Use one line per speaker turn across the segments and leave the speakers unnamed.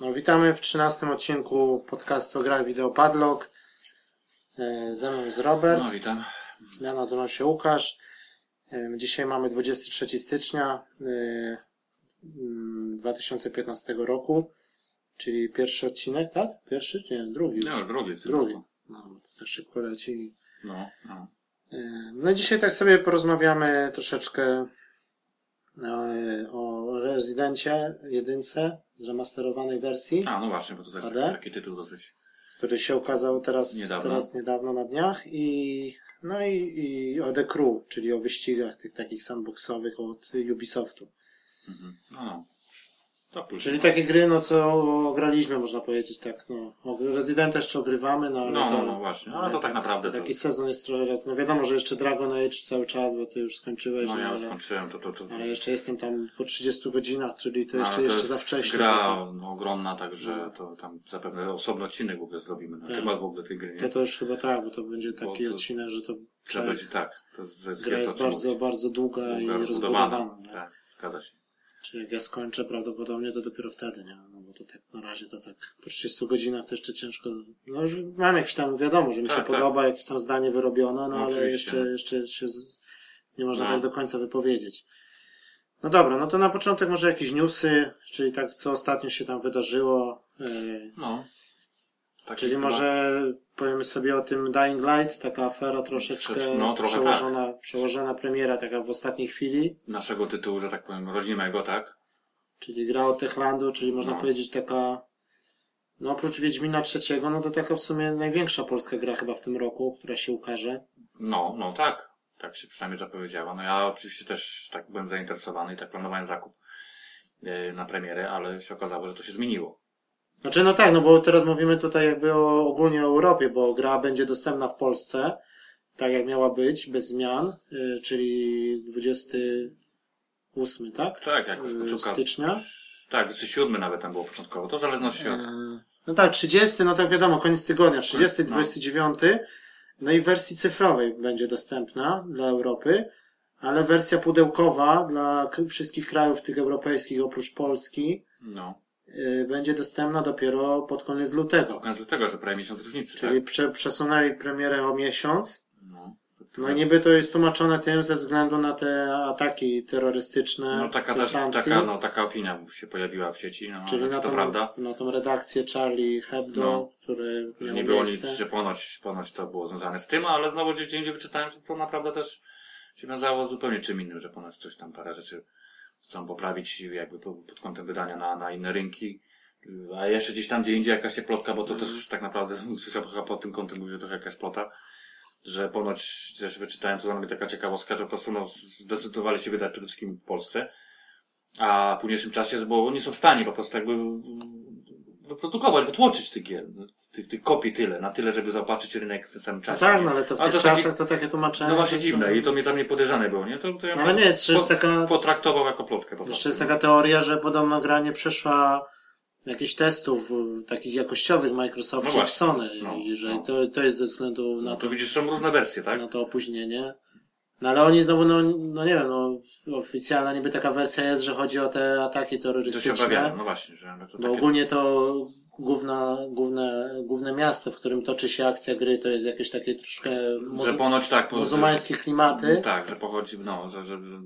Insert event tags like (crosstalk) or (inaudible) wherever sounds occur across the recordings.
No, Witamy w 13 odcinku podcastu Gra Wideo Padlock. E, Ze mną jest Robert,
No witam.
ja nazywam się Łukasz. E, Dzisiaj mamy 23 stycznia e, mm, 2015 roku, czyli pierwszy odcinek, tak? Pierwszy? Nie, drugi już.
Ja już drugi w tym
drugi.
roku.
No, to szybko leci.
No, no.
E, No i dzisiaj tak sobie porozmawiamy troszeczkę e, o Rezydencie jedynce, zremasterowanej wersji.
A, no właśnie, bo to też
Prawda?
taki, taki tytuł dosyć.
który się ukazał teraz niedawno,
Niedawno.
teraz niedawno na dniach i no i, i o The Crew, czyli o wyścigach tych takich sandboxowych od Ubisoftu.
No, no. To później.
Czyli takie gry, no co graliśmy, można powiedzieć tak, no. O Resident jeszcze ogrywamy, no ale
No,
to,
no, no właśnie. No, ale to tak naprawdę to...
taki sezon jest trochę raz, no wiadomo, że jeszcze Dragon Age cały czas, bo ty już skończyłeś,
No ja już
ale,
skończyłem, to to... to, to
ale jeszcze jestem tam po 30 godzinach, czyli to
no,
jeszcze,
ale to
jeszcze za
jest
wcześnie.
gra no, ogromna, także to tam zapewne osobny odcinek w ogóle zrobimy na
Tak.
temat w ogóle tej gry,
To,
nie?
to już chyba tak, bo to będzie taki
to-
odcinek, że to
Trzeba
tak,
będzie tak. To jest, jest,
gra
o
jest
czym
bardzo,
mówić.
bardzo długa,
Długa,
i
rozbudowana.
rozbudowana. nie?
Tak, zgadza się.
Czyli jak ja skończę prawdopodobnie, to dopiero wtedy, nie? No bo to tak na razie to tak po 30 godzinach to jeszcze ciężko. No już mam jakieś tam, wiadomo, że mi
Tak,
się
tak.
podoba, jakieś tam zdanie wyrobione, no,
No
ale
oczywiście.
jeszcze, jeszcze się z... nie można
No.
tak do końca wypowiedzieć. No dobra, no to na początek może jakieś newsy, czyli tak co ostatnio się tam wydarzyło. Yy,
No. Taki
czyli
chyba-
może powiemy sobie o tym Dying Light, taka afera troszeczkę
Troszeczkę, no, trochę tak.
przełożona, przełożona premiera taka w ostatniej chwili.
Naszego tytułu, że tak powiem, rodzinnego, tak?
Czyli gra od Techlandu, czyli można
No.
powiedzieć taka, no oprócz Wiedźmina III, no to taka w sumie największa polska gra chyba w tym roku, która się ukaże.
No, no tak. Tak się przynajmniej zapowiedziała. No ja oczywiście też tak byłem zainteresowany i tak planowałem zakup e, na premierę, ale się okazało, że to się zmieniło.
Znaczy no tak, no bo teraz mówimy tutaj jakby o, ogólnie o Europie, bo gra będzie dostępna w Polsce, tak jak miała być, bez zmian, y, czyli 28, tak?
Tak, jakoś
Y,
końcówka.
Stycznia.
Tak, 27 nawet tam było początkowo. To w zależności od...
No tak, 30, no tak wiadomo, koniec tygodnia, 30,
No.
29. No i w wersji cyfrowej będzie dostępna dla Europy, ale wersja pudełkowa dla k- wszystkich krajów tych europejskich oprócz Polski
No.
y, będzie dostępna dopiero pod koniec
Do
lutego.
końca tego, że prawie miesiąc różnicy,
Czyli
tak?
prze, przesunęli premierę o miesiąc.
No.
No i niby to jest tłumaczone tym ze względu na te ataki terrorystyczne.
No taka
we
też,
Francji,
taka, no, taka opinia się pojawiła w sieci, no
czyli
ale
na
czy to
tą,
prawda?
na tą redakcję Charlie Hebdo,
No.
który
Że
miał
nie było nic,
miejsce.
że ponoć, ponoć to było związane z tym, ale znowu gdzieś indziej wyczytałem, że to naprawdę też się wiązało z zupełnie czym innym, że ponoć coś tam parę rzeczy chcą poprawić jakby po- pod kątem wydania na, na inne rynki. A jeszcze gdzieś tam gdzie indziej jakaś się plotka, bo to też tak naprawdę (laughs) słyszałem chyba pod tym kątem mówię, że trochę jakaś plota, że ponoć też wyczytałem, to dla mnie taka ciekawostka, że po prostu no, zdecydowali się wydać przede wszystkim w Polsce, a w późniejszym czasie, bo oni są w stanie po prostu jakby wyprodukować, wytłoczyć tych gier, tych, tych kopii tyle, na tyle, żeby zaopatrzyć rynek w tym samym
No
czasie.
tak,
nie?
no ale to w
A
tych
to
czasach
taki-
to takie tłumaczenie.
No właśnie
to-
dziwne i to mnie tam niepodejrzane było, nie? To, to ja
Ale No nie, jest przecież
po-
taka-
Potraktował jako plotkę po prostu.
Jeszcze jest taka teoria, że podobno gra nie przeszła jakichś testów y, takich jakościowych
No
Microsoft czy
właśnie,
Sony
no,
i że
no.
to, to jest ze względu na
No
to,
to widzisz, są różne wersje, tak?
na to opóźnienie. No ale oni znowu, no, no nie wiem, no oficjalna niby taka wersja jest, że chodzi o te ataki
To się
terrorystyczne.
obawiałem, no właśnie, że no to
Bo
takie...
ogólnie to główna, główne, główne miasto, w którym toczy się akcja gry, to jest jakieś takie troszkę
Że
muzu-
ponoć tak... po-
muzułmańskie klimaty.
że- Tak, że pochodzi, no, że, że, że,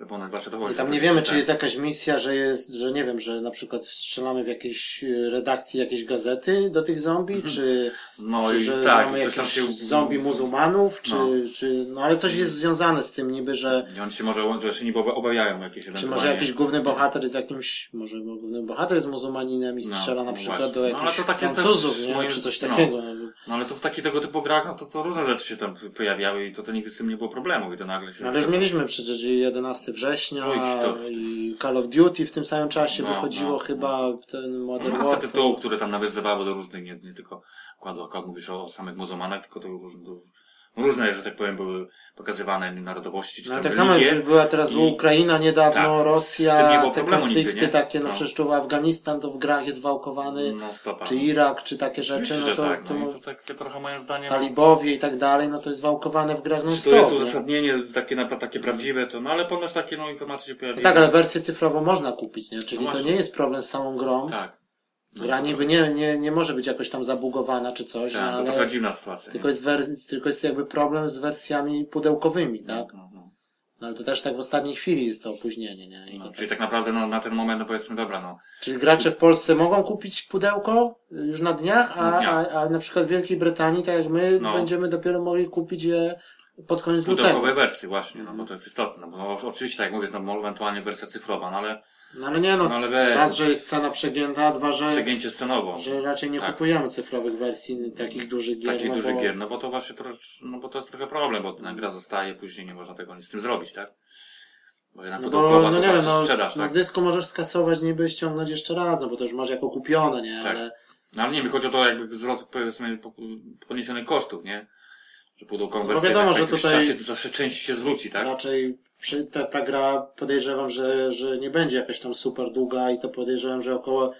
że ponoć właśnie to chodzi.
I tam nie
Oczywiście,
wiemy,
tak.
czy jest jakaś misja, że jest, że nie wiem, że na przykład strzelamy w jakiejś y, redakcji jakiejś gazety do tych zombie, czy,
No
czy
i
że
Mhm. tak,
mamy
i ktoś tam
jakichś
się...
zombie muzułmanów, czy,
No.
czy, no ale coś jest związane z tym niby, że,
I oni się może, że się nie oba- obawiają jakieś
czy
ewentualnie.
może jakiś główny bohater jest jakimś, może główny bohater jest muzułmaninem i
No,
strzela na
no
przykład
właśnie.
do
No, ale
jakichś
to takie też
Francuzów, nie?
moim-
czy coś
no.
takiego.
No ale to w takich tego typu grach, no to, to różne rzeczy się tam pojawiały i to, to nigdy z tym nie było problemu i to nagle się...
No, ale już mieliśmy przecież i 11 września
Oj, to-
i Call of Duty w tym samym czasie
No,
wychodziło
no,
chyba ten Modern
No, masa
Warfare.
tytułów, które tam nawiązywały do różnych, nie, nie tylko akurat, akurat mówisz o, o samych muzułmanach, tylko to różne, do, różne, że tak powiem, były pokazywane narodowości, czy
No,
tam
tak samo
religie.
jak była teraz
i-
Ukraina niedawno,
tak,
Rosja,
z tym nie było
te
problemu
konflikty
nigdy, nie?
takie, no,
No.
przecież to Afganistan to w grach jest wałkowany,
No stopa.
czy Irak, czy takie rzeczy,
Oczywiście,
no
że
to,
tak.
to
No i to takie trochę moim zdaniem...
talibowie i tak dalej, no to jest wałkowane w grach non
Czy
stop.
to jest
nie?
uzasadnienie takie, na- takie prawdziwe, to no ale ponoć takie no, informacje się
No
pojawiły.
tak, ale wersję cyfrową można kupić, nie? Czyli
No
to
właśnie.
nie jest problem z samą grą,
Tak.
Gra niby nie, nie, nie może być jakoś tam zabugowana czy coś,
Tak,
no,
to
ale
trochę dziwna sytuacja.
tylko,
nie?
jest wer- tylko jest jakby problem z wersjami pudełkowymi, tak?
No, no.
No, ale to też tak w ostatniej chwili jest to opóźnienie, nie? I to
No,
tak.
czyli tak naprawdę no, na ten moment, no powiedzmy, dobra, no,
Czyli gracze w Polsce mogą kupić pudełko y, już na dniach, a,
Na dniach.
a, a na przykład w Wielkiej Brytanii, tak jak my,
No.
będziemy dopiero mogli kupić je pod koniec lutego.
pudełkowej wersji właśnie, no bo
Mhm.
to jest istotne, no, bo no, oczywiście, tak jak mówię, no, ewentualnie wersja cyfrowa, no ale
No ale nie no,
No, ale weź.
raz, że jest cena przegięta, dwa, że,
przegięcie scenowo.
że raczej nie
Tak.
kupujemy cyfrowych wersji takich dużych gier.
Takiej
no
dużych
bo-
gier, no bo to właśnie trosz, no bo to jest trochę problem, bo ta gra zostaje, później nie można tego nic z tym zrobić, tak? Bo jednak
No
pudełkowa
bo, no
to
nie wiem,
zawsze
no,
sprzedaż,
no
tak?
z dysku możesz skasować, niby ściągnąć jeszcze raz, no bo to już masz jako kupione, nie?
Tak.
Ale
No ale nie wiem, chodzi o to jakby zwrot powiedzmy po- poniesionych kosztów, nie? Że pudełkową
No
wersję
wiadomo,
tak
że
po jakimś
tutaj- No,
czasie to zawsze część się zwróci, tak?
raczej przy, ta, ta gra podejrzewam, że, że nie będzie jakaś tam super długa i to podejrzewam, że około,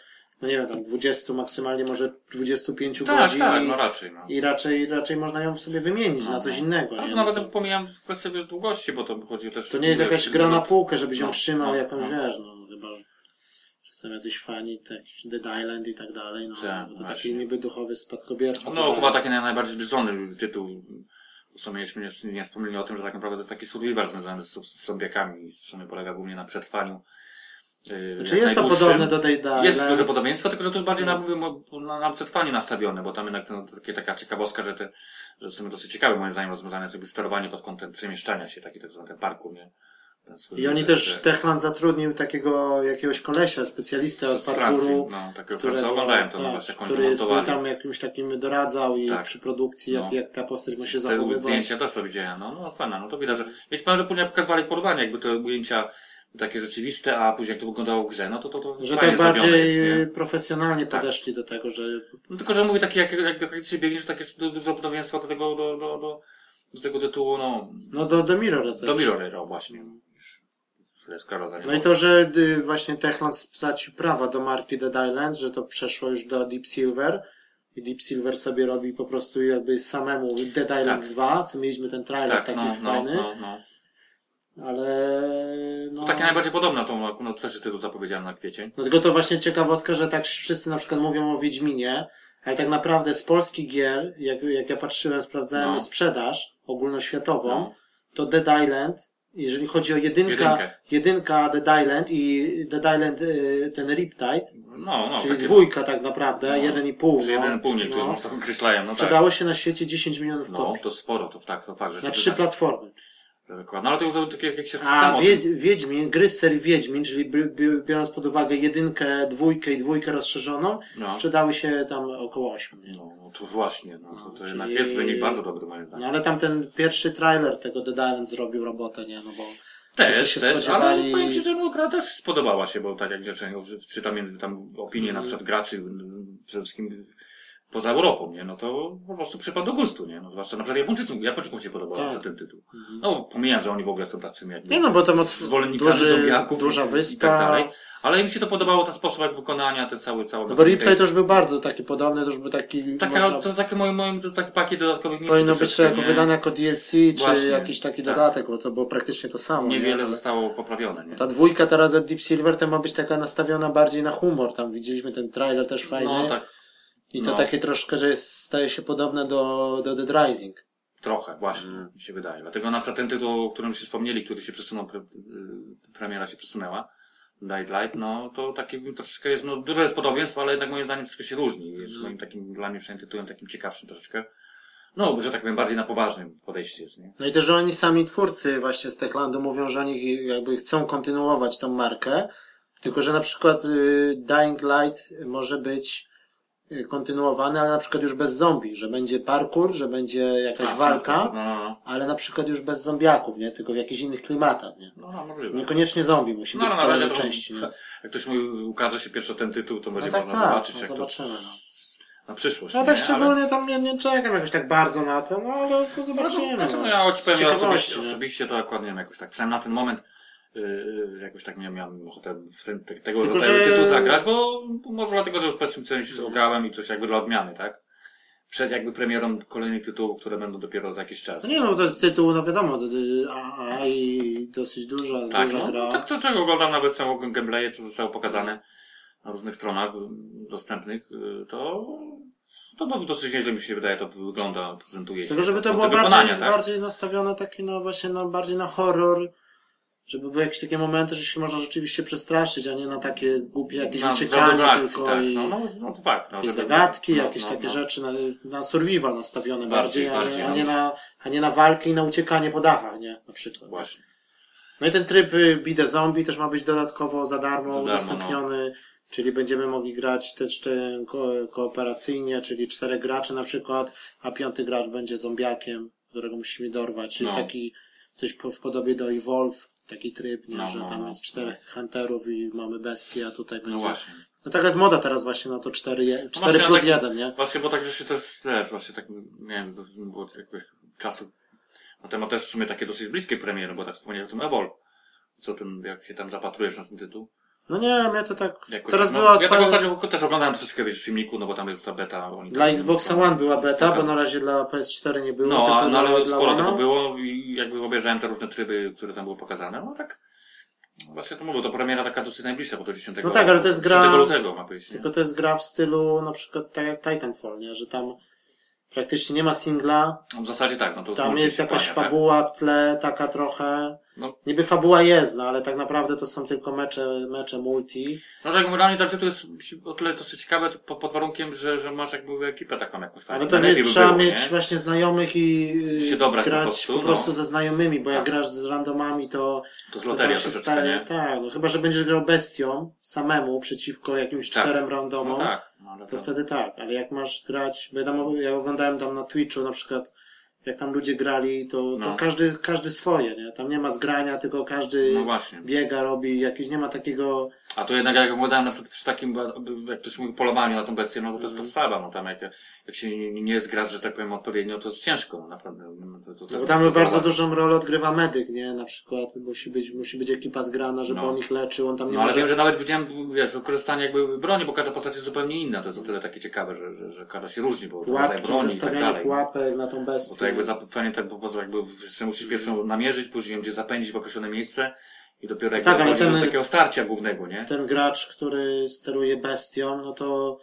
no nie wiem, tam 20, maksymalnie może 25
Tak,
godzin.
tak,
i,
no raczej, no.
I raczej, raczej można ją sobie wymienić na coś innego.
Ale
nie?
to
No
nawet
to,
pomijam kwestię wiesz, długości, bo to chodzi też...
to nie jest jakaś gra na półkę, żebyś ją
No,
trzymał
no,
jakąś,
no.
wiesz, no chyba, że są jacyś fani, tak, Dead Island i tak dalej, no,
Tak,
bo to taki
właśnie.
niby duchowy spadkobierca.
No,
tak
chyba taki naj- najbardziej zbliżony tytuł. W sumie jeszcze nie, nie wspomnieli o tym, że tak naprawdę to jest taki survival związany z, z zombiakami. W sumie polega głównie na przetrwaniu. Yy,
Czy Znaczy jest to podobne do Dead Island?
Jest duże podobieństwo, tylko że tu bardziej na, mówię, mo- na, na przetrwanie nastawione, bo tam jednak no, takie, taka ciekawostka, że te, że w sumie dosyć ciekawe moim zdaniem rozwiązane sobie sterowanie pod kątem przemieszczania się, taki tak zwany ten parkour, nie? Ten swój-
I oni
że-
też,
że-
Techland zatrudnił takiego jakiegoś kolesia, specjalistę od
z Francji,
parkouru,
no, takiego Franca,
którego,
oglądałem to, no
tak,
właśnie, jak oni to
który jest, był
montowali.
tam jakimś takim doradzał i
Tak.
przy produkcji, jak,
No.
jak ta postać ma się
Te
zachowywać.
zdjęcia też to widziałem, no, no fajne, no to widać, że wiesz, powiem, że później pokazywali porównanie, jakby te ujęcia takie rzeczywiste, a później jak to wyglądało w grze, no to to, to
Że
fajnie
tak bardziej
zrobione jest, nie?
profesjonalnie
Tak.
podeszli do tego, że
No tylko, że mówię, takie jak, jak, jak się biegniesz, takie jest du- dużo podobieństwa do tego, do, do, do, do tego tytułu, no,
no do, do Mirror
do Mirror Hero właśnie. Już Tyle skleroza nie
No i to, że y, właśnie Techland stracił prawa do marki Dead Island, że to przeszło już do Deep Silver i Deep Silver sobie robi po prostu jakby samemu Dead Island
Tak.
2, co mieliśmy ten trailer
tak,
taki
no, no,
fajny,
no, no.
ale no...
Takie najbardziej podobne, to, no, to też jest tytuł zapowiedziany na kwiecień.
No tylko to właśnie ciekawostka, że tak wszyscy na przykład mówią o Wiedźminie, ale tak naprawdę z polskich gier, jak, jak ja patrzyłem, sprawdzałem
No.
sprzedaż ogólnoświatową,
No.
to Dead Island, jeżeli chodzi o jedynka,
Jedynkę.
jedynka Dead Island i Dead Island y, ten Riptide,
No, no,
czyli
takie-
dwójka tak naprawdę, jeden i pół.
Czy
no,
jeden pół niektórzy
no.
może to określają, no tak.
Sprzedało się na świecie 10 milionów
No,
kopii.
to sporo, to tak, to fakt, że
Na
się
trzy
wydarzy.
platformy.
Że wykład- No ale to już tak jak, jak się
A
samo.
wie, Wiedźmin, gry z serii Wiedźmin, czyli by, by, biorąc pod uwagę jedynkę, dwójkę i dwójkę rozszerzoną,
No.
sprzedały się tam około 8.
No, no to właśnie, no, to, to
czyli-
jednak jest wynik bardzo dobry moim
No
zdaniem.
ale tam ten pierwszy trailer tego Dead Island zrobił robotę, nie? No bo wszyscy
też,
się
też, ale
spodziewali-
powiem Ci, że no, gra też spodobała się, bo tak jak rzeczy, czytam między tam opinie
Mhm.
na przykład graczy, m, przede wszystkim poza Europą, nie? No to po prostu przypadł do gustu, nie? No, zwłaszcza na przykład Japończykom, Japończykom się podobał
Tak.
tak. ten tytuł. No pomijam, że oni w ogóle są tacy jakby
Nie no, bo to ma
zwolennikami
duży-
zombiaków
duża
i,
wyspa.
i tak dalej, ale im się to podobało ten sposób jak wykonania, ten cały, cały
No bo Riptide też był bardzo taki podobny, też był taki...
Taka,
można-
to takie moim, moim, to taki pakiet dodatkowych misji.
powinno być to
troszeczkę,
jako
nie?
wydane jako DLC, czy
Właśnie,
jakiś taki
tak.
dodatek, bo to było praktycznie to samo.
Niewiele
nie?
zostało poprawione, nie?
Ta dwójka teraz od Deep Silver to ma być taka nastawiona bardziej na humor. Tam widzieliśmy ten trailer też fajny.
No tak,
I to
no.
takie troszkę, że jest, staje się podobne do, do Dead Rising.
trochę, właśnie,
Mm.
mi się wydaje. Dlatego na przykład ten tytuł, o którym się wspomnieli, który się przesunął, pre, y, premiera się przesunęła, Night Light, no to taki troszeczkę jest, no dużo jest podobieństw, ale jednak moim zdaniem troszkę się różni. Jest
Mm.
moim takim, dla mnie przynajmniej tytułem takim ciekawszym troszeczkę. No, że tak powiem, bardziej na poważnym podejście jest, nie?
No i też, że oni sami twórcy właśnie z Techlandu mówią, że oni jakby chcą kontynuować tą markę, tylko że na przykład y, Dying Light może być y, kontynuowany, ale na przykład już bez zombie, że będzie parkour, że będzie jakaś
A, w ten sposób,
walka,
No, no,
ale na przykład już bez zombiaków, nie? Tylko w jakichś innych klimatach, nie?
no, no, no możliwe.
Niekoniecznie zombie musi
No,
być
ale
w
na razie
kolejnej
to,
części, nie?
jak ktoś mówił, ukaże się pierwszy ten tytuł, to będzie
tak,
można
tak,
zobaczyć,
no,
jak
zobaczymy,
to
no.
na przyszłość.
No tak
nie?
szczególnie tam nie, nie czekam jakoś tak bardzo na to, no ale to
Ale to,
zobaczymy.
znaczy, no
no,
ja
z
choć pewnie
ciekawości,
osobiście,
nie?
osobiście to akurat nie wiem, jakoś tak, przynajmniej na ten moment, yy, yy, jakoś tak nie miałem ochotę w ten, te, tego
Tylko,
rodzaju
że- Mhm.
tytuł zagrać, bo, bo może dlatego, że już powiedzmy coś ograłem i coś jakby dla odmiany, tak? Przed jakby premierą kolejnych tytułów, które będą dopiero za jakiś czas.
No nie no, to jest tytuł, no wiadomo, d- d- AA i dosyć duża,
tak,
duża
no,
gra.
tak to czego oglądam nawet samo gameplaye, co zostało pokazane. na różnych stronach y, dostępnych, y, to, to no, dosyć nieźle mi się wydaje, to wygląda, prezentuje się.
Tylko żeby to
Te
było bardziej,
wykonania, tak?
bardziej nastawione takie na właśnie na, bardziej na horror. Żeby były jakieś takie momenty, że się można rzeczywiście przestraszyć, a nie na takie głupie jakieś
Na
uciekanie
zadużo akcji,
tylko
tak.
i
No, no, no tak, no,
jakieś
żeby-
zagadki,
no,
jakieś
no,
takie
no.
rzeczy na, na survival nastawione bardziej, a,
Bardziej, bardziej,
nie, a,
no
nie
już.
na, a nie na walkę i na uciekanie po dachach, nie? Na przykład.
Właśnie.
No i ten tryb y, Bide Zombie też ma być dodatkowo za darmo,
Za darmo, no.
udostępniony, czyli będziemy mogli grać też te ko kooperacyjnie, czyli czterech graczy na przykład, a piąty gracz będzie zombiakiem, którego musimy dorwać, czyli
No.
taki coś po, w podobie do Evolve, taki tryb, nie,
No,
że
no,
tam
no.
jest czterech hunterów i mamy bestie, a tutaj będzie...
No właśnie.
No taka jest moda teraz właśnie na to 4, je, 4
właśnie,
plus
tak-
1, nie?
Właśnie, bo tak, że się też, też właśnie tak, nie wiem, to było jakiegoś czasu na temat też w sumie takie dosyć bliskie premiery, bo tak wspomniałem o tym Ebol. Co tym, jak się tam zapatrujesz na ten tytuł?
No nie, mnie to tak...
Jakoś
teraz
tak, no,
była
Ja tego
otwarta-
ostatnio też oglądałem troszeczkę wiesz, w filmiku, no bo tam już ta beta. Oni
Dla
tam-
Xboxa One była beta, bo
pokazali.
na razie dla PS4 nie było.
No,
tylko
a, no
dla-
ale
dla
sporo
One'a.
tego było i jakby obejrzałem te różne tryby, które tam były pokazane, no tak. no Właśnie to mówię, to premiera taka dosyć najbliższa, bo to 10
No tak, ale to jest gra-
10 lutego ma być. nie?
Tylko to jest gra w stylu na przykład tak jak Titanfall, nie? że tam praktycznie nie ma singla,
No, W zasadzie tak, no to
tam
multi
jest jakaś
kampania,
fabuła w tle, taka trochę.
No.
Niby fabuła jest, no ale tak naprawdę to są tylko mecze, mecze multi.
Tak? No tak, mówię, dla mnie ten tytuł jest o tyle dosyć ciekawy, to pod, pod warunkiem, że, że masz jakby ekipę taką jakąś fajną.
Ale No to nie
Tak, Najlepiej by
trzeba
było,
mieć
nie?
właśnie znajomych i yy,
Się dobrać po
grać
prostu,
po
no.
prostu ze znajomymi, bo jak
Tak.
grasz z randomami, to
To z
to
loteria
tam się
troszeczkę,
staje-
nie?
Tak, no chyba, że będziesz grał bestią samemu przeciwko jakimś
Tak.
czterem
No
randomom.
tak, no, ale
To
to...
wtedy tak, ale jak masz grać, bo ja, tam, ja oglądałem tam na Twitchu na przykład, jak tam ludzie grali, to, to
No.
każdy, każdy swoje, nie? Tam nie ma zgrania, tylko każdy
No właśnie.
biega, robi, jakiś nie ma takiego,
A to jednak jak oglądałem na przykład przy takim, jak ktoś mówi, polowaniu na tą bestię, no to to jest
Mhm.
podstawa, no tam jak, jak się nie, nie zgra, że tak powiem odpowiednio, to jest ciężko, no naprawdę. no, To, to, to,
bo
to,
tam
to
bardzo
załatwi.
dużą rolę odgrywa medyk, nie? Na przykład musi być, musi być ekipa zgrana, żeby
No.
on ich leczył, on tam nie
No ale
może...
wiem, że nawet widziałem, wiesz, wykorzystanie jakby broni, bo każda postać jest zupełnie inna, to jest o tyle takie ciekawe, że, że, że każda się różni, bo rodzaj
Łapki,
broni i tak
zestawianie
dalej.
pułapek na tą bestię.
Bo to jakby zapewne tak po prostu jakby się
Mhm.
musisz pierwszą namierzyć, później ją gdzie zapędzić w określone miejsce i dopiero jak
Tak, ale
dochodzi
ten-
do takiego starcia głównego, nie?
ten gracz, który steruje bestią, no to,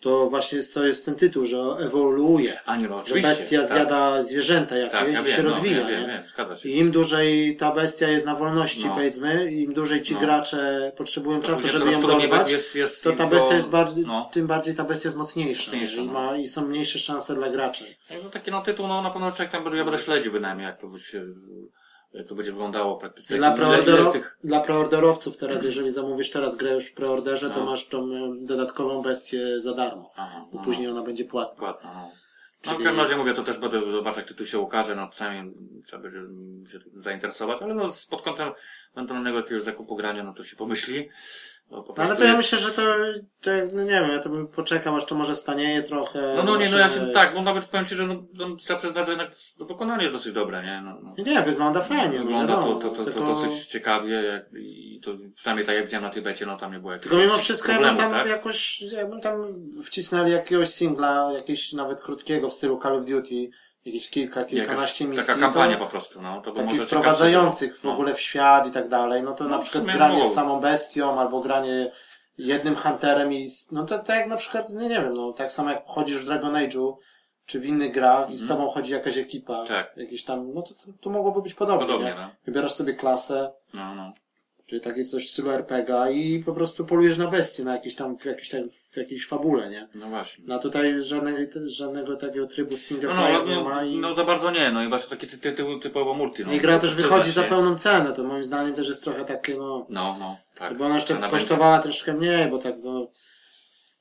to właśnie jest, to jest ten tytuł, że ewoluuje.
A nie, no
Że
oczywiście.
bestia
tak,
zjada zwierzęta jakieś
tak, ja
i
wiem,
się
no,
rozwija.
Ja
nie?
wiem, wiem, zgadza się.
I im dłużej ta bestia jest na wolności,
No.
powiedzmy, im dłużej ci
No.
gracze potrzebują czasu,
później
żeby
coraz
ją
trudniej
dorwać,
jest- jest
to ta
jego-
bestia jest bardziej,
no.
tym bardziej ta bestia jest mocniejsza,
Mocniejsza,
i,
no.
ma, i są mniejsze szanse dla graczy.
Także taki no tytuł, no na pewno człowiek tam będę, ja będę śledził bynajmniej, jak to się, jak to będzie wyglądało w praktyce.
Dla,
Ile- ile
preordero,
tych-
dla preorderowców teraz, jeżeli zamówisz teraz grę już w preorderze, to
No.
masz tą e, dodatkową bestię za darmo,
Aha,
bo
no.
później ona będzie płatna.
Dokładnie, no. No, w
Czyli-
każdym razie mówię, to też będę zobaczył, jak tytuł się ukaże, no przynajmniej trzeba będzie mm, się tym zainteresować, ale no z- pod kątem ewentualnego jakiegoś zakupu grania, no to się pomyśli. No, po
No ale
prostu
to ja
jest-
myślę, że to, to, no nie wiem, ja to bym poczekał, aż to może stanieje trochę.
No, no nie, no ja się,
zobaczymy.
tak, no nawet powiem Ci, że no, no, trzeba przyznać, że jednak to wykonanie jest dosyć dobre, nie? No, no.
Nie, wygląda fajnie.
Wygląda
no,
to,
wiadomo,
to, to, to
tylko-
dosyć ciekawie, jak, i to przynajmniej tak jak widziałem na Tybecie, no tam nie było jakiegoś
Tylko mimo wszystko ja bym
problemu,
tam
tak?
jakoś, jakbym tam wcisnęli jakiegoś singla, jakiegoś nawet krótkiego w stylu Call of Duty, jakieś kilka,
Jakaś,
kilkanaście misji.
taka kampania po prostu, no. To by
Takich
może
wprowadzających
ciekawsze
w
było.
ogóle w świat i tak dalej, no to
No,
na
w
przykład
sumie
granie
mogło.
z samą bestią, albo granie jednym hunterem i, z- no to tak jak na przykład, nie, nie wiem, no tak samo jak chodzisz w Dragon Age'u, czy w innych grach i z tobą chodzi jakaś ekipa,
Mhm. Tak.
jakiś tam, no to, to, to mogłoby być podobnie,
Podobnie,
nie?
no.
Wybierasz sobie klasę,
No, no.
Czyli takie coś w stylu RPG i po prostu polujesz na bestie, na jakieś tam, w jakiejś tam, w jakiejś fabule, nie?
No właśnie.
No a tutaj żadnego, żadnego takiego trybu single
No,
player
no,
nie
no,
ma i,
no za bardzo nie, no i właśnie takie ty- tytuły typowo multi. No,
i gra też
Przyznać
wychodzi za
się.
pełną cenę, to moim zdaniem też jest trochę takie, no,
No, no, tak.
bo ona jeszcze
Cena
kosztowała troszkę mniej, bo tak, no,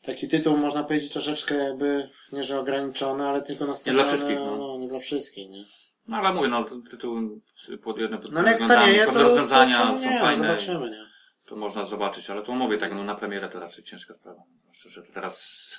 taki tytuł można powiedzieć troszeczkę jakby, nie że ograniczony, ale tylko nastawiony,
wszystkich, no.
no, nie dla wszystkich, nie?
będzie- No ale mówię, no tytuł pod jednym pod
No ale jak
względami,
stanieje, to,
pewne
to
rozwiązania
czemu
są
nie, no,
fajne.
zobaczymy, nie?
To można zobaczyć, ale to mówię tak, no na premierę to raczej ciężka sprawa. Zwłaszcza, że teraz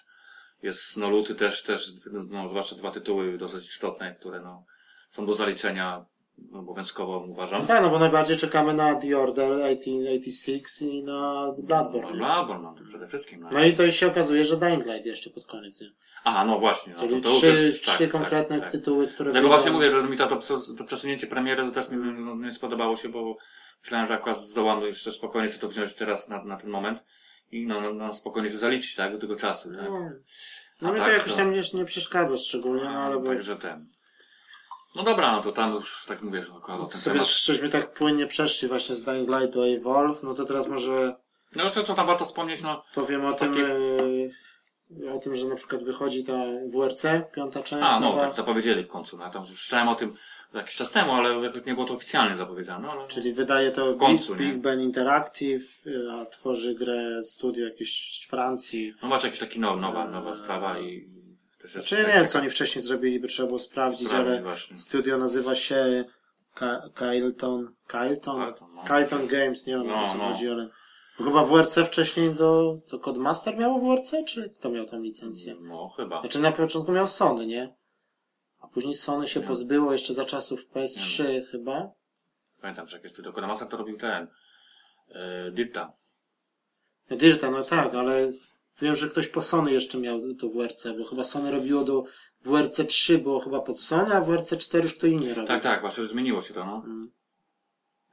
jest no luty też, też, no zwłaszcza dwa tytuły dosyć istotne, które no są do zaliczenia obowiązkowo uważam.
No tak, no bo najbardziej czekamy na The Order 86 i na Bloodborne.
No, Bloodborne, no to przede wszystkim. No.
No i to się okazuje, że Dying Light jeszcze pod koniec. Nie?
Aha, no właśnie, no,
Czyli
to, to już
trzy,
jest,
trzy konkretne
tak.
tytuły, które wyjdą.
Dlatego właśnie mówię, że mi to, to, przes- to przesunięcie premiery to też mi no, nie spodobało się, bo myślałem, że akurat zdołam jeszcze spokojnie sobie to wziąć teraz na, na ten moment i no, no, no spokojnie to zaliczyć, tak, do tego czasu, tak?
No, no
A
mi to
tak,
jakoś
to-
tam nie, nie przeszkadza szczególnie, no ale bo
Także ten. No dobra, no to tam już, tak mówię, że akurat o ten
sobie
temat.
żeśmy tak płynnie przeszli właśnie z Dying Light do Evolve, no to teraz może
No jeszcze co tam warto wspomnieć, no
powiem o
Z
tym,
takich-
e, o tym, że na przykład wychodzi ta WRC, piąta część,
A, no,
nowa,
tak zapowiedzieli w końcu. No, ja tam już słyszałem o tym jakiś czas temu, ale jakoś nie było to oficjalnie zapowiedziane. no, Ale...
czyli wydaje to w
końcu,
Big,
nie?
Big Ben Interactive, e, a tworzy grę studio jakieś z Francji.
No masz jakiś taki now, nowa, nowa sprawa i też jest
Czy Znaczy, nie
tak
wiem,
ciekawe.
co oni wcześniej zrobili, by trzeba było sprawdzić,
Sprawdzić,
ale
właśnie.
studio nazywa się Ka- Kailton, Kailton?
Kailton, no.
Kailton Games, nie wiem o
No,
co
no.
chodzi, ale bo chyba WRC wcześniej do, to Codemaster miało WRC, czy kto miał tam licencję?
No chyba.
Znaczy na początku miał Sony, nie? A później Sony się pozbyło jeszcze za czasów PS3 chyba.
Pamiętam, że jak jest tylko Damasa, to robił ten. Yy, Dirta.
No Dirta, no tak, ale wiem, że ktoś po Sony jeszcze miał to WRC, bo chyba Sony robiło do WRC 3 było chyba pod Sony, a WRC 4 już kto inny robił.
Tak, tak, właśnie zmieniło się to, no.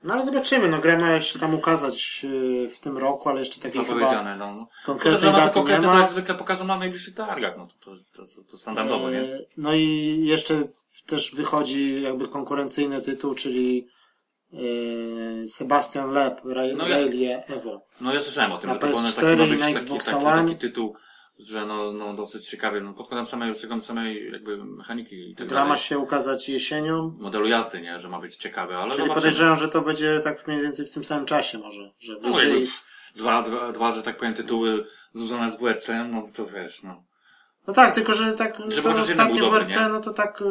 No ale zobaczymy, no gra ma się tam ukazać yy, w tym roku, ale jeszcze takiej chyba
Zapowiedziane, no. no.
konkretnej
Chociaż że
daty nie
konkrety
ma.
to jak zwykle pokazano na najbliższych targach, no to, to, to, to, to standardowo, nie?
E, No i jeszcze też wychodzi jakby konkurencyjny tytuł, czyli e, Sebastian Lep, Ray,
No ja-
Raylie Evo.
No ja słyszałem o tym,
Na
że to ponoć taki
PS4
ma
i
być
na
taki, taki,
Xbox
taki,
One.
tytuł, że no, no dosyć ciekawy, no pod kątem samej, pod kątem samej jakby mechaniki i tak
Gra
dalej.
ma się ukazać jesienią,
modelu jazdy, nie? Że ma być ciekawy, ale
czyli
zobaczymy.
podejrzewam, że to będzie tak mniej więcej w tym samym czasie może, że
No,
wyjdzie
jakby
i-
dwa, dwa, dwa, że tak powiem, tytuły związane z WRC, no to wiesz, no.
No tak, tylko że tak
Żeby
to
chociaż jeden
ostatnie
był dobry,
WRC,
nie?
no to tak y,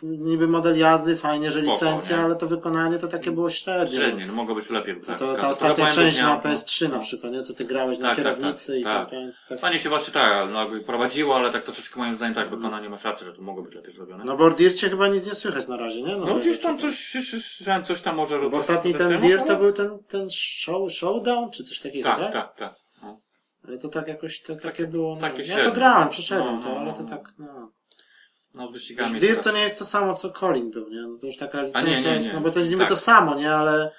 w- niby model jazdy, fajnie, że
Spoko,
licencja,
nie?
ale to wykonanie to takie było średnie.
Średnie, no mogło być lepiej.
No
Tak,
to ta
zgadzam.
ostatnia
Trochę
część na
błędów miał,
PS3 na przykład, nie? Co ty grałeś na
Tak, tak,
kierownicy
tak,
i tak.
tak.
tak, tak.
Fajnie się właśnie tak, no jakby prowadziło, ale tak troszeczkę moim zdaniem tak, wykonanie masz rację, że to mogło być lepiej zrobione. No,
No bo o Dircie chyba nic nie słychać na razie, nie? że-
gdzieś tam coś, słyszałem, coś tam może robić.
Bo ostatni ten Dirt to był ten, ten show, Showdown czy coś takiego, tak?
Tak, tak, tak. No.
Ale to tak jakoś, to, takie było, no,
takie
ja to
średnie.
grałem, przeszedłem
No, no,
to, ale
no,
to
no.
tak, no.
No z
Już
wyścigami.
Dirt
tak.
to nie jest to samo, co Colin był, nie? No to już taka licencja
nie, nie,
jest,
nie.
no bo to jest niby
Tak.
to samo, nie? Ale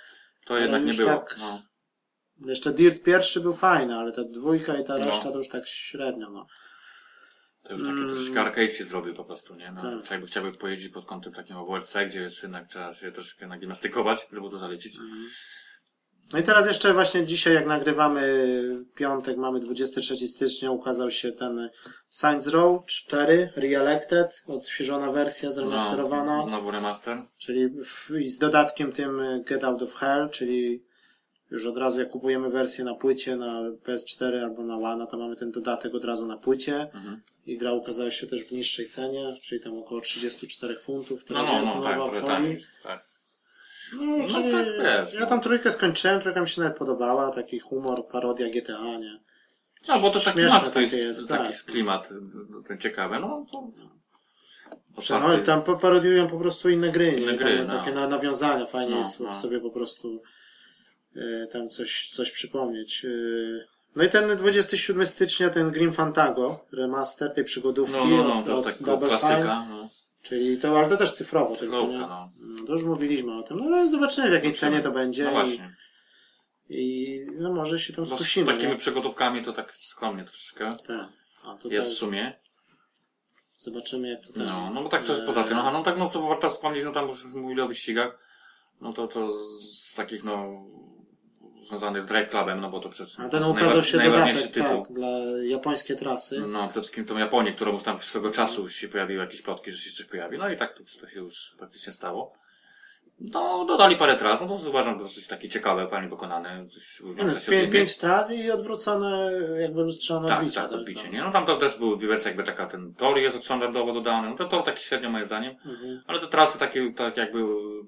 To jednak nie
już
było.
tak-
No.
Jeszcze Dirt pierwszy był fajny, ale ta dwójka i ta
No.
reszta to już tak średnio, no.
To już takie troszeczkę arcade się zrobił po prostu, nie? No,
Mm. Tak.
Chciałby, chciałby pojeździć pod kątem takim OWLC, gdzie jest jednak trzeba się troszeczkę nagimnastykować, żeby to zalecić.
Mhm. No i teraz jeszcze właśnie dzisiaj, jak nagrywamy piątek, mamy 23 stycznia, ukazał się ten Saints Row 4 Reelected, odświeżona wersja, zremasterowana,
No, nowy remaster.
czyli w, i z dodatkiem tym Get Out of Hell, czyli już od razu jak kupujemy wersję na płycie, na PS4 albo na One, to mamy ten dodatek od razu na płycie
Mhm.
i gra ukazała się też w niższej cenie, czyli tam około 34 funtów,
No,
teraz
no,
jest
no, tak,
nowa
trochę
w
tam
folii.
jest, tak.
No, czyli
tak, wiesz,
ja
no.
tam trójkę skończyłem, trójka mi się nawet podobała, taki humor, parodia GTA, nie?
No, bo to taki
Śmieszne
masz, to
takie
jest,
jest,
taki
tak.
klimat, y, ten ciekawy, no, to...
No i tam po- parodiują po prostu inne gry, nie?
Inne
Tam
gry, no.
takie na, nawiązania, fajnie
No,
jest
no.
sobie po prostu e, tam coś, coś przypomnieć. E, no i ten 27 stycznia, ten Grim Fantago, remaster tej przygodówki
No, no, no,
od,
to
od
jest taka
Double Fine,
klasyka, no.
czyli to, ale to też cyfrowo. tylko,
Cyfrowka,
nie?
no.
No, to już mówiliśmy o tym, no ale zobaczymy w jakiej cenie to będzie
No
i,
właśnie.
i no, może się tam
No,
skusimy.
z takimi
nie?
przygodówkami to tak skromnie troszeczkę
Tak. A tutaj
jest w sumie.
Zobaczymy jak to tam...
No, no bo tak coś
e,
poza tym. Aha, no tak, no co warto wspomnieć, no tam już mówili o wyścigach, no to to z takich, no, związanych z Drive Clubem, no bo to przed
A
to
ten
jest
ukazał
najwa-
się
najważniejszy
dodatek,
tytuł.
tak, dla japońskie trasy.
No, przede wszystkim tą Japonię, którą już tam swego czasu już się pojawiły jakieś plotki, że się coś pojawi. No i tak to, to się już praktycznie stało. No, dodali parę tras, no to uważam to dosyć takie ciekawe, fajnie wykonane, coś
Nie, no,
różniące
z
się od
pię-
innych.
pięć tras i odwrócone jakby lustrzane
Tak,
odbicie.
tak, odbicie, nie? No tam to też był wiec jakby taka, ten tor jest standardowo dodany, no to, to taki średnio moim zdaniem.
Mhm.
Ale te trasy takie, tak jakby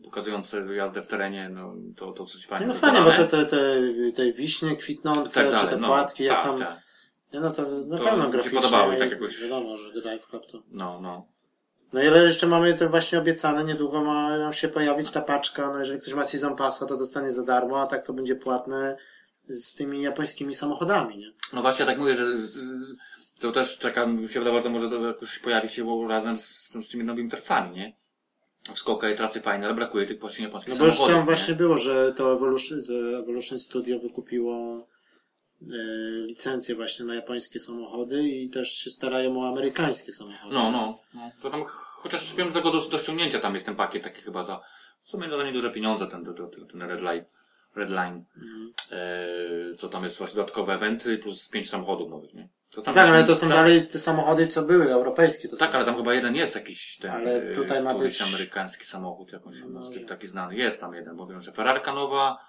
pokazujące jazdę w terenie, no to, to coś fajnie
Nie, No fajnie, bo te,
wykonane.
te, te, te wiśnie kwitnące,
tak
czy
dalej,
te
no,
płatki, jak
tak,
tam...
tak.
Nie, no to na
To
pewno
mi się
graficznie.
podobały i tak jakoś-
Wiadomo, że Drive Club to...
No, no.
No i ale jeszcze mamy te właśnie obiecane, niedługo ma nam się pojawić ta paczka, no jeżeli ktoś ma Season Passa, to dostanie za darmo, a tak to będzie płatne z tymi japońskimi samochodami, nie?
No właśnie, ja tak mówię, że y, to też taka, mi się wydawało, że to może to jakoś pojawi się razem z, tym- z tymi nowymi tracami, nie? Wskoka i trasy fajne, ale brakuje tych właśnie japońskich
No bo już
samochodów,
tam
nie?
właśnie było, że to Evolution, to Evolution Studio wykupiło e, licencje właśnie na japońskie samochody i też się starają o amerykańskie samochody.
No, no. no. To tam, ch- chociaż wiem, do tego do, do ściągnięcia tam jest ten pakiet taki chyba za, w sumie za nieduże pieniądze ten, ten, ten, ten Red Line. Red Line.
Mhm.
E, co tam jest właśnie dodatkowe eventy plus pięć samochodów nowych, nie? To tam
Tak,
jest-
ale to są
tak,
dalej te samochody, co były, europejskie to są.
Tak, ale tam chyba jeden jest jakiś ten,
Ale
e,
tutaj ma
któryś
być-
amerykański samochód, jakąś no, taki znany. Jest tam jeden, bo wiem, że Ferrarka nowa,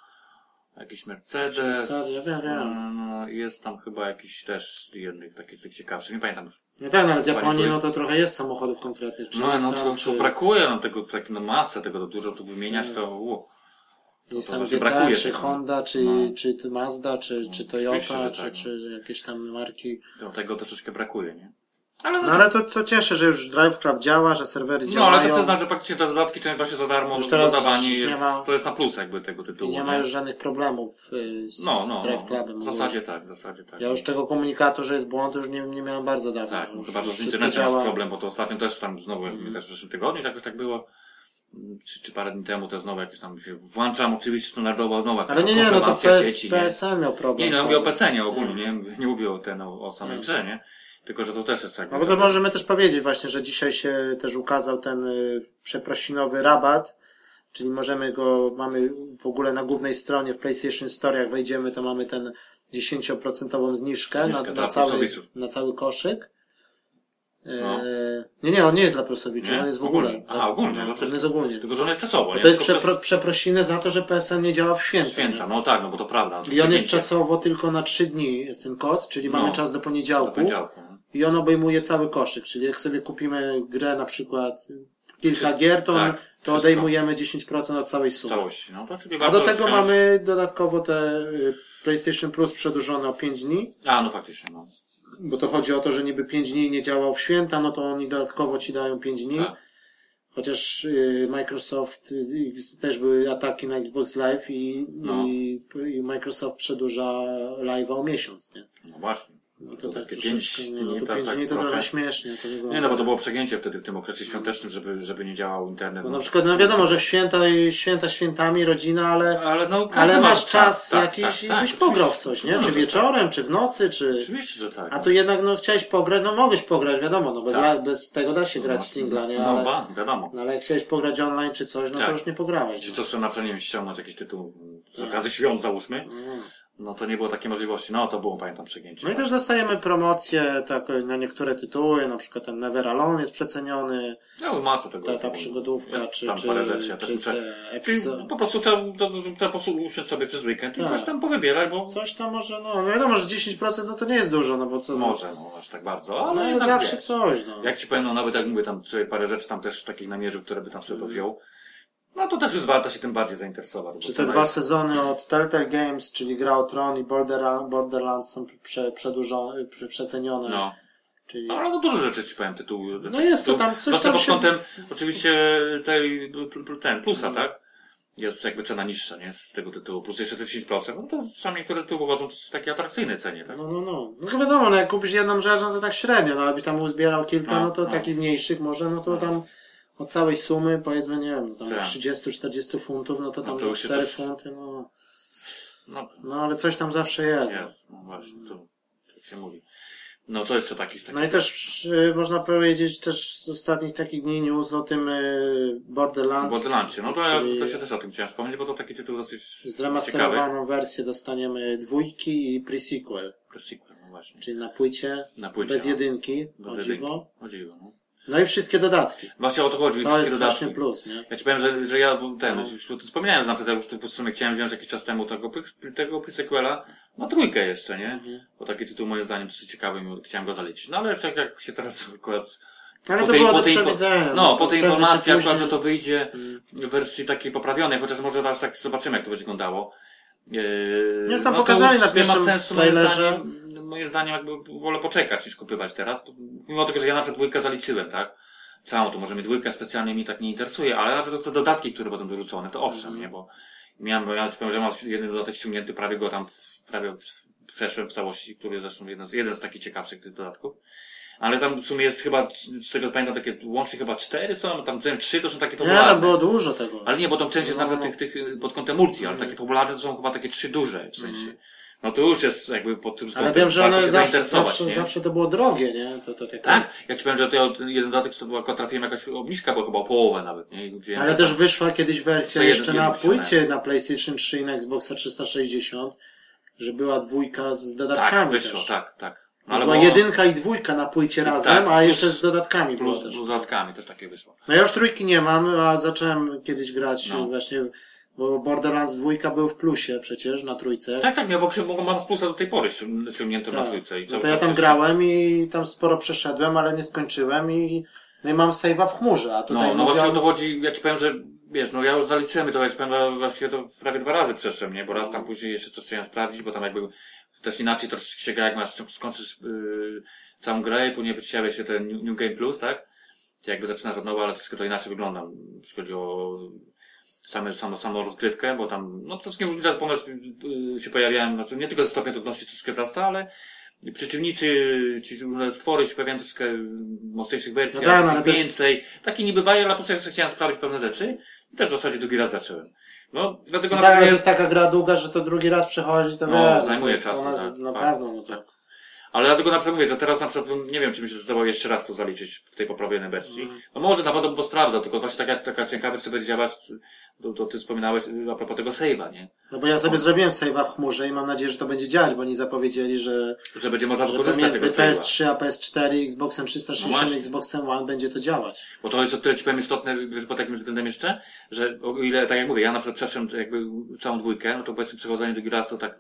jakiś Mercedes.
Mercedes, ja wiem, wiem.
no, Jest tam chyba jakiś też jednych takich tych ciekawszych, nie pamiętam już.
No tak, no, ale z
Pani
Japonii
tu-
no to trochę jest samochodów konkretnych. Czy
No, no,
Nissan,
to,
czy
to brakuje nam tego, tak, no masę tego, to dużo tu wymieniać, to u,
Nissan
właśnie
GT,
znaczy brakuje
czy
tego.
Honda, czy,
No.
czy tu Mazda, czy, czy
oczywiście,
Toyota,
że
czy,
tak, no.
czy jakieś tam marki.
to, tego troszeczkę brakuje, nie? Ale no,
No ale to, to cieszę, że już Drive Club działa, że serwery
no
działają.
ale to przyznam, że praktycznie te dodatki część właśnie za darmo
Już teraz
dodawanie
już nie
jest,
ma-
to jest na plus jakby tego
I
tytułu.
nie ma już żadnych problemów y, z
no, no,
Drive
no,
Clubem.
w zasadzie tak, w zasadzie tak.
Ja już tego komunikatu, że jest błąd, już nie, nie miałem bardzo dawno.
Tak, no,
Już
chyba, że z
wszystko
internetem jest
działa. Mhm.
problem, bo to ostatnio też tam znowu, mm. też w zeszłym tygodniu jakoś tak było, mm, czy, czy parę dni temu to znowu jakieś tam się włączam, oczywiście standardowo znowu jakaś
Ale nie, nie, no to
konserwacja
PS,
sieci, nie?
PSL miał problem.
Nie, no ja
z
mówię o
tym.
PC, nie ogólnie, nie,
Mm.
Mówię- nie mówię o, ten, o, o samej grze, nie? Tylko, że to też jest jakby...
No bo to możemy też powiedzieć właśnie, że dzisiaj się też ukazał ten y, przeprosinowy rabat, czyli możemy go, mamy w ogóle na głównej stronie w PlayStation Store, jak wejdziemy, to mamy ten 10% zniżkę na,
Zniżkę dla
na, cały,
plusowiczów.
na cały koszyk. E,
No.
Nie, nie, on nie jest dla prosowicza,
Nie?
on jest w ogóle.
Ogólnie. Aha, ogólnie, dla
no, on
wszystkich.
jest ogólnie.
Tylko, że on jest czasowo, nie?
To jest
Tylko
przepro, przeprosiny za to, że PSN nie działa w święta.
przez święta,
nie?
no tak, no bo to prawda.
I on jest
przygięcie
czasowo tylko na 3 dni, jest ten kod, czyli mamy
No.
czas do
Do
poniedziałku.
poniedziałku. nie?
I on obejmuje cały koszyk, czyli jak sobie kupimy grę na przykład kilka gier, to,
tak,
on, to
wszystko.
odejmujemy 10% od całej
W
sumy.
całości, no to czyli
A
warto
do tego
wziąć-
mamy dodatkowo te y, PlayStation Plus przedłużone o 5 dni,
A, no faktycznie, no.
bo to chodzi o to, że niby 5 dni nie działał w święta, no to oni dodatkowo ci dają 5 dni.
Tak.
Chociaż y, Microsoft, y, też były ataki na Xbox Live i,
No.
i, i Microsoft przedłuża live'a o miesiąc, nie?
No właśnie.
No to,
To
tak
takie
troszeczkę,
pięć
no,
dni,
to
tak,
5
tak
dni to trochę
trochę.
śmiesznie. To wygląda.
Nie, no bo to było przegięcie wtedy w tym okresie świątecznym, żeby, żeby nie działał internet.
Bo na przykład, no wiadomo, że w święta, i święta świętami, rodzina, ale,
ale, no, każdy
ale
ma-
masz czas
tak, tak,
jakiś
tak,
i
tak,
byś
oczywiście.
pograł w coś, nie?
No,
Czy
że tak.
wieczorem, czy w nocy, czy...
Oczywiście, że tak.
A tu jednak, no chciałeś pograć, no mogłeś pograć, wiadomo, no bez,
Tak.
la- bez tego da się grać w singla, nie?
No,
Ale,
ba, wiadomo.
no, ale jak chciałeś pograć online czy coś, no to
Tak.
już nie pograłeś.
Czy
No.
co trzeba na przykład, nie wiem, ściągnąć jakiś tytuł mm, z okazji świąt, załóżmy? No to nie było takiej możliwości. No to było, pamiętam, przegięcie.
No i też dostajemy promocje tak, na niektóre tytuły, na przykład ten Never Alone jest przeceniony,
No, masa tego
ta,
jest
ta
ogólnie.
przygodówka,
Jest
czy,
tam
czy,
parę rzeczy. Ja też
czy
muszę...
te
Czyli
epizo-
po prostu trzeba, to, to, to po prostu usiąść sobie przez weekend i
Tak.
coś tam powybierać, bo
Coś tam może, no, no wiadomo, że 10% no to nie jest dużo, no bo co...
może, no aż tak bardzo,
No,
ale,
ale
jednak
zawsze
wiesz.
coś, no.
Jak ci powiem, no nawet jak mówię, tam sobie parę rzeczy tam też takich namierzył, które by tam sobie to wziął. No to też jest warto się tym bardziej zainteresować. bo
Czy te
cena
dwa
jest-
sezony od Telltale Games, czyli Gra o Tron i Borderla- Borderlands są prze, przedłużone, prze, przecenione.
No.
Czyli...
No, ale no dużo rzeczy ci powiem tytuł.
No jest, co tam, coś
Znaczy
tam
pod
się-
kątem oczywiście tej, pl- pl- ten, plusa, tak? Jest jakby cena niższa, nie? Z tego tytułu. Plus jeszcze te 10%. No to są niektóre tytuły wychodzą w takiej atrakcyjnej cenie, tak?
No, no, no. No to wiadomo, no jak kupisz jedną rzecz, no to tak średnio, no ale byś tam uzbierał kilka,
No,
no to
no.
takich mniejszych może, no to tam od całej sumy, powiedzmy, nie wiem, no tam
Tak.
30-40 funtów, no to tam
to już się
4
coś-
funty, no.
No,
No ale coś tam zawsze jest. no.
jest. No właśnie, to tak się mówi. No co jeszcze takich z takich?
No i też y, można powiedzieć też z ostatnich takich dni news o tym y, Borderlands.
Borderlandsie. No to ja
czyli
to się też o tym chciałem wspomnieć, bo to taki tytuł dosyć ciekawy.
Zremasterowaną wersję dostaniemy dwójki i pre-sequel,
Sequel, no właśnie.
czyli na płycie,
Na płycie,
bez
no.
jedynki,
Bez
o
jedynki.
dziwo.
O dziwo, no.
No i wszystkie dodatki.
Właśnie o to chodzi,
To
wszystkie
jest
dodatki.
właśnie plus, nie?
Ja ci powiem, że, że ja był ten, już o tym wspomniałem, że na wtedy już tu w sumie chciałem wziąć jakiś czas temu tego, pre- tego prequela, ma trójkę jeszcze, nie? Bo taki tytuł moim zdaniem dosyć ciekawy, mimo- chciałem go zalecić. No ale tak jak się teraz (laughs) akurat...
Ale to było do
info-
przewidzenia.
No, po
To prędzej
tej
czy
informacji
później-
akurat, że to wyjdzie w wersji takiej poprawionej, chociaż może raz tak zobaczymy, jak to będzie wyglądało. Eee,
No już tam
to
pokazali na
nie ma
pierwszym
sensu, moim
trailerze.
zdaniem, moim zdaniem jakby wolę poczekać niż kupywać teraz, mimo tego, że ja na przykład dwójkę zaliczyłem, tak? Całą, to może mnie dwójka specjalnie mi tak nie interesuje, ale na przykład te dodatki, które będą dorzucone, to owszem,
Mhm.
nie, bo miałem, bo ja ci powiem, że mam jeden dodatek ściągnięty, prawie go tam, w- prawie w- przeszłem w całości, który jest zresztą jeden z, jeden z takich ciekawszych tych dodatków. Ale tam w sumie jest chyba, z tego pamiętam, takie łącznie chyba cztery są, tam powiem, trzy to są takie
Nie, tam
popularne.
było dużo tego.
Ale nie, bo tam część jest
No. Mhm.
nawet tych, tych y, pod kątem multi, ale takie popularne to są chyba takie trzy duże w sensie. No to już jest jakby pod tym
Ale
względem
wiem, że
warto
one
się
zawsze,
zainteresować,
zawsze,
nie?
zawsze to było drogie, nie? To, to takie...
Tak, ja ci powiem, że tutaj od jeden dodatek to była trafiłem jakaś obniżka, bo chyba o połowę nawet, nie? Gdzie
Ale też wyszła kiedyś
tak. Co
wersja
jeden
jeszcze
jeden
na
posiadałem.
płycie na PlayStation 3 i na Xboxa 360, że była dwójka z
tak,
dodatkami
wyszło,
też.
tak, tak. No,
była
było-
jedynka i dwójka na płycie razem,
tak,
a
plus-
jeszcze z dodatkami było
plus,
też.
plus z dodatkami też takie wyszło.
No ja już trójki nie mam, a zacząłem kiedyś grać
No.
właśnie, bo Borderlands dwójka był w plusie przecież na trójce.
Tak, tak, ja w ogóle mam z plusa do tej pory ścią- ściągniętą na trójce. I
no
cały
to ja
czas
tam
jeszcze-
grałem i tam sporo przeszedłem, ale nie skończyłem i, no i mam save'a w chmurze, a
No,
tutaj
no
mówią-
właśnie o to chodzi, ja ci powiem, że wiesz, no ja już zaliczyłem to, ja ci powiem, że właściwie to prawie dwa razy przeszedłem, nie? Bo raz
No.
tam później jeszcze coś chciałem sprawdzić, bo tam jakby też inaczej troszeczkę się gra, jak masz, skończysz yy, całą grę i później pojawia się ten New, New Game Plus, tak? Ty jakby zaczynasz od nowa, ale troszkę to inaczej wygląda, jeśli chodzi o same, samo, samo rozgrywkę, bo tam, no przede wszystkim różnica ponoć yy, się pojawiają, znaczy nie tylko ze stopnia trudności troszkę wzrasta, ale przeciwnicy, czy różne stwory się pojawiają troszkę w mocniejszych wersjach,
No tak, no,
jest
ale to jest-
więcej. Taki niby bajer, ale po prostu jak sobie chciałem sprawdzić pewne rzeczy i też w zasadzie drugi raz zacząłem. No, dlatego
No tak,
na pewno
ale to
jest...
jest taka gra długa, że to drugi raz przechodzi, to
No,
wiesz, to
zajmuje
jest
czasu,
ona z-
tak.
Na
Tak.
pewno, no to...
Ale dlatego na przykład mówię, że teraz na przykład nie wiem, czy bym się zdecydował jeszcze raz to zaliczyć w tej poprawionej wersji.
Mm.
No może na pewno bym posprawdzał, tylko właśnie taka, taka ciekawa, czy będzie działać, to, to ty wspominałeś y, a propos tego save'a, nie?
No bo ja sobie zrobiłem save'a w chmurze i mam nadzieję, że to będzie działać, bo oni zapowiedzieli, że,
Że będzie można
że to
wykorzystać No, tego
między
save'a.
PS3 a PS4 i Xboxem
No
360
właśnie.
i Xboxem One będzie to działać.
Bo to jest, to ci powiem istotne, wiesz, pod takim względem jeszcze, że o ile, tak jak mówię, ja na przykład przeszedłem jakby całą dwójkę, no to powiedzmy przechodzenie drugi raz to tak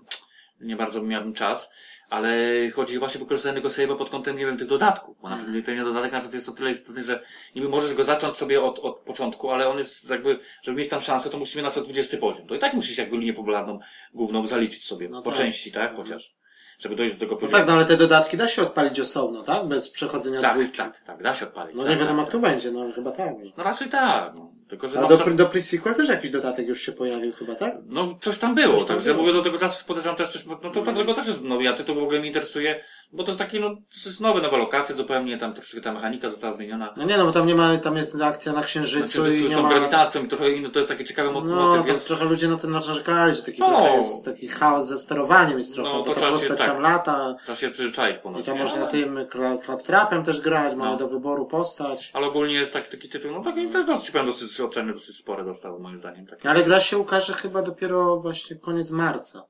nie bardzo miałbym czas, ale chodzi właśnie o wykorzystanie tego save'a pod kątem, nie wiem, tych dodatków, bo na
Mhm.
przykład ten dodatek na przykład jest o tyle istotny, że niby możesz go zacząć sobie od, od początku, ale on jest jakby, żeby mieć tam szansę, to musimy na przykład 20 poziom. To i tak musisz jakby linię popularną główną zaliczyć sobie,
No
po
tak.
części, tak, chociaż, żeby dojść do tego
No
poziomu.
tak, no ale te dodatki da się odpalić osobno, tak? Bez przechodzenia
tak,
dwójki.
tak, tak, da się odpalić.
No
tak,
nie wiadomo
tak,
kto będzie, no chyba tak.
No raczej tak, no. Tylko, że
A
na
do,
przykład-
do pre-sequel też jakiś dodatek już się pojawił chyba, tak?
No, coś tam było,
Coś tam
także
było. Mhm.
mówię do tego czasu, że podejrzewam też coś, no to mm. tego też jest, no ja tytuł w ogóle mnie interesuje, bo to jest taki, no, to jest nowe, nowe lokacje zupełnie, tam troszeczkę ta mechanika została zmieniona.
No nie no, bo tam nie ma, tam jest akcja na
Znaczy,
Księżycu
że
i
z
nie
tą
ma...
grawitacją i trochę inny, to jest taki ciekawy mot-
No,
motyw,
tam
więc...
trochę ludzie na ten narzekali, że taki
No.
trochę jest taki chaos ze sterowaniem jest trochę,
No, to
bo ta
trzeba się-
postać
tak.
tam lata
Trzeba się przyzwyczaić
i
ponoć.
tam
nie?
można
ale,
tym kla- klaptrapem też grać,
No.
mamy do wyboru postać.
ale ogólnie jest taki, taki tytuł, no taki
Mhm.
też dosyć, powiem, dosyć obszerny, dosyć spore dostało moim zdaniem. Taki.
No, Ale gra się ukaże chyba dopiero właśnie koniec marca.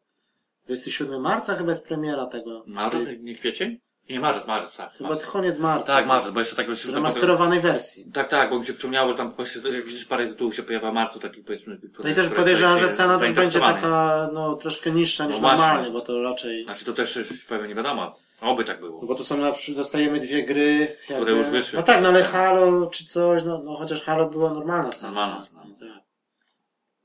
27 marca chyba jest premiera tego.
Marzec, nie kwiecień? Nie, marzec, marzec, tak.
Chyba
marzec.
koniec marca.
Tak, marzec, bo jeszcze tak... już-
Remasterowanej wersji.
Tak, tak, bo mi się przypomniało, że tam właśnie jakieś parę tytułów się pojawia w marcu, takich powiedzmy...
No
które-
i też
które
podejrzewam,
człowiek
że
się
cena też będzie
zainteresowany.
taka, no, troszkę niższa niż
No właśnie.
normalnie, bo to raczej...
Znaczy to też już pewnie nie wiadomo. Oby tak było.
No Bo tu są na przykład, dostajemy dwie gry, jakby...
już wyszły.
No tak, no ale Halo czy coś, no, no chociaż Halo było normalna cena.
Normalna cena.
Tak.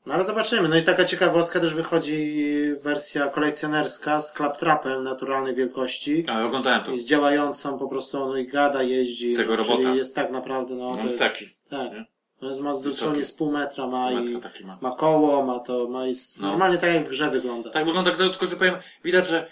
No ale zobaczymy. No i taka ciekawostka też wychodzi wersja kolekcjonerska z klaptrapem naturalnej wielkości.
Ale oglądałem to.
I z działającą po prostu on i gada, jeździ.
Tego
no,
robota.
Czyli jest tak naprawdę, no.
On
to
jest taki.
Tak.
nie?
No jest ma
Wysoki.
dosłownie z pół metra ma
Metra
i
taki ma.
ma koło, ma to, ma i s-
No.
normalnie tak jak w grze wygląda.
Tak wygląda, tylko że powiem, widać, że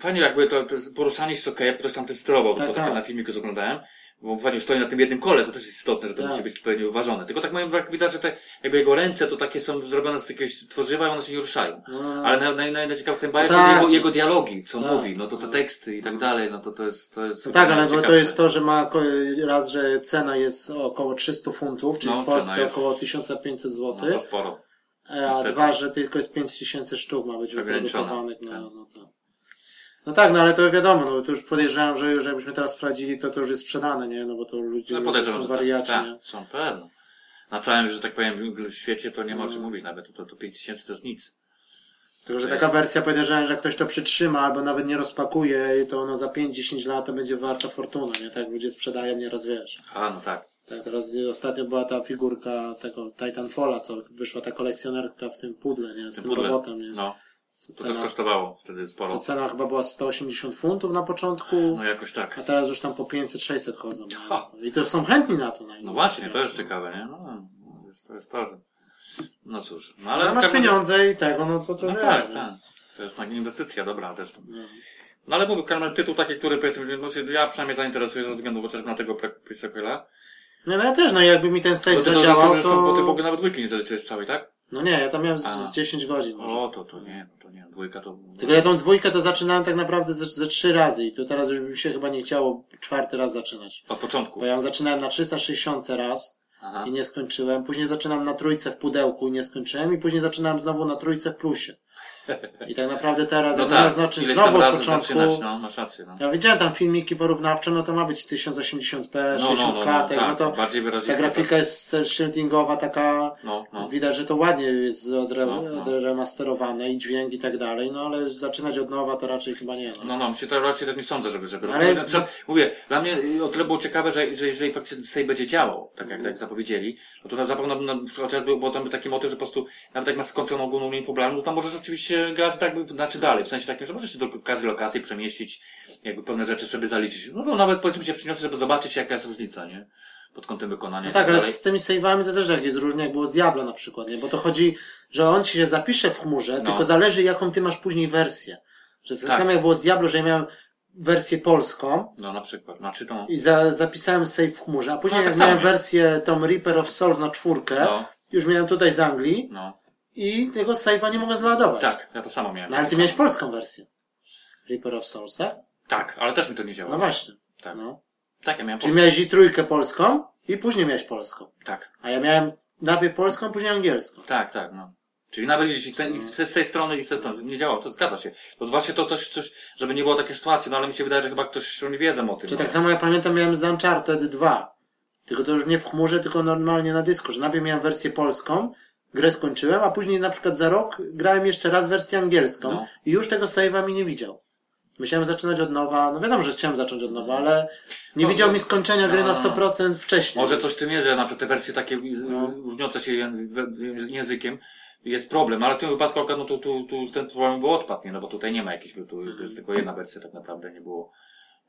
fajnie jakby to, to poruszanie się okej, ktoś tam tym sterował,
Tak,
bo to tak.
tak.
na filmiku oglądałem. Bo fajnie stoi na tym jednym kole, to też jest istotne, że to
Tak.
musi być pewnie uważone. Tylko tak moim brak widać, że te jakby jego ręce to takie są zrobione z jakiegoś tworzywa i one się nie ruszają.
no.
Ale naj- naj- naj- najciekawsze w tym bajerze
Tak.
jego, jego dialogi, co
Tak.
mówi, no to te teksty i tak dalej, no to to jest... To jest
No tak, ale bo to
najciekawsze.
jest to, że ma ko- raz, że cena jest około 300 funtów, czyli
No,
w Polsce
cena jest-
około 1500 zł,
No to sporo.
E, a
niestety.
dwa, że tylko jest 5000 sztuk ma być
Ograniczone,
wyprodukowanych. No,
tak.
no, tak. no tak, no ale to wiadomo, no to już podejrzewam, że już jakbyśmy teraz sprawdzili, to to już jest sprzedane, nie? No bo to ludzie
No
ludzie
podejrzewam,
są
że tak,
wariaci,
tak,
nie?
są pewno. Na całym, że tak powiem, świecie to nie ma o
No.
czym mówić nawet, to, to 5000 to jest nic.
Tylko, że
To
taka
jest-
wersja podejrzewam, że jak ktoś to przytrzyma albo nawet nie rozpakuje, to ona za 5-10 lat to będzie warta fortuna, nie? Tak ludzie sprzedają, nieraz wiesz.
A, no tak.
Tak, teraz ostatnio była ta figurka tego Titanfalla, co wyszła ta kolekcjonerka w tym pudle, nie? Z tym,
pudle.
robotem, nie?
No,
co,
to też
cena,
kosztowało wtedy
co
sporo.
cena chyba była 180 funtów na początku,
No jakoś tak.
a teraz już tam po 500-600 chodzą. nie?
Ha!
I to są chętni na to. Na
No właśnie, to jest ciekawe, nie? No, to jest to, że... No cóż, no ale...
Ale masz
tak-
pieniądze i tego, no to to
No
wiesz,
tak,
nie?
tak. To jest taka inwestycja dobra zresztą. No ale mówię, Karmel, tytuł taki, który powiedzmy, no, się- ja przynajmniej zainteresuję ze względu chociażby na tego pre- pre-sequela.
Nie, no ja też, no jakby mi ten
No
save
ty to, że
zadziałał,
zresztą po
to...
tym nawet dwójki nie zaliczyłeś całej, tak?
No nie, ja tam miałem z,
A.
z 10 godzin może.
O, to, to nie, no to nie. Dwójka to...
Tylko ja tą dwójkę to zaczynałem tak naprawdę ze, ze trzy razy i tu teraz już mi się chyba nie chciało czwarty raz zaczynać.
Od początku.
Bo ja ją zaczynałem na 360 raz
Aha. No
i nie skończyłem. Później zaczynam na trójce w pudełku i nie skończyłem. I później zaczynam znowu na trójce w plusie. I tak naprawdę teraz,
No
jak miałem
tak,
znaczyć
ileś
znaczy znowu
tam
od
razy
początku...
zaczynać, no, masz rację, no.
Ja widziałem tam filmiki porównawcze, no to ma być 1080p,
no,
60 klatek,
tak.
no, to
bardziej
ta
wyrazista.
grafika jest shieldingowa, taka
No, no.
widać, że to ładnie jest odre-
No, no.
odremasterowane i dźwięk i tak dalej, no ale zaczynać od nowa to raczej chyba nie. No.
No, no, mi się to raczej też nie sądzę, żeby, żeby
Ale-
ale... Na przykład, mówię, dla mnie y, o tyle było ciekawe, że, że jeżeli faktycznie Sej będzie działał, tak jak, jak zapowiedzieli, no to na zapewne na, chociażby bo tam był taki motyw, że po prostu nawet jak masz skończoną ogólną linię fabularną, no to możesz oczywiście grać tak, jakby- znaczy dalej, w sensie takim, że możesz się do każdej lokacji przemieścić, jakby pewne rzeczy sobie zaliczyć. No, no nawet powiedzmy się przyniosę, żeby zobaczyć jaka jest różnica, nie? Pod kątem wykonania.
No
i
tak, ale
dalej.
z tymi save'ami to też jak jest różnie, jak było z Diablo na przykład, nie? bo to chodzi, że on ci się zapisze w chmurze, tylko zależy jaką ty masz później wersję. Że to
No. Tak.
samo jak było z Diablo, że ja miałem wersję polską,
No na przykład, znaczy no,
I za, zapisałem save w chmurze, a później
No, tak
jak miałem
samo.
wersję tą Reaper of Souls na czwórkę,
No.
już miałem tutaj z Anglii
no.
i tego save'a nie mogę zladować.
Tak, ja to samo miałem.
No, ale
To
ty
samo.
miałeś polską wersję. Reaper of Souls, tak?
Tak, ale też mi to nie działa.
No właśnie.
Tak.
No.
Tak, ja miałem
Czyli
polską.
miałeś i trójkę polską i później miałeś polską.
Tak,
A ja miałem najpierw polską, później angielską.
tak, tak, no. Czyli nawet jeśli ten, i z tej strony i z tej strony nie działało, to zgadza się. Bo właśnie to też coś, żeby nie było takiej sytuacji, no ale mi się wydaje, że chyba ktoś oni wiedzą o tym.
Czy
no.
tak samo jak pamiętam miałem z Uncharted 2. Tylko to już nie w chmurze, tylko normalnie na dysku, że najpierw miałem wersję polską, grę skończyłem, a później na przykład za rok grałem jeszcze raz wersję angielską
No.
i już tego save'a mi nie widział. Musiałem zaczynać od nowa, no wiadomo, że chciałem zacząć od nowa, ale nie
No,
widział
no.
mi skończenia gry na 100% wcześniej.
Może coś w tym jest, że na przykład te wersje takie y,
No.
różniące się jen- we- językiem jest problem, ale w tym wypadku akurat, no tu, tu, tu już ten problem był odpadł, nie? no bo tutaj nie ma jakiejś, tu tu jest tylko jedna wersja tak naprawdę, nie było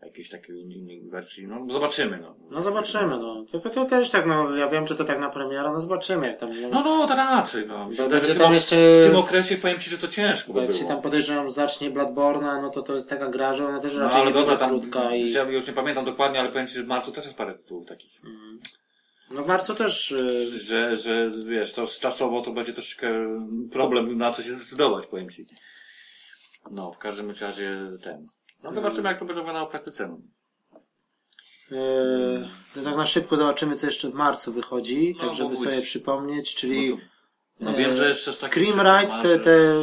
jakiejś takiej innej wersji, no zobaczymy, no.
No zobaczymy, no. Tylko to też tak, no ja wiem, czy to tak na premierę, no zobaczymy jak tam
No, no, to raczej, no. Mi się wydaje,
będzie
że w
tam
tym-
jeszcze-
W tym okresie powiem Ci, że to ciężko by
Jak się
było.
tam podejrzewam, zacznie Bladborna, no to to jest taka gra, że ona też
No
raczej
ale
Znaczy, nie
dobra,
będzie
tam, Znaczy,
krótka i...
ja już nie pamiętam dokładnie, ale powiem Ci, że w marcu też jest parę tytułów takich,
No w marcu też... y,
że, że wiesz, to z czasowo to będzie troszeczkę problem na co się zdecydować, powiem Ci. No, w każdym razie ten. No zobaczymy, jak to będzie wyglądało w praktyce. No.
Eee, No tak na szybko zobaczymy, co jeszcze w marcu wychodzi,
No,
tak żeby
mógłbyś-
sobie przypomnieć, czyli
No to- No wiem, że jeszcze... z takich
e, Scream Ride,
rzeczy ma,
te,
że-
te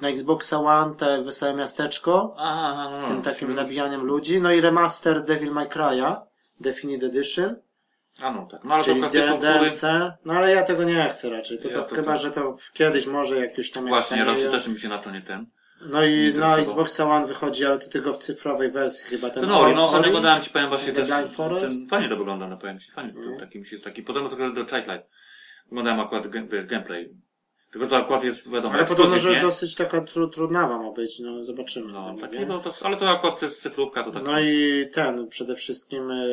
na Xboxa One, te Wesołe Miasteczko,
Aha, no, aha,
z tym takim
już-
zabijaniem ludzi, no i remaster Devil May Cry'a, Definite Edition,
A no tak, no ale to
czyli
akurat tytuł, który...
DLC, no ale ja tego nie chcę raczej, tylko
Ja to
chyba,
tak.
że to kiedyś może jakieś tam... jak
Właśnie,
stanieje.
raczej też mi się na to nie ten...
No i na
interesowało.
Xboxa One wychodzi, ale to tylko w cyfrowej wersji chyba ten
Ten Ori, no
Ori-
ostatnio oglądałem ci, powiem właśnie,
The Mhm.
też,
Blind Forest?
ten, fajnie to wygląda, no powiem ci, fajnie, to, taki mi się, taki, podobno tylko do Childlight. Oglądałem akurat, ge- wiesz, gameplay. Tylko to akurat jest, wiadomo,
Ale podobno,
ekskluzyw,
że
nie?
dosyć taka tru, trudnawa ma być, no zobaczymy.
No,
Chyba,
takie,
nie?
no to, ale to akurat jest cyfrówka, to tak.
No i ten, przede wszystkim e,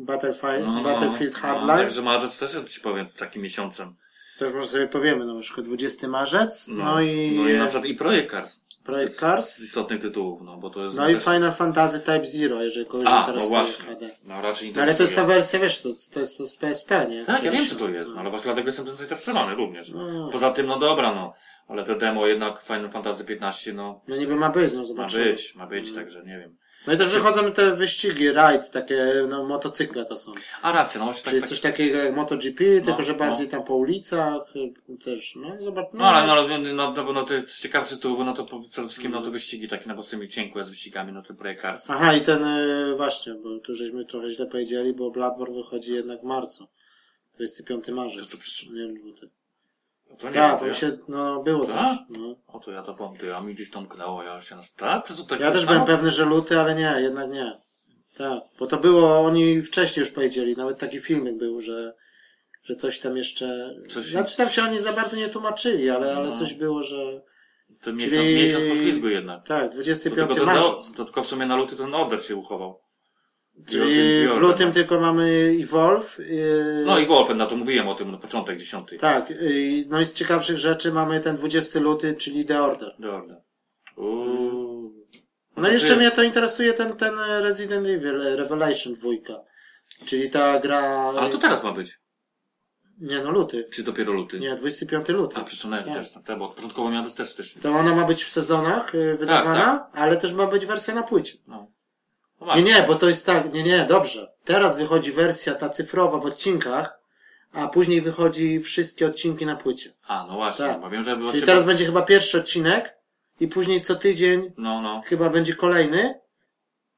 Battlefi- Battlefield
No,
Hardline.
także marzec też jest, ci powiem, takim miesiącem.
też może sobie powiemy, no na przykład 20 marzec, no, i,
No i na
e,
przykład i Projekt Cars.
Projekt
Z-
Cars.
Z istotnych tytułów, no bo to jest...
no i
też-
Final Fantasy Type Zero, jeżeli kogoś
A, no
interesuje
właśnie.
HD.
No raczej
No ale to jest ta
interesuje.
wersja, wiesz, to, to jest to z PSP, nie?
Tak, ja
Przecież-
wiem, co to jest, no, ale właśnie dlatego jestem tym zainteresowany również.
No.
Poza tym, no dobra, no, ale te demo jednak Final Fantasy 15, no,
No niby ma być, no
ma
zobaczymy.
być, ma być, także nie wiem.
No i też wychodzą te wyścigi, rajd, takie no, motocykle to są.
A racja, no właśnie
Czyli
tak, tak.
coś takiego jak MotoGP, tylko że bardziej tam po ulicach, y, też, no zobacz.
No ale no, ale, no, no, no, bo no to jest ciekawszy tytuł, no to po- przede wszystkim
Mm.
no to wyścigi takie na podstawie cienkie z wyścigami, no to projekt Cars.
Aha, i ten y, właśnie, bo tu żeśmy trochę źle powiedzieli, bo Bloodborne wychodzi jednak w marcu. 25 marzec.
To co przesu-
Nie wiem, czy to.
No to nie wiem,
Tak,
to
bo
ja,
mi się, no było coś.
Tak?
No.
O to ja to powiem, to ja mi gdzieś tam knęło, ja się nas... Tak? Przez to tak
Ja też
samo?
byłem pewny, że luty, ale nie, jednak nie. Tak, bo to było, oni wcześniej już powiedzieli, nawet taki filmik był, że, że coś tam jeszcze.
Coś- No.
Znaczy tam się oni za bardzo nie tłumaczyli, ale, ale coś było, że.
To miesiąc,
Czyli-
miesiąc po ślizgu
Tak,
jednak. To No, tylko,
25
ten,
marzec.
to, to tylko w sumie na luty ten order się uchował.
Czyli w
Jordan.
lutym tylko mamy Evolve. y,
No i Wolfen, na to mówiłem o tym na początek dziesiątej.
Tak, y, no i z ciekawszych rzeczy mamy ten 20 luty, czyli The Order.
The Order. Uuu.
No i jeszcze
Mm. ty-
mnie to interesuje ten, ten e, Resident Evil Revelation 2. Czyli ta gra. e,
Ale to teraz ma być.
Nie no, luty.
Czy dopiero luty?
Nie, 25 luty.
A przyczynę
Nie.
też, no, te, bo początkowo miała być też też.
To ona ma być w sezonach
Tak,
y, wydawana, ale też ma być wersja na płycie.
No.
Nie,
No właśnie.
nie, bo to jest tak, nie, nie, dobrze. Teraz wychodzi wersja ta cyfrowa w odcinkach, a później wychodzi wszystkie odcinki na płycie.
A, no właśnie,
Tak.
bo wiem, że
Czyli
właśnie...
teraz będzie chyba pierwszy odcinek i później co tydzień
No, no.
chyba będzie kolejny,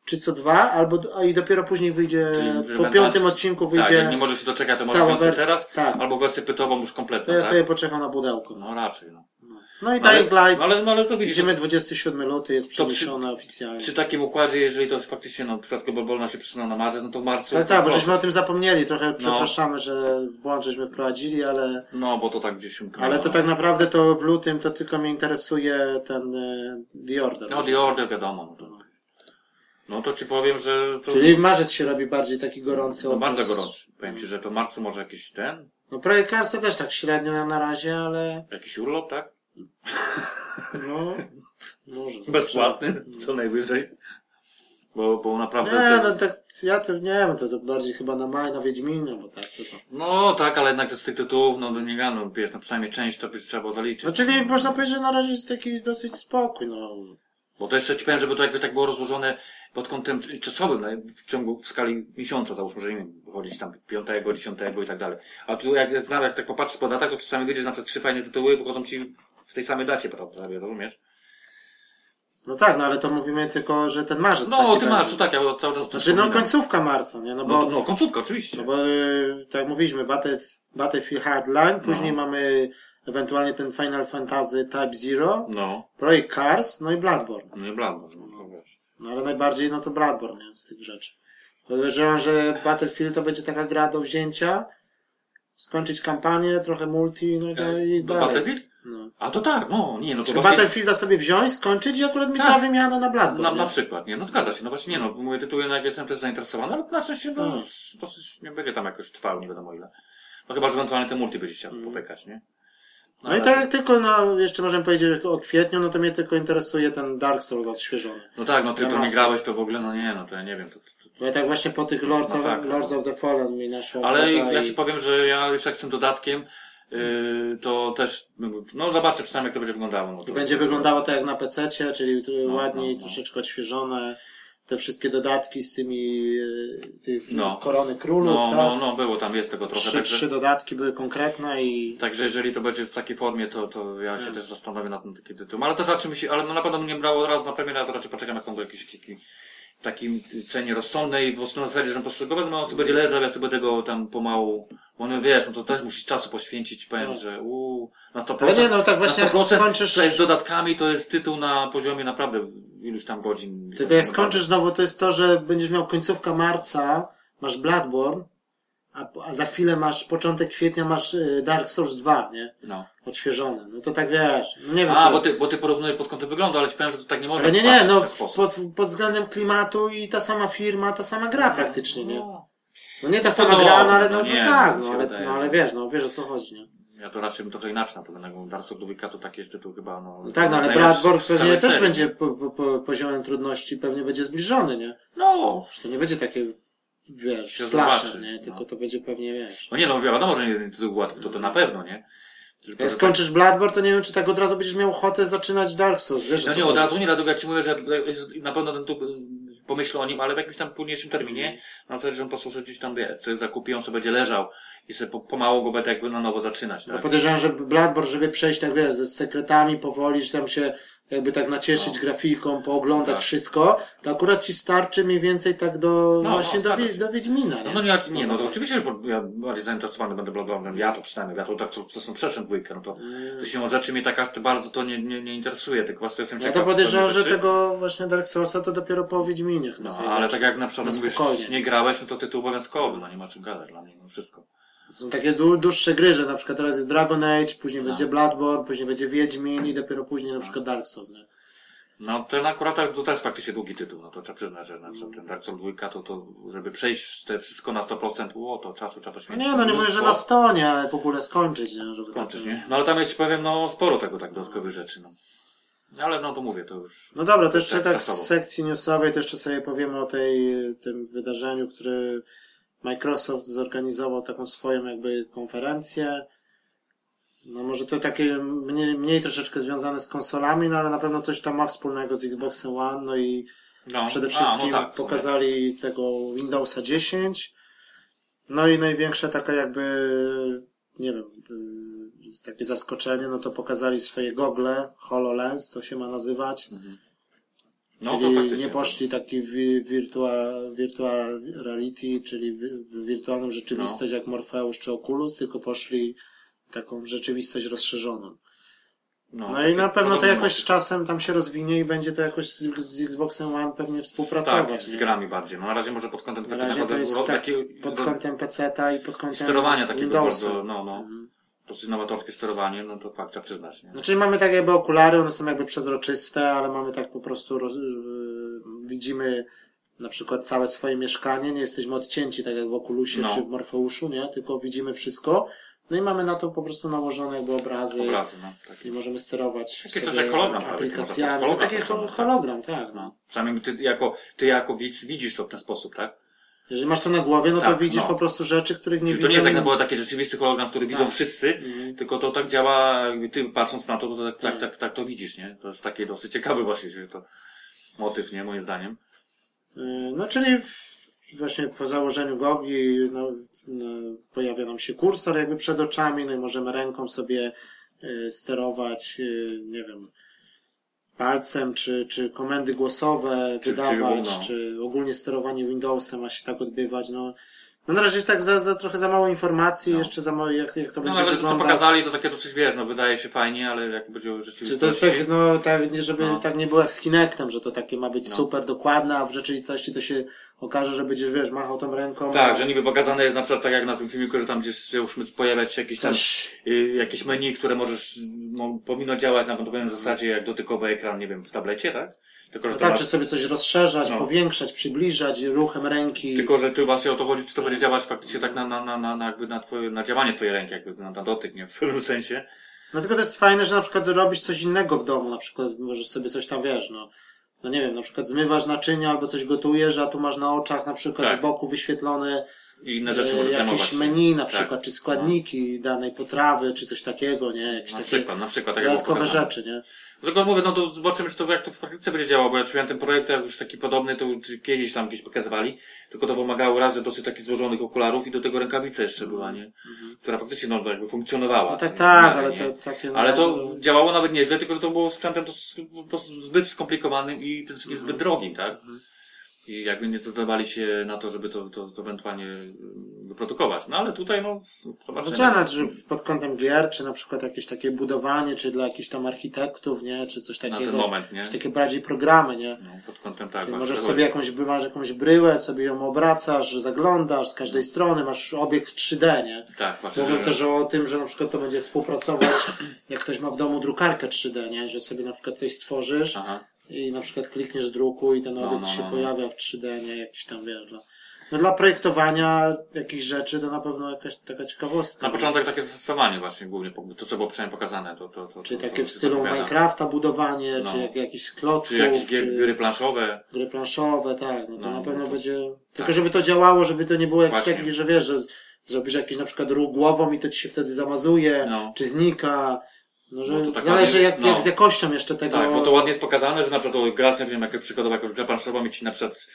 czy co dwa, albo do- a i dopiero później wyjdzie,
Czyli
po
będą-
piątym odcinku
Tak,
wyjdzie,
jak nie możesz się doczekać, to
cała
możesz wersję
wersja-
teraz,
tak.
albo wersję pytową już
to
kompletną,
ja
tak?
sobie poczekam na pudełko.
No raczej, no.
No i
No,
Dying
ale,
Light,
ale, no, ale to widzisz,
idziemy 27 luty, jest
To przy-
przeniesione oficjalnie.
przy takim układzie, jeżeli to faktycznie, no, przypadkowo bolna się przysunęła na marzec, no to w marcu...
Tak, tak, bo
no,
żeśmy o tym zapomnieli, trochę przepraszamy, że błąd żeśmy prowadzili, ale,
No, bo to tak gdzieś umknęło.
ale to tak naprawdę to w lutym to tylko mnie interesuje ten e, The Order.
No, The Order, wiadomo. No to, no to ci powiem, że to
Czyli marzec się robi bardziej taki gorący.
no,
okres.
bardzo gorący. Powiem ci, że to w marcu może jakiś ten,
No projekt Karsa też tak średnio na, na razie, ale
jakiś urlop, tak?
no może.
Bezpłatny, co najwyżej. Bo, bo naprawdę
Nie,
to...
no tak, ja to nie wiem, to, to bardziej chyba na maj, na Wiedźminie, bo tak to, to.
No tak, ale jednak z tych tytułów, no do niego, no wiesz, no przynajmniej część to by trzeba było zaliczyć.
No czyli można powiedzieć, że na razie jest taki dosyć spokój, no.
Bo to jeszcze ci powiem, żeby to jakoś tak było rozłożone pod kątem cz- czasowym, no, w ciągu, w skali miesiąca, załóżmy, że nie wiem, chodzić tam piątego, dziesiątego i tak dalej. A tu jak, jak, znam, jak tak popatrzysz po datach, to czasami widzisz, że na przykład trzy fajne tytuły pochodzą ci w tej samej dacie, prawda, prawie, rozumiesz?
No tak, no ale to mówimy tylko, że ten marzec taki
No, o tym
będzie.
marcu, tak, ja cały czas o tym
Znaczy, no
wspominam.
końcówka marca, nie? No bo,
No, to, no, końcówka, oczywiście.
no bo y, tak jak mówiliśmy, Battlef- Battlefield
No.
Hardline, później mamy ewentualnie ten Final Fantasy Type Zero,
No,
projekt Cars, no i Bloodborne.
no i blabla, no, no, wiesz.
No ale najbardziej, no to Bloodborne nie, z tych rzeczy. Podejrzewam, że Battlefield to będzie taka gra do wzięcia, skończyć kampanię, trochę multi, no i,
E,
dalej.
do Battlefield?
No.
A to tak, no, nie, no to
Czy
właśnie...
Battlefielda sobie wziąć, skończyć i akurat mieć
Tak.
na wymianę na Bloodborne.
Na, na
nie?
przykład, nie, no zgadza się, no właśnie, nie, no, mówię tytuły, na jakie jestem też zainteresowany, ale na szczęście no,
Tak.
s- dosyć nie będzie tam jakoś trwał, nie wiadomo ile. No chyba, że ewentualnie te multi będzie chciał popekać, nie?
Mm. No i tak jak tylko, no, jeszcze możemy powiedzieć o kwietniu, no to mnie tylko interesuje ten Dark Souls odświeżony.
No tak, no ty
Na
to nie
masę.
grałeś, to w ogóle, no nie, no to ja nie wiem. To, to,
Bo ja tak właśnie po tych
jest
Lords of,
masakra.
Lords of the Fallen mi naszło.
to. Ale znaczy,
ochota
ja
i-
ci powiem, że ja już jak z tym dodatkiem, yy, to też, no zobaczę przynajmniej jak to będzie wyglądało. No, to,
Będzie wyglądało to jak na PC, czyli tu ładniej,
no, no.
troszeczkę odświeżone. Te wszystkie dodatki z tymi e, tych
No.
korony królów,
No,
tak?
no, no, było tam, jest tego trochę,
trzy,
także...
trzy dodatki były konkretne i
Także jeżeli to będzie w takiej formie, to, to ja się
Mm.
też zastanowię nad tym takim tytułem. Ale też raczej mi się, ale no na pewno mnie brało od razu na premierę, a to raczej poczekam jak on do jakiejś taki, takim cenie rozsądnej, bo na zasadzie, że po prostu go wezmę, on sobie będzie leżał, ja sobie będę go tam pomału, bo no wiesz, no to też musisz czasu poświęcić, powiem,
Tak.
że uuu, na 100%.
Ale nie, no tak właśnie
na
jak
100%
skończysz-
To jest z dodatkami, to jest tytuł na poziomie naprawdę iluś tam godzin.
tylko jak
no.
skończysz znowu, to jest to, że będziesz miał końcówka marca, masz Bloodborne, a, a za chwilę masz początek kwietnia, masz e, Dark Souls 2, nie?
No.
Odświeżone. No to tak wiesz, no nie wiem,
A,
czy...
bo ty, bo ty porównujesz pod kątem wyglądu, ale ci powiem, że to tak nie można
Ale nie, nie,
patrzeć w
no
ten sposób.
pod, pod względem klimatu i ta sama firma, ta sama gra praktycznie, nie?
No.
No nie ta sama
No
gra, no
dobra,
ale
no
no,
nie,
no tak,
mi się
no ale,
wydaje,
no ale
że-
wiesz, no wiesz o co chodzi, nie?
Ja to raczej bym trochę inaczej na to będę Dark Souls Dwójka to taki jest tytuł chyba, no...
No tak, no ale
znając
Bloodborne pewnie
całej
też
serii.
będzie po, po, po poziomem trudności, pewnie będzie zbliżony, nie?
No!
Że To nie będzie takie, wiesz,
Się
slasher,
zobaczy,
nie?
no.
Tylko to będzie pewnie, wiesz...
No nie, no wiadomo, że nie jeden tytuł łatwy, to to na pewno, nie? Tylko,
Jak
że
skończysz Bloodborne, to nie wiem, czy tak od razu będziesz miał ochotę zaczynać Dark Souls, wiesz? o
No
co
nie, od
chodzi?
razu nie, dlatego ja ci mówię, że na pewno ten tu pomyślę o nim, ale w jakimś tam późniejszym terminie,
Mhm.
na zasadzie, że on po prostu sobie gdzieś tam wie, czy zakupi, on sobie będzie leżał i sobie po- pomału go będę jakby na nowo zaczynać,
Bo
tak?
podejrzewam, że Bloodborne, żeby przejść, tak wiesz, ze sekretami powoli, że tam się jakby tak nacieszyć
No.
grafiką, pooglądać
Tak.
wszystko, to akurat ci starczy mniej więcej tak do,
No,
właśnie
no,
do,
zgadza
Wiedź-
się.
do Wiedźmina,
No,
nie?
no nie, nie, no to oczywiście, bo ja bardziej zainteresowany będę Bloodborne'em, ja to przynajmniej, ja to tak co co przeszedłem dwójkę, no to,
Mm.
to się rzeczy mnie tak aż bardzo to nie, nie, nie interesuje, tylko właśnie jestem
Ja
ciekaw.
to podejrzewam,
pewnych
że
rzeczy.
tego właśnie Dark Soulsa to dopiero po Wiedźminie chyba
znaczy- No,
sobie
ale
zacznie.
tak jak na przykład
No,
mówisz,
spokojnie.
nie grałeś, no to tytuł obowiązkowy, no nie ma czym gadać dla mnie, no wszystko.
Są takie du- dłuższe gry, że na przykład teraz jest Dragon Age,
Tak.
później będzie Bloodborne, później będzie Wiedźmin i dopiero później na przykład Dark Souls, nie?
No ten akurat to też faktycznie długi tytuł, no to trzeba przyznać, że na przykład
Mm.
ten Dark Souls 2 to, to żeby przejść te wszystko na 100%, o, to czasu trzeba
No
poświęcić.
nie, no nie mówię, że
mnóstwo.
na stonie, ale w ogóle skończyć, nie? Żeby
Kończysz,
tak,
nie? No ale tam jeszcze powiem, no sporo tego tak dodatkowych rzeczy, no. Ale no to mówię, to już...
No dobra, to jeszcze
Tak,
tak
czasowo.
z sekcji newsowej, to jeszcze sobie powiemy o tej, tym wydarzeniu, które Microsoft zorganizował taką swoją jakby konferencję. No może to takie mniej, mniej troszeczkę związane z konsolami, no ale na pewno coś tam ma wspólnego z Xboxem One, no i
No,
Przede
a,
wszystkim
no tak, w sumie.
pokazali tego Windowsa 10. No i największe taka jakby, nie wiem, y, takie zaskoczenie, no to pokazali swoje gogle, HoloLens to się ma nazywać.
No to
czyli
faktycznie.
nie poszli taki wi- virtual, virtual reality, czyli wi- w wirtualną
No.
rzeczywistość jak Morpheus czy Oculus, tylko poszli taką rzeczywistość rozszerzoną. No
takie tak,
i na pewno to
podobne
jakoś z
motywy.
czasem tam się rozwinie i będzie to jakoś z, z Xboxem One pewnie współpracować.
Tak, z
nie?
grami bardziej. No na razie może pod kątem
Na
takiego
razie to
naprawdę
jest
uro-
tak
takiego
pod
do-
kątem PC-ta i pod kątem
sterowania takiego
Windowsa. Mhm.
bardzo, no no. Dosyć nowatorskie sterowanie, no to fakt, trzeba przyznać, nie?
Znaczy mamy tak jakby okulary, one są jakby przezroczyste, ale mamy tak po prostu roz, yy, widzimy na przykład całe swoje mieszkanie, nie jesteśmy odcięci tak jak w Oculusie
No.
czy w Morfeuszu, nie? Tylko widzimy wszystko. No i mamy na to po prostu nałożone jakby obrazy,
Obrazy, no. Takie.
i możemy sterować
Takie coś
sobie
jak hologram prawie,
aplikacjami.
hologram
Takie
tak samo.
hologram, tak. No.
Przynajmniej ty jako, ty jako widz widzisz to w ten sposób, tak?
Jeżeli masz to na głowie, no
Tak,
to widzisz
no.
po prostu rzeczy, których nie
Czyli
widzisz.
to nie jest tak naprawdę taki rzeczywisty hologram, który widzą
Tak.
wszyscy,
Mhm.
tylko to tak działa, jakby ty patrząc na to, to tak, tak, tak, tak to widzisz, nie? To jest taki dosyć ciekawy właśnie że to motyw, nie? Moim zdaniem.
Yy, No, czyli w, właśnie po założeniu gogi no, no, pojawia nam się kursor jakby przed oczami, no i możemy ręką sobie y, sterować, y, nie wiem, palcem, czy, czy komendy głosowe
Czy- czy
wydawać, czy,
ogólno.
ogólnie sterowanie Windowsem ma się tak odbywać, no. No na razie jest tak za, za trochę za mało informacji, jeszcze za mało jak, jak to
No
będzie
nawet co
wyglądać.
pokazali, to takie dosyć, wiesz, no wydaje się fajnie, ale jak będzie w rzeczywistości...
Czy to jest tak, no, tak, nie, żeby
No.
tak nie było jak z Kinectem, że to takie ma być
No.
super dokładne, a w rzeczywistości to się okaże, że będziesz, wiesz, machał tą ręką. a
Tak, że niby pokazane jest na przykład tak jak na tym filmiku, że tam gdzieś już pojawia się jakieś tam,
Coś.
y, jakieś menu, które możesz, no, powinno działać na pewnym zasadzie jak dotykowy ekran, nie wiem, w tablecie, tak? Tylko, że
No
to
tak,
masz-
czy sobie coś rozszerzać,
No.
powiększać, przybliżać ruchem ręki.
Tylko, że tu właśnie o to chodzi, czy to będzie działać faktycznie tak na, na, na, na, na, jakby na, twoje, na działanie twojej ręki, jakby na, na dotyk, nie? W pewnym sensie.
No tylko to jest fajne, że na przykład robisz coś innego w domu, na przykład możesz sobie coś tam, wiesz, no. No nie wiem, na przykład zmywasz naczynia albo coś gotujesz, a tu masz na oczach na przykład
Tak.
z boku wyświetlone
I inne rzeczy
e,
możesz
jakieś
zajmować.
menu na
Tak.
przykład, czy składniki danej potrawy, czy coś takiego, nie? Jakieś
Na
takie
przykład, na przykład, tak jak było
dodatkowe
pokazane.
rzeczy, nie?
Tylko mówię, no to zobaczymy, czy to, jak to w praktyce będzie działało, bo ja przyjąłem ten projekt, jak już taki podobny, to już kiedyś tam gdzieś pokazywali, tylko to wymagało raz, że dosyć takich złożonych okularów i do tego rękawica jeszcze była, nie? Która faktycznie, no, jakby funkcjonowała.
No tak,
w
tak,
miarę,
ale
nie?
to takie... na
Ale
razie
to znaczy, działało nawet nieźle, tylko że to było sprzętem dos- po prostu zbyt skomplikowanym i przede wszystkim zbyt drogim, tak? I jakby nie zdecydowali się na to, żeby to, to, to ewentualnie y, wyprodukować. No ale tutaj, no, zobaczymy.
Zaczynać, że w- pod kątem gier, czy na przykład jakieś takie budowanie, czy dla jakichś tam architektów, nie, czy coś takiego.
ten moment, nie?
Jakieś takie bardziej programy, nie.
No, pod kątem tak.
Czyli
właśnie
możesz
chodzi.
sobie jakąś, by- masz jakąś bryłę, sobie ją obracasz, zaglądasz z każdej strony, masz obiekt w 3D, nie.
Tak, właśnie.
Mówią
No. że-
też o tym, że na przykład to będzie współpracować, jak ktoś ma w domu drukarkę 3D, nie, że sobie na przykład coś stworzysz
Aha.
i na przykład klikniesz druku i ten
No,
obiekt
no,
się
no, no.
pojawia w 3D, nie, jakiś tam, wiesz, no. No dla projektowania jakichś rzeczy to na pewno jakaś taka ciekawostka.
Na
nie?
początek takie zastosowanie właśnie głównie, po- to co było przynajmniej pokazane, to, to, to
Czy
to,
takie
to
w
się
stylu
zapowiada.
Minecrafta budowanie,
No.
czy jak, jakichś klocków,
Czy jakieś gier, gry planszowe.
gry planszowe, tak, no to
No,
na pewno
to-
będzie... Tylko
tak.
żeby to działało, żeby to nie było jakieś
Właśnie.
takie, że wiesz, że z- zrobisz jakiś na przykład ruch głową i to ci się wtedy zamazuje,
No.
czy znika, no że
No to tak
zależy
ładnie-
jak,
no.
jak z jakością jeszcze tego...
Tak, bo to ładnie jest pokazane, że na przykład o, grasz, nie wiem, jak przykładowo jakąś grę planszową i ci na przykład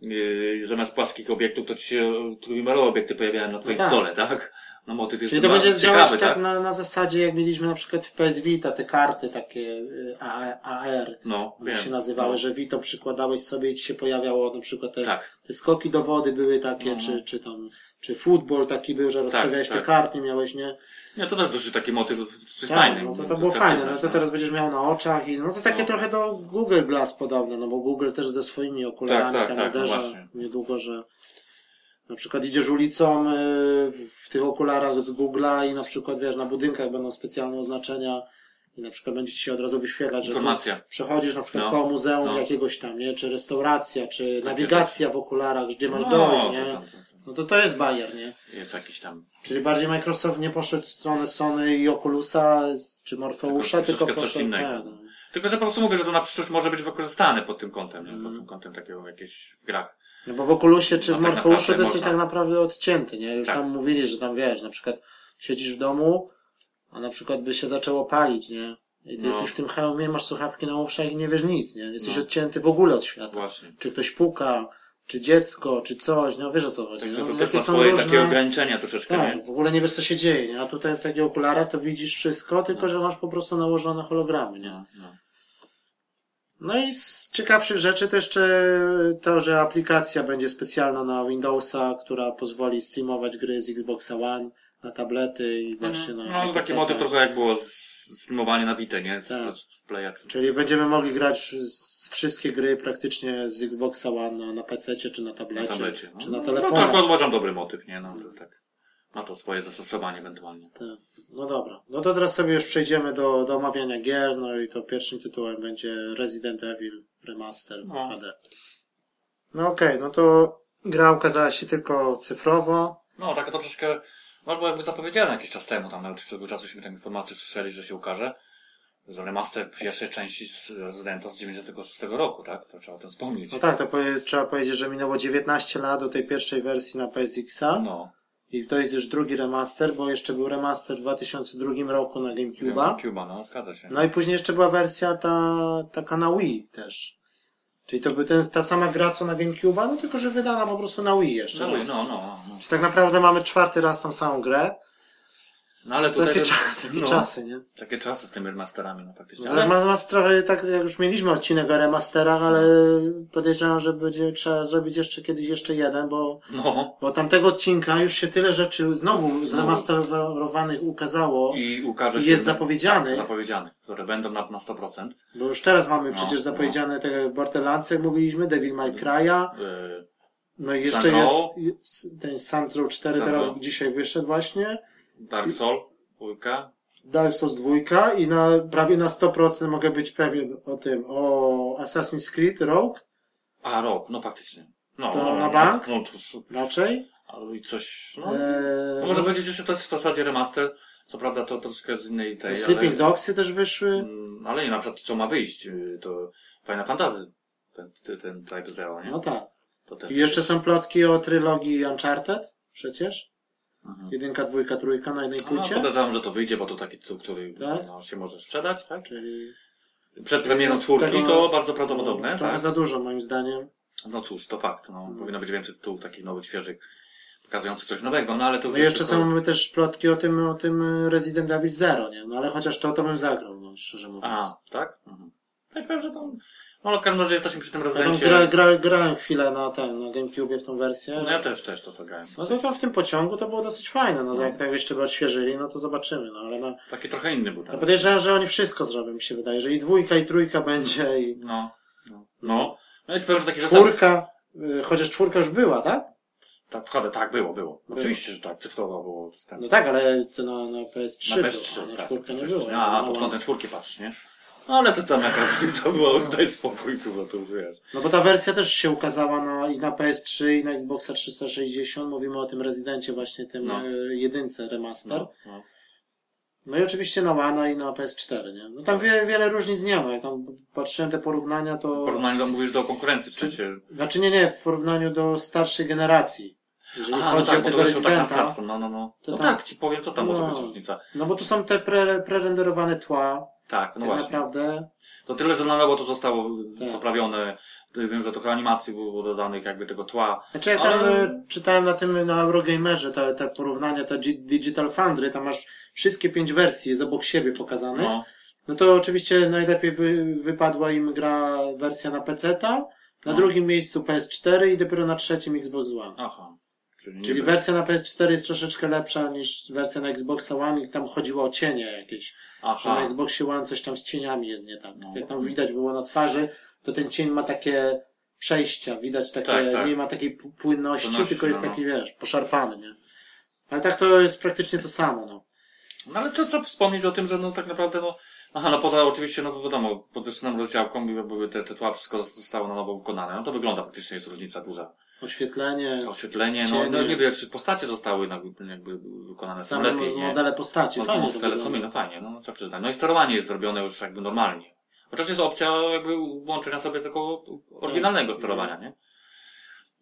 yy, zamiast płaskich obiektów, to ci się e, trójwymiarowe obiekty pojawiają na twoim
tak.
stole, tak? No motyw jest
Czyli to
chyba
będzie
ciekawy,
działać tak, na, na zasadzie, jak mieliśmy na przykład w PS Vita te karty takie y, A- AR,
No,
one
wiem.
się nazywały,
No.
że Vito przykładałeś sobie i ci się pojawiało na przykład te,
Tak. Mhm.
te skoki do wody były takie, czy, czy tam, czy futbol taki był, że rozstawiałeś
tak.
te karty, miałeś, nie?
Nie, to też dosyć taki motyw, coś
Tak,
fajnego.
no to, to było
trzeba
fajne,
przyznać,
no to teraz będziesz miał na oczach i no to takie trochę do Google Glass podobne, no bo Google też ze swoimi okularami
Tak, tak,
tam
tak, no
uderza
właśnie.
niedługo, że na przykład idziesz ulicą y, w tych okularach z Google'a i na przykład wiesz, na budynkach będą specjalne oznaczenia i na przykład będzie ci się od razu wyświetlać, że tu
Informacja.
przechodzisz na przykład
No,
koło muzeum
no. Tak,
jakiegoś tam, nie? Czy restauracja, czy nawigacja w okularach, gdzie masz
No,
dojść,
to
nie?
tam, to tam.
No to to jest bajer, nie?
Jest jakiś tam...
Czyli bardziej Microsoft nie poszedł w stronę Sony i Oculusa czy Morfeusza,
Tylko
tylko,
troszeczkę coś
poszedł...
innego.
tak, no. Mm.
Tylko, że po prostu mówię, że to na przyszłość może być wykorzystane pod tym kątem, nie? Pod tym kątem takiego jakiejś w grach.
No bo w Oculusie czy
No
w
tak
Morfeusie
naprawdę
to jesteś
można.
tak naprawdę odcięty, nie? Już
Tak.
tam mówili, że tam wiesz, na przykład siedzisz w domu, a na przykład by się zaczęło palić, nie? I ty
No.
jesteś w tym hełmie, masz słuchawki na uszach i nie wiesz nic, nie? Jesteś
No.
odcięty w ogóle od świata.
Właśnie.
Czy ktoś puka, czy dziecko, czy coś, no wiesz o co chodzi.
Także
No,
to też
takie
ma
są
swoje
różne-
takie ograniczenia troszeczkę, nie?
Tak, w ogóle nie wiesz co się dzieje, nie? A tutaj w takich okularach to widzisz wszystko, tylko że masz po prostu nałożone hologramy, nie?
No, no.
No i z ciekawszych rzeczy to jeszcze to, że aplikacja będzie specjalna na Windowsa, która pozwoli streamować gry z Xboxa One na tablety i właśnie na.
No,
na
taki
PC-tę.
motyw trochę jak było z- streamowanie na Wite, nie? Z,
Tak.
z Playa.
Czyli będziemy mogli grać z- wszystkie gry praktycznie z Xboxa One na, na PC czy na
na
tablecie,
tablecie.
czy na
No, to
telefonie.
akurat uważam dobry motyw, nie? No, że tak. Ma to swoje zastosowanie ewentualnie.
Tak. No dobra. No to teraz sobie już przejdziemy do, do omawiania gier, no i to pierwszym tytułem będzie Resident Evil Remaster
No.
HD. No okej, no to gra ukazała się tylko cyfrowo.
No, taka troszeczkę, no było jakby zapowiedziane jakiś czas temu, tam nawet swego czasu mi tam informacje słyszeli, że się ukaże. Z remaster pierwszej części z Rezydenta z 96 roku, tak? To trzeba o tym wspomnieć.
No tak, to powie, trzeba powiedzieć, że minęło 19 lat do tej pierwszej wersji na PSX-a
No,
i to jest już drugi remaster, bo jeszcze był remaster w 2002 roku na GameCube'a.
Cuba, no, zgadza się.
No i później jeszcze była wersja ta, taka na Wii też. Czyli to był ten, ta sama gra co na GameCube'a, no tylko że wydana po prostu na Wii jeszcze.
No,
raz.
no, no, no.
Czyli tak naprawdę mamy czwarty raz tą samą grę.
No, ale
To
tutaj...
takie,
to-
cza takie
no,
czasy, nie?
Takie czasy z tymi remasterami, no, faktycznie.
Ale...
Ale,
Ma, ma trochę tak, jak już mieliśmy odcinek o remasterach, ale podejrzewam, że będzie trzeba zrobić jeszcze kiedyś jeszcze jeden, bo
no.
Bo tamtego odcinka już się tyle rzeczy znowu
Znowu.
zremasterowanych ukazało,
I ukaże
I
się...
jest zapowiedziany.
Tak, zapowiedziany, które będą na, na 100%.
bo już teraz mamy
No,
przecież
no.
zapowiedziane tak jak Borderlands, jak mówiliśmy, Devil May Cry'a,
Yy,
no i jeszcze
Saints
jest
Row.
jest ten Saints Row 4
Saints
teraz
Row.
dzisiaj wyszedł właśnie,
Dark Soul, dwójka.
Dark Souls 2 i na, prawie na 100% mogę być pewien o tym, o Assassin's Creed Rogue
A, rok, no faktycznie. No,
To
no,
na
no,
bank?
No, to,
raczej.
Ale i coś. No, no
Eee,
może powiedzieć, że to jest w zasadzie remaster. Co prawda to troszkę z innej tej.
Sleeping
ale,
Dogsy też wyszły.
Mm, Ale nie, na przykład co ma wyjść, y, to Fajna Fantazy. Ten, ty- ten Type Zero, nie?
No tak.
To też.
I jeszcze są plotki o trylogii Uncharted, przecież.
Mhm.
Jedynka, dwójka, trójka na jednej
No,
płycie.
podejrzewam, że to wyjdzie, bo to taki tytuł, który
Tak?
no, się może sprzedać, tak?
Czyli
Przed premierą
z
czwórki
tego-
to bardzo prawdopodobne,
trochę Mm.
tak?
za dużo moim zdaniem.
No cóż, to fakt. No, Powinno być więcej tytułów takich nowych, świeżych, pokazujących coś nowego, no ale to już
No i jeszcze
tylko-
są też plotki o tym, o tym Resident Evil Zero, nie? No ale chociaż to, to bym zagrał, no, szczerze mówiąc.
A, tak? Mhm. Ja ci powiem, że tam... No, ale każdy może jesteśmy przy tym
Ja tam
rezydencie.
gra, gra, grałem chwilę na ten, na Gamecube w tą wersję.
No ja też, też to, to grałem.
No to, to w tym pociągu to było dosyć fajne, no, jak tak jeszcze by odświeżyli, no to zobaczymy, no ale no,
Taki trochę inny był
ja
ten.
podejrzewam, że oni wszystko zrobią, mi się wydaje, że i dwójka, i trójka będzie, i
No. No. No, no i ci powiem, że taki zestaw...
czwórka, y, chociaż czwórka już była, tak?
Tak, wchodzę, tak, było, było. Oczywiście, że tak, cyfrowo było.
No tak, ale to na, na PS3
Na
była,
PS3,
no, na
tak.
czwórkę nie było.
A,
No,
pod
no.
kątem czwórki patrz, nie? No, ale to tam jaka (laughs) różnica była, daj spokój, kurwa, to już wiesz.
No bo ta wersja też się ukazała na, i na PS3, i na Xboxa 360. Mówimy o tym rezydencie właśnie, tym
No.
e, jedynce remaster.
No,
No.
no.
i oczywiście na Łana i na PS4, nie? No tam wie, wiele różnic nie ma. Jak tam patrzyłem te porównania, to...
W porównaniu do, mówisz do konkurencji, w sensie...
Znaczy nie, nie, w porównaniu do starszej generacji. Jeżeli
Aha, no
chodzi o
tak, bo to
tego
weszło tak na
rezydenta.
starstwo, no, no, no.
To
No
tam-
tak, ci powiem, co tam może
No.
być różnica.
no bo tu są te pre, prerenderowane tła,
Tak, no
tak
właśnie.
naprawdę.
To tyle, że na nowo to zostało
Tak.
poprawione. To Wiem, że trochę animacji było dodanych jakby tego tła.
Znaczy ja tam
Ale-
e, czytałem na tym, na Eurogamerze te, te porównania, te G- Digital Foundry, tam masz wszystkie pięć wersji jest obok siebie pokazanych.
No,
No to oczywiście najlepiej wy, wypadła im gra wersja na PC, na
No.
drugim miejscu PS4 i dopiero na trzecim Xbox One.
aha. Czyli,
Czyli
niby-
wersja na PS4 jest troszeczkę lepsza niż wersja na Xbox One i tam chodziło o cienie jakieś. Że na
Aha.
Xboxie One coś tam z cieniami jest nie tak.
Tak. No.
Jak tam widać było na twarzy, to ten cień ma takie przejścia, widać takie,
Tak, tak.
nie ma takiej pu- płynności,
Płynności,
tylko jest
no, no.
taki, wiesz, poszarpany, nie? Ale tak to jest praktycznie to samo, no.
No ale co, co wspomnieć o tym, że no tak naprawdę no... Aha, no poza oczywiście, no wiadomo, podwyższoną rozdziałką były- były te, te tła, wszystko zostało na nowo wykonane. No to wygląda faktycznie, jest różnica duża.
Oświetlenie,
Oświetlenie, no,
Cienie.
no nie wiem, czy postacie zostały na- jakby wykonane są
same
lepiej, nie?
modele postaci,
No,
fajnie to
Monstele są
wygląda.
inne, fajnie, no trzeba przyznać. No i sterowanie jest zrobione już jakby normalnie.
Tak.
Chociaż jest opcja jakby łączenia sobie tylko oryginalnego sterowania, nie?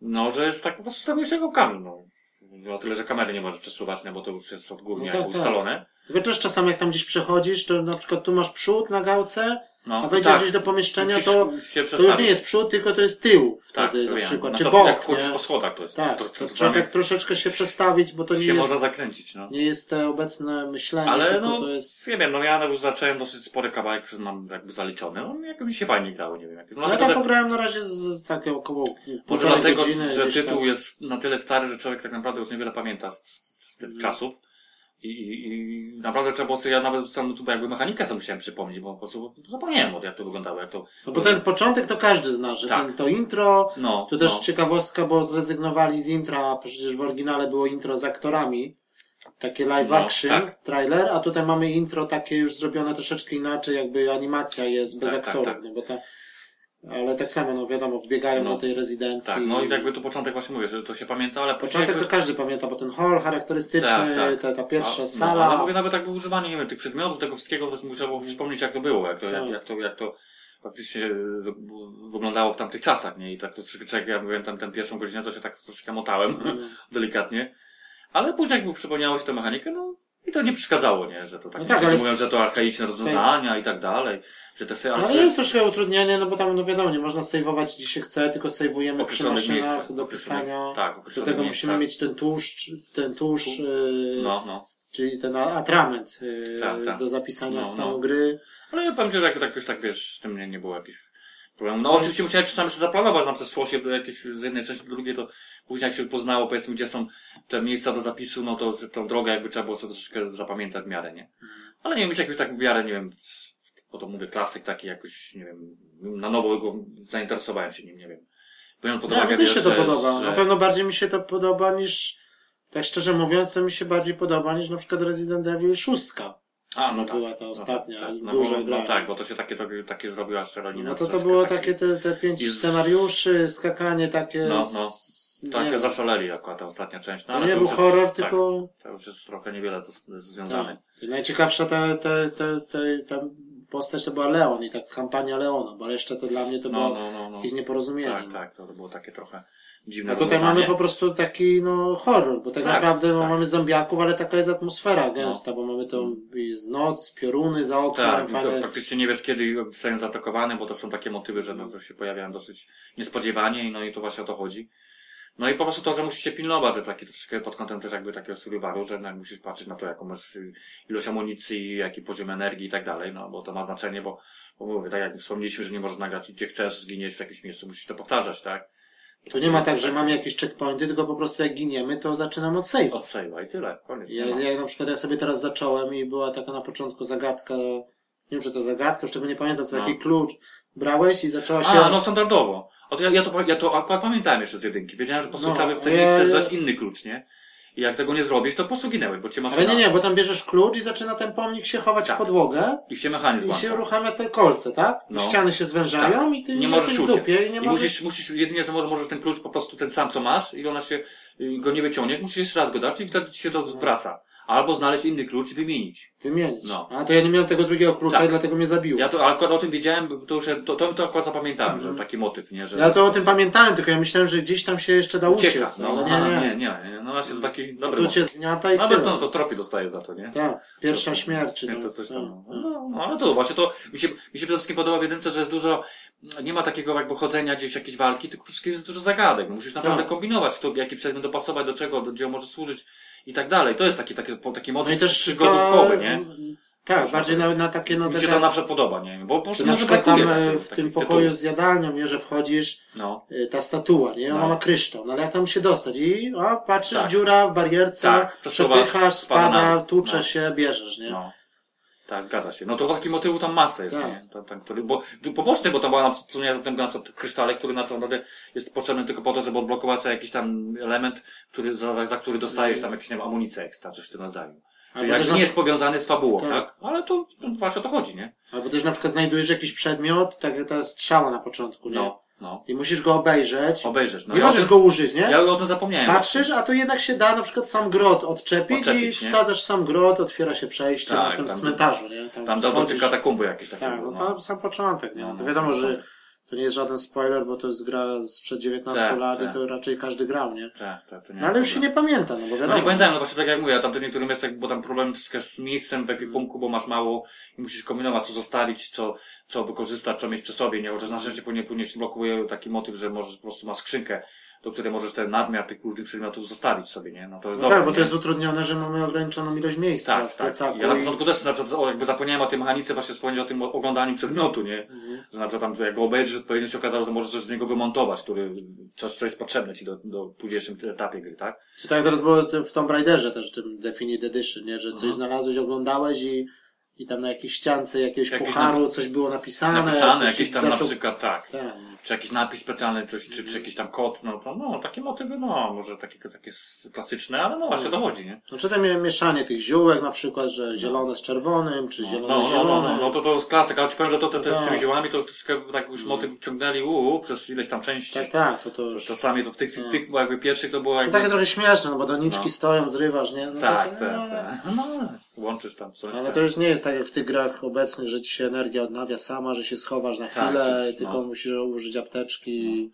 No, że jest tak po prostu stabilniejszego kablu, no. O tyle, że kamery nie może przesuwać, no bo to już jest odgórnie
No tak,
jakby
tak.
ustalone.
Tylko też czasami jak tam gdzieś przechodzisz, to na przykład tu masz przód na gałce,
No,
a wejdziesz
tak.
gdzieś do pomieszczenia,
Musisz
to,
się
to już
przestawić.
nie jest przód, tylko to jest tył
tak,
wtedy na
wiem.
przykład,
No
czy
to
bok,
jak chodzisz
nie?
po schodach, to jest,
Tak,
to,
to,
to, to,
trzeba tak troszeczkę się przestawić, bo to nie
się
jest,
można zakręcić, no.
nie jest to obecne myślenie,
Ale
tylko
no,
to jest...
nie wiem, no ja już zacząłem dosyć spory kawałek, przed mam jakby zaliczony, no jakby mi się fajnie grało, nie wiem. Jak... No,
No ja
dlatego,
tak
że,
pograłem na razie z, z takie około
może
półtorej
dlatego,
godziny,
że
gdzieś tam.
tytuł jest na tyle stary, że człowiek tak naprawdę już niewiele pamięta z, z tych
Mhm.
czasów. I, i, I naprawdę trzeba było sobie, ja nawet z tam tu jakby mechanikę sobie musiałem przypomnieć, bo po prostu zapomniałem, jak to wyglądało, jak to...
No bo ten początek to każdy zna, że
Tak.
ten, to intro,
No,
to też
no.
ciekawostka, bo zrezygnowali z intra, a przecież w oryginale było intro z aktorami, takie live
No,
action,
tak.
trailer, a tutaj mamy intro takie już zrobione troszeczkę inaczej, jakby animacja jest bez
Tak, tak,
aktorów,
tak.
Nie? bo ta, ale tak samo, no wiadomo, wbiegają
No.
do tej rezydencji.
Tak, no i jakby to początek właśnie mówię, że to się pamięta, ale później...
Początek to każdy pamięta, bo ten hall charakterystyczny,
Tak, tak.
Ta, ta pierwsza
A, No,
sala. Mm.
ale mówię nawet jakby używanie, nie wiem, tych przedmiotów, tego wszystkiego, to muszę było przypomnieć, jak to było, jak to, jak,
Tak.
jak to, jak to faktycznie e, w- wyglądało w tamtych czasach, nie? I tak to troszeczkę, jak ja mówiłem, tam tę pierwszą godzinę, to się tak troszeczkę motałem, (laughs)
No,
delikatnie. Ale później jakby przypomniało się tę mechanikę, no i to nie przeszkadzało, nie? Że to tak,
No
no
tak, ale
mówią, że to archaiczne
s-
rozwiązania i tak dalej, że te se, ale
No
no,
ale jest troszkę utrudnienie, no bo tam, no wiadomo, nie można sejwować gdzie się chce, tylko sejwujemy przy
Określonych
maszynach
miejscach,
do
określonych-
pisania.
tak,
do
określonych
tego
miejscach.
musimy mieć ten tłuszcz, ten tłuszcz, yy,
no, no.
czyli ten a- atrament yy,
Tak, tak.
do zapisania
No,
stanu
no.
gry.
Ale ja pamiętam, że jak tak już tak wiesz, z tym nie, nie było jakichś problemów. No oczywiście musiałem czasami sobie zaplanować, na przykład szło się do jakiejś z jednej części do drugiej, to później jak się poznało, powiedzmy, gdzie są te miejsca do zapisu, no to już tą drogę jakby trzeba było sobie troszeczkę zapamiętać w miarę, nie?
Mhm.
Ale nie wiem, jakoś tak w miarę, nie wiem, bo to mówię klasyk taki jakoś, nie wiem, na nowo go zainteresowałem się nim, nie wiem. Biorąc pod
No,
uwagę,
mi też się
wiesz,
to
że-
podoba.
że-
Na pewno bardziej mi się to podoba niż, tak szczerze mówiąc, to mi się bardziej podoba niż na przykład Resident Evil 6.
A, no tak.
była ta
no
ostatnia,
tak, tak. No,
duża
bo,
gra.
no tak, bo to się takie, takie zrobiła szczeronie.
No to to było takie te, te pięć
I z-
scenariuszy, skakanie takie...
No, no.
z- nie
Tak,
wiem.
zaszaleli akurat ta ostatnia część. No,
To
ale
nie
to
był
już
horror,
jest, Tak,
tylko...
to już jest trochę niewiele to z- związane.
Tak. I Najciekawsza ta, ta, ta, ta, ta postać to była Leon i tak kampania Leona, bo reszta to dla mnie to
No,
było
no, no. no.
jakieś nieporozumienie.
Tak, tak, to było takie trochę dziwne
A tutaj
rozwiązanie.
mamy po prostu taki no, horror, bo tak,
Tak,
naprawdę no,
tak. No.
mamy zombiaków, ale taka jest atmosfera gęsta, bo mamy tą jest noc, pioruny za oknem,
Tak, i to
fajne...
praktycznie nie wiesz kiedy zostają zaatakowany, bo to są takie motywy, że no, to się pojawiają dosyć niespodziewanie i no i to właśnie o to chodzi. No i po prostu to, że musisz się pilnować, że taki troszeczkę pod kątem też jakby takiego survivalu, że no, musisz patrzeć na to, jaką masz y, ilość amunicji, jaki poziom energii i tak dalej, no bo to ma znaczenie, bo, bo mówię, tak jak wspomnieliśmy, że nie możesz nagrać gdzie chcesz, zginiesz w jakimś miejscu, musisz to powtarzać, tak?
To nie ma tak, że mamy jakieś checkpointy, tylko po prostu jak giniemy, to zaczynam od save'a.
Od save'a i tyle, koniec.
Ja,
nie ma.
ja na przykład ja sobie teraz zacząłem i była taka na początku zagadka, nie wiem czy to zagadka, już tego nie pamiętam, co
No.
taki klucz brałeś i zaczęła się...
A, no standardowo. O, to ja, ja, to, pa- ja to akurat pamiętałem jeszcze z jedynki. Wiedziałem, że po prostu
No,
trzeba by w tym
ja-
miejscu dać inny klucz, nie? I jak tego nie zrobisz, to po prostu ginęłeś, bo cię masz
Ale nie, nie, bo tam bierzesz klucz i zaczyna ten pomnik się chować
no. Tak.
w podłogę
i się mechanizm
i się
włącza.
uruchamia te kolce, tak? I
No.
ściany się zwężają
Tak.
i ty
nie
jesteś
możesz
w
uciec.
dupie i nie
I
możesz...
musisz, musisz, jedynie to może, możesz ten klucz po prostu ten sam, co masz i ona się, y, go nie wyciągniesz, musisz jeszcze raz go dać i wtedy ci się to wraca. Albo znaleźć inny klucz i wymienić.
wymienić.
No.
A to ja nie miałem tego drugiego klucza
Tak.
i dlatego mnie zabiło.
Ja to akurat o tym wiedziałem, bo to już, to, to, to akurat zapamiętałem, że taki motyw, nie? Że,
Mhm. Ja to o tym pamiętałem, tylko ja myślałem, że gdzieś tam się jeszcze da uciec.
ucieka. No,
ale
nie, nie, nie, nie. No właśnie, to taki dobry
Tu
motyw.
cię zgniata i
Nawet
tyle.
no, to tropie dostaje za to, nie?
Tak, pierwsza śmierć. czy
Jest
tam-
coś
tak.
tam. No, no, ale to właśnie to, mi się, mi się przede wszystkim podoba w jedynce, że jest dużo, nie ma takiego jakby chodzenia gdzieś, jakiejś walki, tylko przede wszystkim jest dużo zagadek. No, Musisz naprawdę
Tak.
kombinować to, jaki przedmiot dopasować, do czego, do, gdzie on może służyć i tak dalej. To jest taki, taki, po- taki
No i
motyw
też
przygodówkowy,
ta-
nie?
Tak,
Można
bardziej na, na takie na
Mi się to na
zagadki.
przykład podoba, nie? Bo po prostu
Czy na
może
przykład tam
brakuje
e,
takich-
w tym
takich
pokoju
tytułów.
z jadalnią, nie, że wchodzisz,
No.
y, ta statua, nie? Ona
No.
ma kryształ, no ale jak tam się dostać? I a, patrzysz,
Tak.
dziura w barierce,
Tak, przesuwasz,
przepychasz,
spada na
spada,
dół.
tłucze
No.
się, bierzesz, nie?
No. Tak, zgadza się. No to taki motywu tam masa jest,
Tak.
nie? Tam, tam, który, bo tu poboczny, bo tam była na przykład, ten, na przykład kryształek, który na naprawdę jest potrzebny tylko po to, żeby odblokować sobie jakiś tam element, który, za, za, za który dostajesz tam jakieś, nie wiem, amunicję ekstra, coś w tym rodzaju. Czyli
Albo też
jak
na-
nie jest powiązany z fabułą,
Tak.
tak? Ale to, to właśnie o to chodzi, nie?
Albo też na przykład znajdujesz jakiś przedmiot, tak jak ta strzała na początku, nie?
No, no.
I musisz go obejrzeć.
Obejrzysz. No
nie
ja
możesz
o
go użyć, nie?
tym, Ja o tym zapomniałem.
Patrzysz, a tu jednak się da na przykład sam grot odczepić,
Odczepić,
i
nie?
wsadzasz sam grot, otwiera się przejście
Tak,
na tym
tam-
cmentarzu, nie?
Tam dawno
schodzisz-
tylko katakumby jakieś takie
Tak,
były,
no
no.
tam sam początek, nie?
No,
to
no,
wiadomo,
sam
że
początek.
To nie jest żaden spoiler, bo to jest gra sprzed 19
Tak,
lat i
tak.
to raczej każdy grał, nie?
Tak, tak, to nie
No ale już się
problem.
nie pamięta, no bo wiadomo.
No nie pamiętam, no właśnie tak jak mówię, a tam w niektórych miejscach, bo tam problem troszeczkę z miejscem w ekwipunku, bo masz mało i musisz kombinować, co zostawić, co, co wykorzystać, co mieć przy sobie, nie? Chociaż na szczęście później, później się blokuje taki motyw, że możesz po prostu masz skrzynkę, do której możesz ten nadmiar tych różnych przedmiotów zostawić sobie, nie? No to jest
No
dobre.
tak, bo to
nie?
jest utrudnione, że mamy ograniczoną ilość miejsca
Tak,
w
tak.
plecaku.
Ja na
i-
początku też na przykład o, jakby zapomniałem o tej mechanice, właśnie wspomnieć o tym o- oglądaniu przedmiotu, nie?
Mhm.
Że na przykład tam jak go obejrzysz odpowiednio się okazało, że możesz coś z niego wymontować, który, coś, co jest potrzebne ci do, do późniejszym etapie gry, tak?
Czy tak teraz było w Tomb Raiderze też, tym Definite Edition, nie? że coś
Mhm.
znalazłeś, oglądałeś i, i tam na jakiejś ściance jakiegoś
Jakieś
pucharu coś było napisane.
Napisane
coś
jakieś tam na
zaczął-
przykład, tak.
Tak.
czy jakiś napis specjalny, coś, czy,
Mhm.
czy jakiś tam kod, no to no, takie motywy, no, może takie, takie s- klasyczne,
Tak.
ale no właśnie dochodzi, nie?
Znaczy tam miałem mieszanie tych ziółek na przykład, że zielone z czerwonym, czy
No,
zielone
no,
z
no,
zielonym.
no, no to to jest klasyk, ale ci powiem, że to te, te z tymi
Tak. No.
ziołami to już troszeczkę tak już motyw ciągnęli u, u, przez ileś tam części.
Tak, tak, to to już...
Czasami to w tych, tych, tych jakby pierwszych to było
No
jakby...
Takie trochę śmieszne, no bo doniczki
No.
stoją, zrywasz, nie? No
tak, tak,
to- no,
tak. (laughs) No, łączysz tam coś.
Ale to już nie jest tak jak w tych grach obecnych, że ci się energia odnawia sama, że się schowasz na
Tak,
chwilę,
to już,
tylko
no.
musisz użyć apteczki.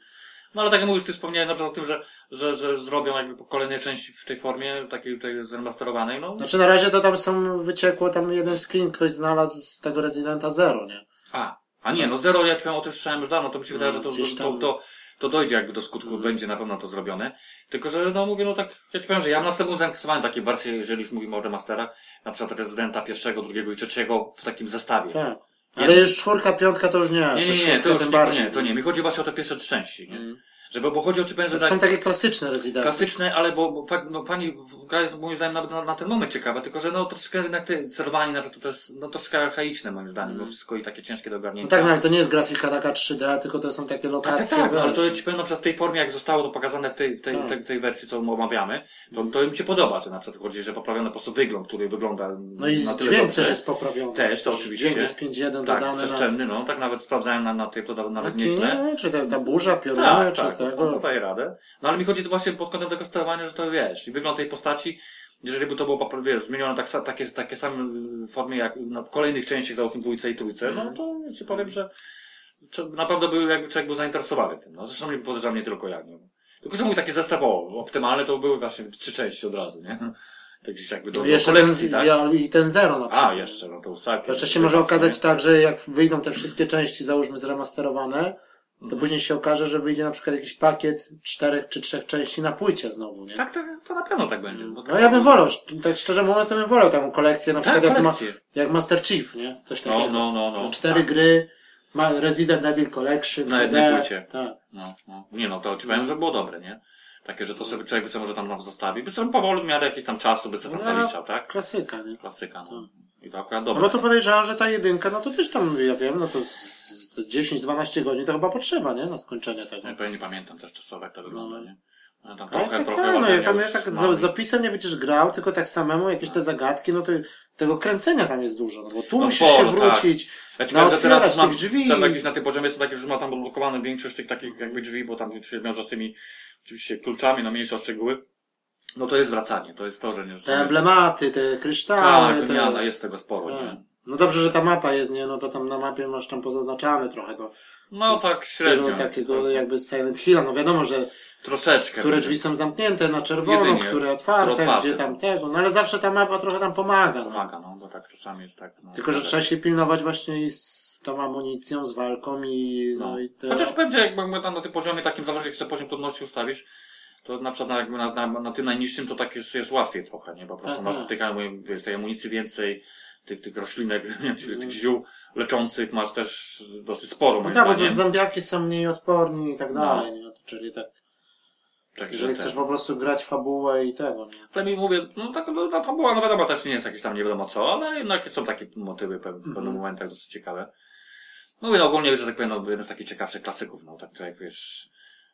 No ale tak jak mówisz, ty wspomniałeś na przykład o tym, że, że, że zrobią jakby kolejne części w tej formie, takiej tej zremasterowanej, no.
Znaczy na razie to tam są, wyciekło tam jeden screen, ktoś znalazł z tego Residenta Zero, nie?
A, a nie, no zero, ja powiem, o tym słyszałem już dawno, to mi się wydaje, że to,
No, gdzieś
to,
tam. Mhm.
to, to dojdzie jakby do skutku, będzie na pewno to zrobione. Tylko, że no mówię, no tak, ja ci powiem, że ja na przykład byłem zainteresowany takiej wersji, jeżeli już mówimy o remasterach, na przykład rezydenta pierwszego, drugiego i trzeciego w takim zestawie.
Tak.
Nie,
Ale
no-
już czwórka, piątka to już nie,
Nie,
czy
nie, nie,
szóstka
to już
tym
nie,
bardziej.
nie, to nie. Mi chodzi właśnie o te pierwsze trzy części, nie? Żeby, bo chodzi o czy powiem, że
To są
tak,
takie klasyczne Residenta.
klasyczne, ale bo, bo fakt, no, fani, gra jest moim zdaniem nawet na, na ten moment ciekawa, tylko że no troszeczkę jednak te celowanie, nawet to, to jest, no troszeczkę archaiczne moim zdaniem, bo wszystko i takie ciężkie do
No
ogarnięcia.
tak, no ale to nie jest grafika taka 3D, tylko to są takie
Tak,
lokacje.
tak, tak, no,
wiesz.
ale to ja ci powiem, na przykład w tej formie, jak zostało to pokazane w tej, w tej,
Tak.
tej, tej wersji, co omawiamy, to, to im się podoba, czy na przykład chodzi, że poprawiono po prostu wygląd, który wygląda
No i
na tyle
dźwięk
dobrze.
też jest poprawiony.
Też, to oczywiście.
Dźwięk jest 5.1
tak,
dodany na... No
przestrzenny, no, tak nawet sprawdzałem na, na tym, to da- nawet nieźle.
Nie, czy ta, ta burza pioruny,
Tak,
czy
tak, no,
tego.
daje radę. No ale mi chodzi to właśnie pod kątem tego sterowania, że to wiesz, i wygląd tej postaci, jeżeli by to było popra- wiesz, zmienione tak, sa- takie, takie same y, formie jak na w kolejnych częściach, załóżmy dwójce i trójce,
Mhm.
no to ja ci powiem, że czy- naprawdę był, jakby człowiek był zainteresowany tym. No, zresztą nie podejrzewam nie tylko ja. Nie? Tylko, że mój taki zestaw o, optymalny to były właśnie trzy części od razu, nie? (laughs) Tak gdzieś jakby do,
I
do
Jeszcze ten,
kolekcji, tak?
ja- I ten zero na przykład.
A, jeszcze, no to usaki.
Jeszcze się może okazać tak, że jak wyjdą te wszystkie części, załóżmy zremasterowane, to
Mhm.
później się okaże, że wyjdzie na przykład jakiś pakiet czterech czy trzech części na płycie znowu, nie?
Tak, to, to na pewno tak będzie. bo
No ja bym wolał, szcz- tak szczerze mówiąc, ja bym wolał taką kolekcję, na
Tak,
przykład jak, ma,
kolekcję.
jak Master Chief, nie? Coś takiego.
No, no, no, no.
Cztery gry, ma Resident Evil Collection,
Na
3D,
jednej płycie.
Tak.
No, no. Nie no, to ci powiem, że było dobre, nie? Takie, że to sobie człowiek by sobie może tam zostawił. By sobie powoli w miarę jakiś tam czasu by sobie tam
No.
zaliczał, tak?
Klasyka, nie?
Klasyka, no. I to akurat
No
dobre.
bo to podejrzewam, że ta jedynka, no to też tam, ja wiem, no to z- z 10-12 godzin to chyba potrzeba, nie? Na skończenie tego.
Ja pewnie nie pamiętam też czasowo, jak to wygląda, nie? Ale tam
No. Ale
Tak, trochę,
tak,
trochę
tak, no,
łażenia
ja tam ja
już
tak
mamy.
z, z opisem nie będziesz grał, tylko tak samemu jakieś te zagadki, no to tego kręcenia tam jest dużo, no bo tu
No
musisz
sporo,
się
tak.
wrócić,
Ja ci
no
powiem, że teraz już
otwierać
mam
tych drzwi.
tam jakieś na tym poziomie, są takie, że ma tam odblokowane większość tych takich jakby drzwi, bo tam się wiąże z tymi oczywiście kluczami, no mniejsze szczegóły. No to jest wracanie, to jest to, że nie
Te emblematy, te kryształy.
Tak,
te...
wymiana, jest tego sporo,
Tak.
nie?
No dobrze, że ta mapa jest, nie? No to tam na mapie masz tam pozaznaczane trochę to.
No tak,
z stylu
średnio.
takiego jakby z Silent Hilla, no wiadomo, że
Troszeczkę.
które drzwi są zamknięte na czerwono,
Jedynie.
które otwarte,
Które otwarte,
gdzie tam
tak.
tego, no ale zawsze ta mapa trochę tam pomaga. No.
Pomaga, no, bo tak czasami jest tak. No,
Tylko, że trzeba się pilnować właśnie i z tą amunicją, z walką i, no. i te...
Chociaż będzie, jakby mówię, tam na tym poziomie takim, zależy jak sobie poziom trudności ustawisz, to na przykład na, jakby na, na, na tym najniższym to tak jest, jest łatwiej trochę, nie? Bo po prostu
Tak,
masz
tak.
tych, jakby, wiesz, tej amunicji więcej, tych, tych roślinek, (laughs) nie, czyli tych ziół leczących masz też dosyć sporo,
Mm. No
moim
tak, bo
zdaniem. No.
zombiaki są mniej odporni i tak dalej, nie? To, czyli tak,
Także
jeżeli
ten.
chcesz po prostu grać fabułę i tego, nie?
Ale mi mówię, no tak, no, ta fabuła, no wiadomo, też nie jest jakieś tam nie wiadomo co, ale jednak są takie motywy pe- w pewnych
Mhm.
momentach dosyć ciekawe. Mówię, no ogólnie, że tak powiem, no, jeden z takich ciekawszych klasyków, no tak, jak wiesz,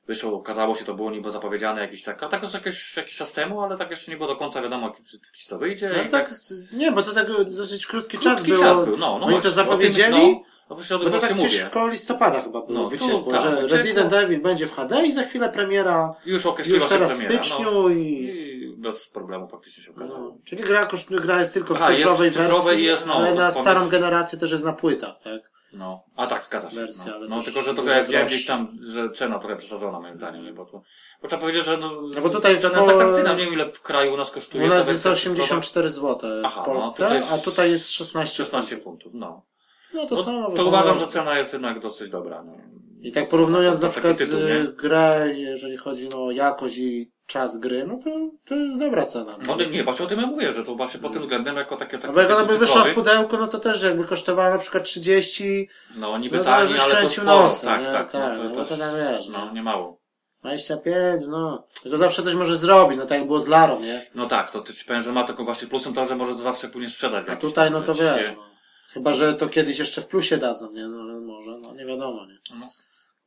wyszło, okazało się, to było niby zapowiedziane jakiś tak, a tak już jakiś, jakiś czas temu, ale tak jeszcze nie było do końca wiadomo, czy, czy to wyjdzie.
No
i
tak, nie, bo to tak dosyć krótki, czas
Krótki
był.
czas był, no, no
Oni
właśnie,
to zapowiedzieli,
O tym, no, właśnie o
bo
tym
to tak
właśnie
gdzieś
mówię.
koło listopada chyba było
No, tu,
wyciekło,
tak,
że
wyciekło.
Resident Evil będzie w HD i za chwilę premiera
Już określiła
już
się
teraz w
premiera,
styczniu
no,
i...
i bez problemu faktycznie się okazało.
No, czyli gra, koszt- gra jest tylko w
Aha, Tak, jest
cyfrowej
w cyfrowej
wersji,
i jest, no,
ale
to
na
wspomnisz.
starą generację też jest na płytach, tak?
No, a tak, zgadza się.
Wersja,
no,
ale
no
też
tylko, że
dużo
trochę widziałem
droższa.
gdzieś tam, że cena trochę przesadzona moim zdaniem, nie? Bo, tu, bo trzeba powiedzieć, że no,
bo tutaj
cena
po-
jest atrakcyjna, nie wiem ile w kraju u nas kosztuje. tak
U nas
ta
jest
wersja
84 zł
Aha,
w
no,
Polsce,
tutaj jest-
a tutaj jest 16
16 funtów, no.
No to
To,
samo.
to
wygląda.
uważam, że cena jest jednak dosyć dobra. No.
I tak porównując na
Taki
przykład
tytuł,
y,
nie?
grę, jeżeli chodzi o jakość i czas gry, no to, to jest dobra cena.
No ale nie, właśnie o tym ja mówię, że to właśnie pod tym względem jako takie
No
takie
bo jak ona by
tytuł
wyszła w
cyfrowy,
pudełku, no to też jakby kosztowała na przykład 30,
No niby
No to
tani,
żeś
ale to
kręcił
sporo.
nosem,
tak,
nie?
tak,
Tak,
no,
no
to,
bo
też,
to tam wiesz,
no
nie?
nie mało.
25, no. Tylko zawsze coś może zrobić, no tak jak było z Larą, nie?
No tak, to też ci powiem, że ma taką właśnie plusem to, że może to zawsze później sprzedać. w
A
jakiś
tutaj
tam,
no to
że ci
wiesz,
się-
no. Chyba, że to kiedyś jeszcze w plusie dadzą, nie? No ale może, no nie wiadomo, nie?
No.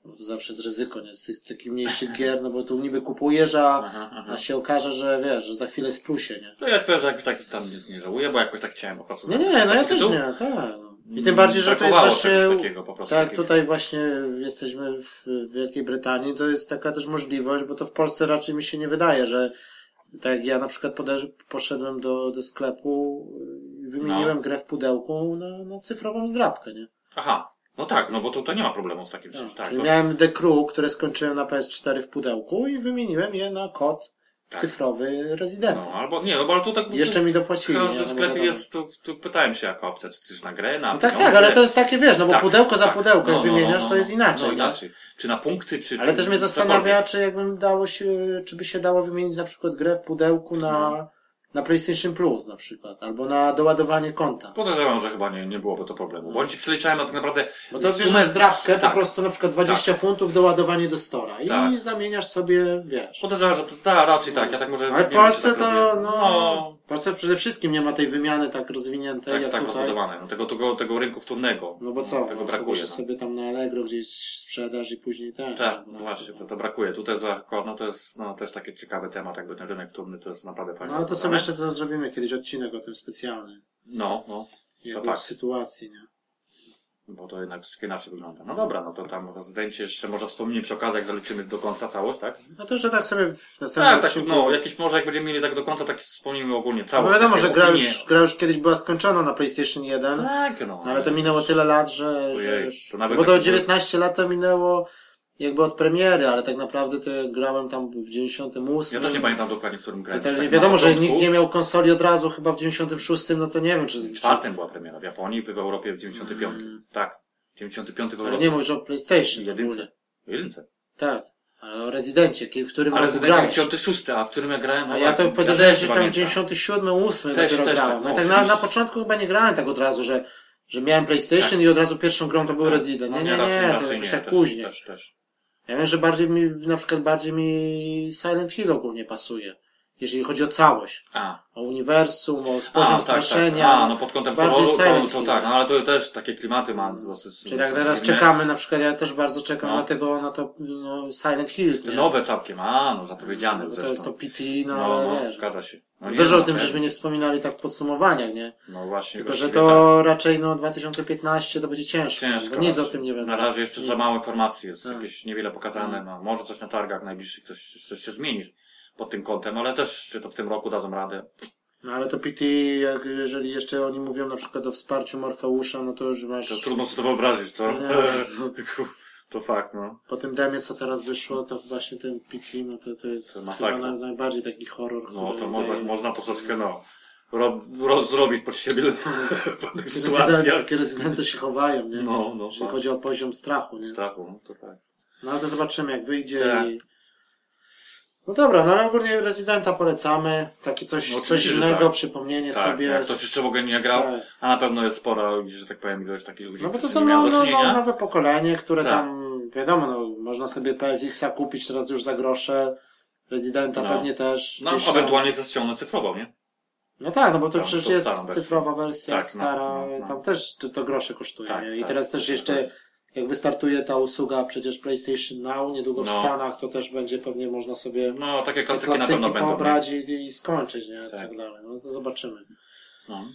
Bo to zawsze jest ryzyko, nie? Z tych takich mniejszych gier, no bo tu niby kupujesz, a,
Aha, aha.
a się okaże, że wiesz, że za chwilę jest w plusie, nie?
No ja powiem, że jakoś taki tam nic nie żałuję, bo jakoś tak chciałem po prostu.
Nie, nie,
zapisać
no ja
taki
też
tytuł.
nie, tak. no. I tym
Mm,
bardziej, że to jest
brakowało
właśnie...
czegoś takiego po prostu.
Tak,
takiego.
tutaj właśnie jesteśmy w w Wielkiej Brytanii, to jest taka też możliwość, bo to w Polsce raczej mi się nie wydaje, że tak jak ja na przykład poda- poszedłem do, do sklepu i wymieniłem
No.
grę w pudełku na, na cyfrową zdrabkę, nie?
Aha, no tak, no bo tutaj nie ma problemu z takim czymś. Tak,
Czyli
no.
miałem The Crew, które skończyłem na PS4 w pudełku i wymieniłem je na kod
Tak.
cyfrowy Residenta.
no albo nie, no bo ale tu tak.
Jeszcze mi dopłacili. nie?
Tylko, że
No
w
bo
sklepie
wiadomo.
jest, tu, tu pytałem się jako opcja, czy też na grę, na
No tak,
pieniądze.
tak, ale to jest takie, wiesz, no bo
Tak,
pudełko za
tak.
pudełko, jak
No, no, no,
wymieniasz,
no,
to jest
no.
inaczej.
No
nie?
inaczej. Czy na punkty, czy.
Ale
czy
też mnie
cokolwiek.
zastanawia, czy jakbym dało się, czy by się dało wymienić na przykład grę w pudełku na, na PlayStation Plus na przykład, albo na doładowanie konta.
Podejrzewam, że chyba nie, nie byłoby to problemu. Bo oni ci przeliczają na tak naprawdę.
Bo to
sumę
bierzesz zdrabkę,
tak.
po prostu na przykład 20 funtów doładowanie do stora i
Tak.
zamieniasz sobie, wiesz.
Podejrzewam, że to ta, raczej tak, ja tak może.
Ale
nie
w
wiem,
Polsce
czy tak
to,
robię.
no, w Polsce przede wszystkim nie ma tej wymiany tak rozwiniętej
Tak,
jak
tak
tutaj.
rozbudowane. No, tego, tego, tego rynku wtórnego.
No bo co,
Tego
no,
brakuje.
Się
No.
sobie tam na Allegro gdzieś sprzedaż i później tak.
Tak, no właśnie, to, to brakuje. Tutaj za no to jest no, też taki ciekawy temat, jakby ten rynek wtórny to jest naprawdę fajnie.
No ale to sobie
rozwiązane.
jeszcze to zrobimy kiedyś odcinek o tym specjalny.
No, no.
Jakby
fakt.
sytuacji, nie?
Bo to jednak troszkę inaczej wygląda. No dobra, no to tam zdjęcie jeszcze może wspomnimy przy okazji, jak zaliczymy do końca całość, tak?
No to, że tak sobie w następnym
Tak, tak,
odcinku-
no, jakieś może jak będziemy mieli tak do końca, tak wspomnimy ogólnie
Bo
całość.
No wiadomo,
takie
że gra
opinie.
już, gra już kiedyś była skończona na PlayStation 1,
Tak, no.
no ale to minęło tyle lat, że, że
Ojej,
już...
to nawet tak
Bo to
taki-
19 lat to minęło jakby od premiery, ale tak naprawdę to ja grałem tam w 98.
Ja też nie pamiętam dokładnie, w którym grałem.
To
Czy tak
wiadomo,
na
że
początku?
nikt nie miał konsoli od razu chyba w 96, no to nie wiem, czy...
W czwartym była premiera w Japonii, w Europie w 95. Tak. 95 w
Mm. Ale
Europie.
nie mówisz o PlayStation.
Jedynce.
ogólnie.
Jedynce.
Tak. Ale o Rezydencie, kie- w którym
Ale
roku
z
grałeś.
96, a w którym ja grałem.
A
no
ja to
tak,
podejrzewam,
też
że tam
pamiętam.
97, 8
Też,
dopiero
też tak,
grałem.
no,
ja tak na, na
oczywiście.
początku chyba nie grałem tak od razu, że, że miałem PlayStation i od razu pierwszą grą to był Resident.
Tak. No
Nie, nie, nie,
raczej,
to
raczej
jakoś
nie.
tak
też,
później.
Też, też.
Ja wiem, że bardziej mi, na przykład bardziej mi Silent Hill ogólnie pasuje. Jeżeli chodzi o całość.
A.
O uniwersum, o
A,
poziom
tak, tak, tak.
straszenia.
A, no pod kątem
bardziej
horroru to,
Silent
to
Hill.
tak, no ale to też takie klimaty ma dosyć.
Czyli tak teraz
silne.
czekamy, na przykład ja też bardzo czekam
No.
na tego, na to no, Silent Hills.
Te
nie?
Nowe całkiem, a no zapowiedziane
Bo to
zresztą.
jest to PT, no,
no,
ale
no,
wiesz.
zgadza się. No,
Wiesz
no,
o tym,
pewnie.
żeśmy nie wspominali tak w podsumowaniach, nie?
No właśnie.
Tylko, że
właściwie tak.
to raczej no 2015 to będzie ciężko, no,
Ciężko.
bo nic o
raczej.
tym nie wiadomo.
Na razie jeszcze
Nic.
za mało informacji, jest
Tak.
jakieś niewiele pokazane. No, może coś na targach najbliższych coś, coś się zmieni pod tym kątem, ale też czy to w tym roku dadzą radę.
No ale to PT, jak, jeżeli jeszcze oni mówią na przykład o wsparciu Morfeusza, no to już masz...
To trudno sobie to wyobrazić, co?
Nie. No.
(laughs) to fakt, no.
Po tym demie, co teraz wyszło, to właśnie ten PT, no to, to
To
jest
masakra.
chyba na, najbardziej taki horror.
No
który
to można,
daje-
można troszeczkę, no, ro, ro, zrobić pod siebie (laughs) w pewnych
Rezydenty,
sytuacjach.
takie rezydenty się chowają, nie?
No, no,
Jeśli
tak.
chodzi o poziom strachu, nie?
Strachu, no to tak.
No ale to zobaczymy, jak wyjdzie
Tak.
i... No dobra, no ale ogólnie Rezydenta polecamy. Takie coś,
No
coś
oczywiście, że
innego,
tak.
przypomnienie
Tak,
sobie.
jak ktoś jeszcze w ogóle nie grał,
Tak.
a na pewno jest spora, że tak powiem, ilość takich ludzi,
No bo to
którzy
są
nie mają
no,
do
no, no,
czynienia.
nowe pokolenie, które
Tak.
tam, wiadomo, no, można sobie PSX-a kupić teraz już za grosze, rezydenta
No.
pewnie też.
No,
gdzieś tam.
ewentualnie ze ściągną cyfrową, nie?
No tak, no bo to
Tam
przecież
tą starą
jest
wersję.
cyfrowa wersja,
Tak, no,
stara,
no, no.
tam też to, to grosze kosztuje.
Tak,
nie? I
tak.
teraz też jeszcze, jak wystartuje ta usługa przecież PlayStation Now, niedługo w
No.
Stanach, to też będzie pewnie można sobie
No, takie
te
klasyki, na
klasyki
pewno będą. nie?
pobrać i, i skończyć, nie? Tak.
Tak.
tak dalej. No to zobaczymy.
No.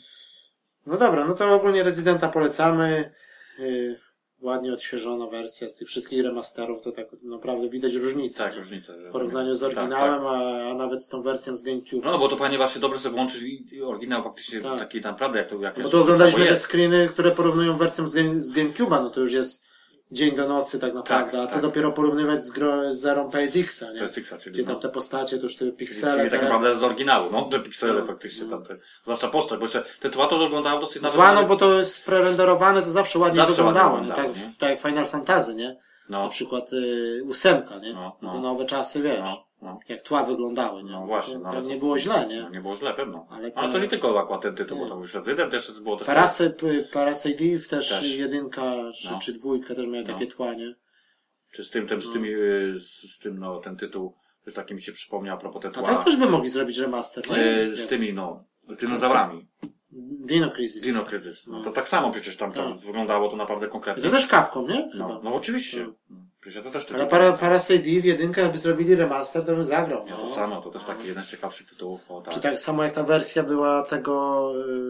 No dobra, no to ogólnie rezydenta polecamy. Yy, ładnie odświeżona wersja z tych wszystkich remasterów, to tak naprawdę widać różnicę.
Tak,
nie?
różnica. że-
w porównaniu z
Tak, tak.
oryginałem, A, a nawet z tą wersją z GameCube.
No, bo to ponieważ się dobrze sobie włączysz i i oryginał faktycznie
Tak.
taki naprawdę, jak to jak
Bo
jest,
tu oglądaliśmy
to
te
tak jest.
screeny, które porównują wersją z, Game, z GameCube'a, no to już jest dzień do nocy tak naprawdę, a co
tak.
dopiero porównywać z, gro, z zerą PSX-a,
To
nie?
jest Six, czyli
Gdzie
no,
tam te postacie, to już te piksele.
czyli tak
te-
naprawdę z oryginału, no, te piksele
No,
faktycznie
no.
tam, te, zwłaszcza postać, bo jeszcze te tła to oglądałem dosyć nawet
Dwa,
ładnie.
no bo to jest prerenderowane, to zawsze ładnie
Zawsze
wyglądało,
ładnie
nie? tak,
wyglądało,
w- tak jak Final Fantasy, nie? Na
no,
przykład y, ósemka, nie?
No,
No,
no.
Nowe czasy, wiesz,
no, no,
jak tła wyglądały, nie?
no właśnie.
To,
no, ale
tam
to-
nie było źle,
No,
nie?
nie było źle, pewno. Ale
Ale
to,
to-
nie tylko akurat ten tytuł, bo tam już Resident też było też...
Parasy, Parasite Eve też,
Też.
jedynka czy,
No.
czy dwójka też miały
No.
takie tła, nie?
Czy z tym, tym,
No.
z, tymi, y, z, z tym, no, ten tytuł, też taki mi się przypomniał a propos
A
tytułu.
tak też by mogli zrobić remaster, nie?
z
Jak
tymi, no, z dinozaurami.
Dino Crisis.
Dino Kryzys. No to tak samo przecież tam to
Tak.
wyglądało to naprawdę konkretnie.
To też Capcom, nie? Chyba.
No, no oczywiście. Przecież to też tytuł.
Ale para, Parasite Eve jedynka jakby zrobili remaster, to bym zagrał.
Ja
No.
to samo, to też taki jeden z ciekawszych tytułów. O, tak.
Czy tak samo jak ta wersja była tego,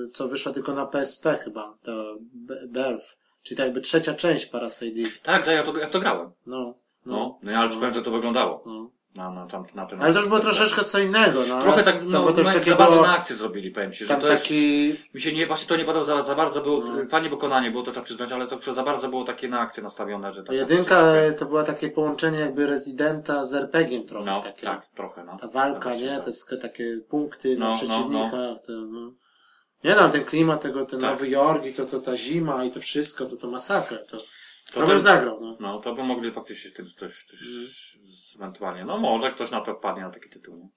y, co wyszła tylko na PSP chyba, ta Be- Belf. Czyli tak jakby trzecia część Parasite Eve.
tak, tak, ja to, ja to grałem.
No, no,
No, no ale czy powiem, że to wyglądało.
no.
Na, na, tam, na ten
Ale to już było troszeczkę co innego. No,
Trochę
ale
tak,
to-
no,
bo to już
no,
takie
za bardzo
było-
na akcję zrobili, powiem ci, że
Tam
to jest...
taki... No.
Mi się nie, właśnie to nie podobało za, za bardzo, było, fajnie wykonanie było, to trzeba przyznać, ale to przez za bardzo było takie na akcję nastawione, że tak...
Jedynka y, to było takie połączenie jakby Residenta z RPG-iem trochę.
No,
takie.
tak, trochę, no.
Ta walka,
Właśnie,
nie?
tak.
Te sk- takie punkty
No,
na
no,
przeciwnikach. To, no. Nie no, ale ten klimat tego, ten
Tak.
Nowy Jork i to, to ta zima i to wszystko, to to masakra. To, to,
ten-
bym zagrał, no.
No, to by mogli faktycznie tym coś, coś
Mhm.
ewentualnie. No, może ktoś na to wpadnie na taki tytuł. nie?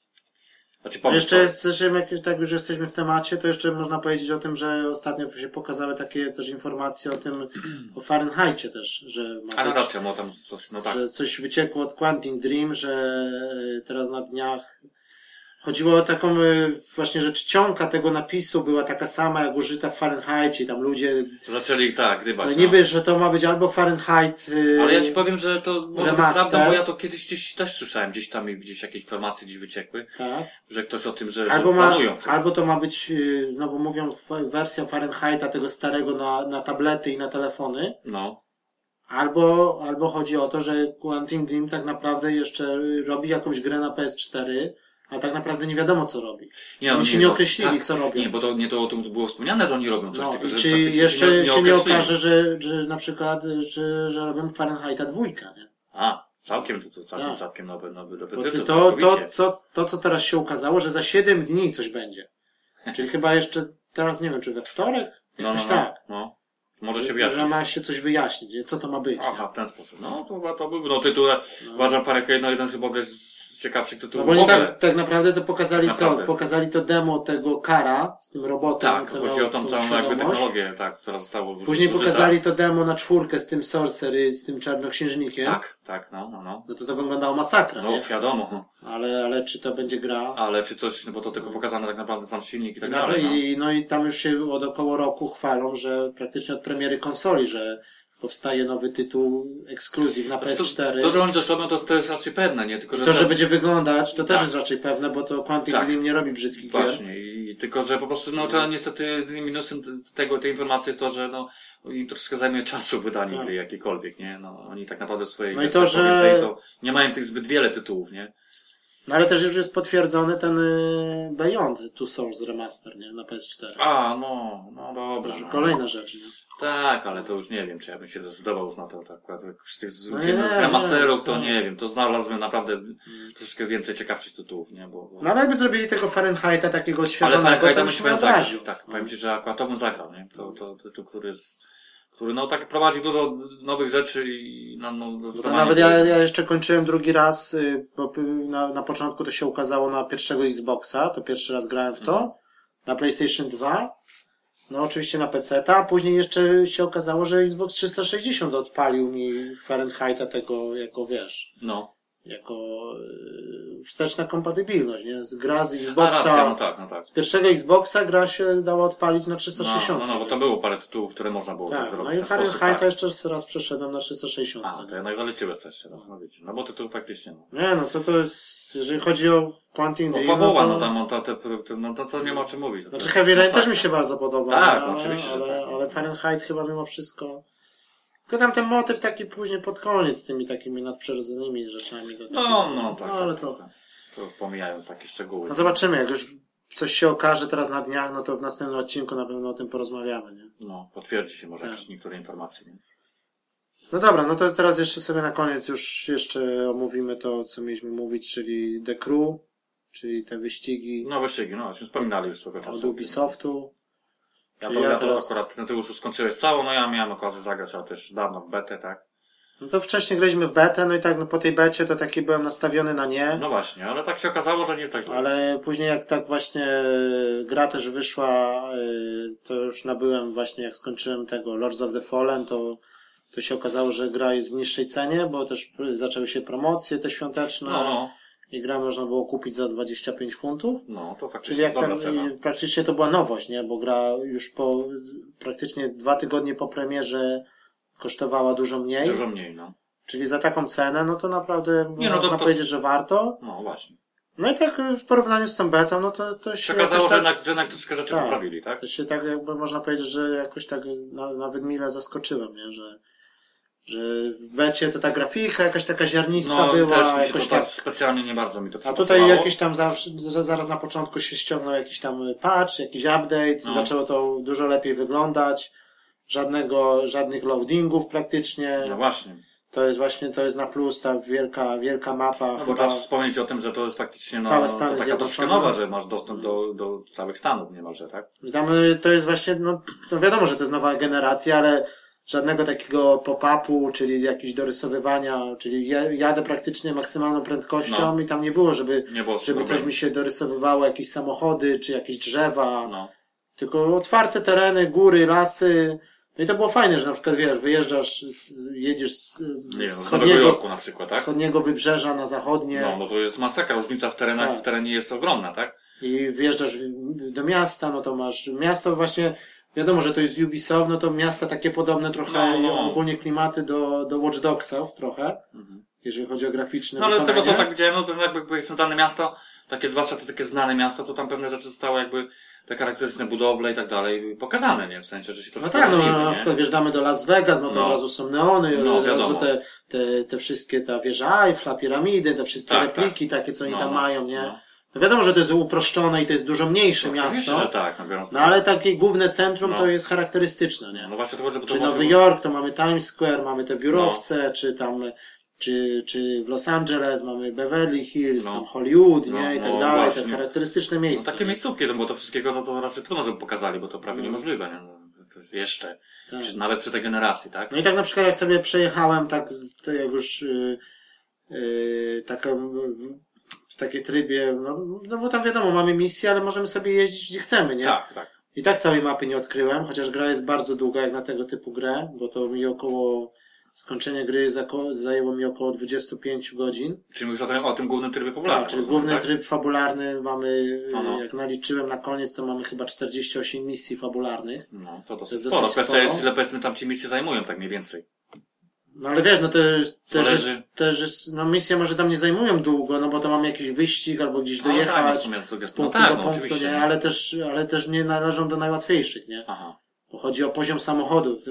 Znaczy, pomysł,
Jeszcze jest, że jak tak już jesteśmy w temacie, to jeszcze można powiedzieć o tym, że ostatnio się pokazały takie też informacje o tym, o Fahrenheitie też, że ma
Ale
być,
racja, no tam coś, no tak.
że coś wyciekło od Quantum Dream, że y, teraz na dniach chodziło o taką y, właśnie, że czcionka tego napisu była taka sama jak użyta w Fahrenheitie, tam ludzie
To Zaczęli tak, gdybać.
No niby, że to ma być albo Fahrenheit. Yy,
Ale ja ci powiem, że to może być
Remaster.
prawda, bo ja to kiedyś gdzieś też słyszałem, gdzieś tam i gdzieś jakieś informacje gdzieś wyciekły,
tak.
że ktoś o tym, że,
albo,
że
ma,
planują coś.
albo to ma być, yy, znowu mówią, fa- wersja Fahrenheita tego starego na, na tablety i na telefony.
No,
Albo, albo chodzi o to, że Quantum Dream tak naprawdę jeszcze robi jakąś grę na PS4, a tak naprawdę nie wiadomo co robi.
Nie, no, tak.
Oni się nie określili, co robią.
Nie, bo to nie to o tym było wspomniane, że oni robią coś,
No,
tylko
i
że
czy
faktycznie
jeszcze się nie
określili.
okaże, że, że na przykład, y, że, że robią Fahrenheita dwójka, nie?
A, całkiem, to, to całkiem,
Tak.
całkiem nowy, nowy, nowy
Bo
tytuł,
ty, to, to,
całkowicie.
co, to, co teraz się ukazało, że za 7 dni coś
(laughs)
będzie. Czyli chyba jeszcze, teraz nie wiem, czy we wtorek?
no, no,
Jakoś
no,
tak.
no. Może się
Że-
wyjaśnić.
Że ma się coś wyjaśnić, nie? co to ma być.
Aha, w ten sposób. No, to chyba to byłby. No, tytuł, uważam, parę jedno, jeden chyba ogóle z ciekawszych
No
tytułów.
bo
w
oni
ogóle.
tak, tak naprawdę to pokazali
Naprawdę.
co? Pokazali to demo tego Kara z tym robotem.
tak,
co
chodzi
miał
o tą
tą
całą jakby
świadomość.
technologię, tak, która została użyta.
Później
tak.
pokazali to demo na czwórkę z tym Sorcery, z tym czarnoksiężnikiem.
Tak, tak, no, no, no.
No to to wyglądało masakra,
No,
nie?
wiadomo.
Ale, ale czy to będzie gra?
Ale czy coś, no bo to tylko pokazane tak naprawdę sam silnik i tak
No,
dalej. No.
i, no i tam już się od około roku chwalą, że praktycznie od premiery konsoli, że powstaje nowy tytuł ekskluzyw na
Znaczy,
PS4.
To, to, że oni coś robią, to, to jest raczej pewne, nie? Tylko, że
To, że
te-
będzie wyglądać, to też
Tak.
jest raczej pewne, bo to Quantic
Tak.
Dream nie robi brzydkich gier.
Właśnie, i tylko, że po prostu, no, trzeba niestety, jedynym minusem tego, tej informacji jest to, że, no, im troszkę zajmuje czasu wydanie
Tak.
gry jakiejkolwiek, nie? No, oni tak naprawdę swojej
No
gry,
i to,
tak powiem,
że-
tej to nie mają tych zbyt wiele tytułów, nie?
No ale też już jest potwierdzony ten y, Beyond Two Souls Remaster, nie? Na PS4.
A, no, no dobra.
Już
no.
kolejna rzecz, nie?
Tak, ale to już nie wiem, czy ja bym się zdecydował już na to, tak, akurat jak z tych z,
No
filmów, z
nie,
remasterów, to
tak. Mm.
nie wiem, to znalazłem naprawdę troszeczkę więcej ciekawszych tytułów, nie? Bo, bo...
No ale jakby zrobili tego Fahrenheita takiego
Ale
odświeżonego,
tak,
to
ja
bym
bym
się No.
powiem tak,
odraził.
tak, powiem ci, że akurat to bym zagrał, nie? To, to, to, to który jest, który no tak prowadzi dużo nowych rzeczy i no, no
Bo to
zdecydowanie-
nawet ja, ja jeszcze kończyłem drugi raz, y, bo y, na, na początku to się ukazało na pierwszego Xboxa, to pierwszy raz grałem w to,
Mhm.
na PlayStation 2, no oczywiście na PC, a później jeszcze się okazało, że Xbox 360 odpalił mi Fahrenheita tego jako, wiesz,
No.
jako y, wsteczna kompatybilność, nie? Gra z
A,
Xboxa,
racja, no tak, no tak.
z pierwszego Xboxa gra się dała odpalić na
No,
360.
no, no, bo tam było parę tytułów, które można było tak,
tak, no
zrobić
i
w ten sposób.
Fahrenheita
Tak.
jeszcze raz przeszedłem na 360.
A, to jednak zaleciły coś jeszcze raz, no wiecie. No bo tytuł faktycznie, no.
Nie, no to to jest, jeżeli chodzi o Quantum
No
Dream,
fabuła,
to-
no tam, on ta, te, te, no to, to nie ma o czym mówić. To
Znaczy
jest
Heavy Rain
masakra.
też mi się bardzo podoba.
Tak,
ale,
oczywiście, że
ale,
tak.
ale Fahrenheit chyba mimo wszystko Tylko tam ten motyw taki później pod koniec z tymi takimi nadprzyrodzonymi rzeczami. Go
No, no, tak.
No, ale
tak,
to-
tak. To już pomijając takie szczegóły.
No zobaczymy, jak już coś się okaże teraz na dniach, no to w następnym odcinku na pewno o tym porozmawiamy, nie?
No, potwierdzi się może
Tak.
jakieś niektóre informacje. Nie?
No dobra, no to teraz jeszcze sobie na koniec już jeszcze omówimy to, co mieliśmy mówić, czyli The Crew, czyli te wyścigi
No wyścigi, no właśnie wspominali już swego
od
czasu. o tym.
Ubisoftu.
Ja
Ja
to, ja to
teraz-
akurat, no ty już skończyłeś całą, no ja miałem okazję zagrać, ale też dawno w betę, tak?
No to wcześniej graliśmy w betę, no i tak no po tej becie to taki byłem nastawiony na nie,
No właśnie, ale tak się okazało, że nie jest tak źle.
ale później jak tak właśnie y, gra też wyszła, y, to już nabyłem właśnie jak skończyłem tego Lords of the Fallen, to to się okazało, że gra jest w niższej cenie, bo też zaczęły się promocje te świąteczne
No, no,
i grę można było kupić za 25 funtów.
no, to
Czyli
faktycznie
jak
dobra
tam
cena.
i praktycznie to była nowość, nie? Bo gra już po praktycznie dwa tygodnie po premierze kosztowała dużo mniej.
Dużo mniej, no.
Czyli za taką cenę, no to naprawdę
Nie, no to-
można
to-
powiedzieć, że warto.
No właśnie.
No i tak w porównaniu z tą betą, no to, to się
Przekazało,
jakoś
że,
tak,
jednak, że jednak troszkę rzeczy
Tak.
poprawili, tak?
to się tak jakby można powiedzieć, że jakoś tak na, nawet mile zaskoczyłem, nie? Że, że w becie to ta grafika jakaś taka ziarnista
No
była,
też mi się to
jakoś
tak...
tak
specjalnie nie bardzo mi to
A
przypasowało.
tutaj jakiś tam zawsze, że zaraz na początku się ściągnął jakiś tam patch, jakiś update,
No.
zaczęło to dużo lepiej wyglądać. Żadnego, żadnych loadingów praktycznie.
No właśnie.
To jest właśnie, to jest na plus ta wielka, wielka mapa.
No bo
chyba.
czas wspomnieć o tym, że to jest faktycznie no,
Całe
no,
Stany
to taka
Zjednoczone.
troszkę nowa, że masz dostęp do, do całych Stanów niemalże, tak?
I tam, y, to jest właśnie, no, no wiadomo, że to jest nowa generacja, ale żadnego takiego pop-upu, czyli jakichś dorysowywania, czyli ja- jadę praktycznie maksymalną prędkością
No.
i tam nie było, żeby,
Nie było
żeby coś
problemu.
mi się dorysowywało, jakieś samochody, czy jakieś drzewa.
No.
Tylko otwarte tereny, góry, lasy. No i to było fajne, że na przykład wiesz, wyjeżdżasz, z- jedziesz z,
Nie wiem, z Nowego
wschodniego,
Jorku na przykład, tak?
wschodniego wybrzeża na zachodnie
No, no to jest masakra, różnica w terenach,
Tak.
w terenie jest ogromna, tak?
i wjeżdżasz w- do miasta, no to masz miasto właśnie, wiadomo, że to jest Ubisoft, no to miasta takie podobne trochę,
No, no. Mhm.
ogólnie klimaty do, do Watch Dogsów trochę, jeżeli chodzi o graficzne
No ale z tego co
wykonanie.
tak widziałem, no to jakby, jakby są dane miasta, takie zwłaszcza te takie znane miasta, to tam pewne rzeczy zostały jakby te charakterystyczne budowle i tak dalej pokazane, nie? W sensie, że się to
No tak, no,
różniły,
na
nie?
przykład wjeżdżamy do Las Vegas, no to
No.
od razu są neony,
No,
od razu
wiadomo.
te, te, te wszystkie, ta wieża Eiffla, piramidy, te wszystkie
Tak,
repliki takie, co oni
No,
tam
no,
mają, nie?
no.
No. wiadomo, że to jest uproszczone i to jest dużo mniejsze
Oczywiście,
miasto,
że tak, no biorąc
no ale takie główne centrum
No.
to jest charakterystyczne, nie?
No właśnie o to, chodzi, żeby to No.
czy
właśnie
Nowy
było-
Jork, to mamy Times Square, mamy te biurowce, czy tam, czy, czy w Los Angeles mamy Beverly Hills,
No.
tam Hollywood,
No,
nie? I tak
no,
dalej,
właśnie.
te charakterystyczne
No
miejsca.
takie miejscówki, no bo to wszystkiego, no to raczej trudno, żeby pokazali, bo to prawie niemożliwe, nie? No, to jest jeszcze.
Mm. Tak.
Przy, nawet przy tej generacji, tak?
No i tak na przykład jak sobie przejechałem tak, z, to jak już yy, yy, taką, w, w takim trybie, no, no bo tam wiadomo, mamy misję, ale możemy sobie jeździć gdzie chcemy, nie?
tak, tak.
I tak całej mapy nie odkryłem, chociaż gra jest bardzo długa jak na tego typu grę, bo to mi około, skończenie gry zako- zajęło mi około 25 godzin.
Czyli mówisz o tym, o tym głównym trybie popularnym.
Tak, czyli
rozumiem,
główny
tak?
tryb fabularny mamy, yy,
No, no.
jak naliczyłem na koniec, to mamy chyba 48 misji fabularnych.
No, to
To
dosyć
jest
sporo.
dosyć
PSL,
sporo.
ile powiedzmy tam ci misje zajmują, tak mniej więcej.
No ale wiesz, no to też
Zależy.
jest, też jest, no misje może tam nie zajmują długo, no bo to mamy jakiś wyścig albo gdzieś
No,
dojechać
tak, no w sumie to
z
jest- no
punktu
tak,
do
no
punktu,
oczywiście.
nie? Ale też, ale też nie należą do najłatwiejszych, nie?
Aha.
Bo chodzi o poziom samochodu.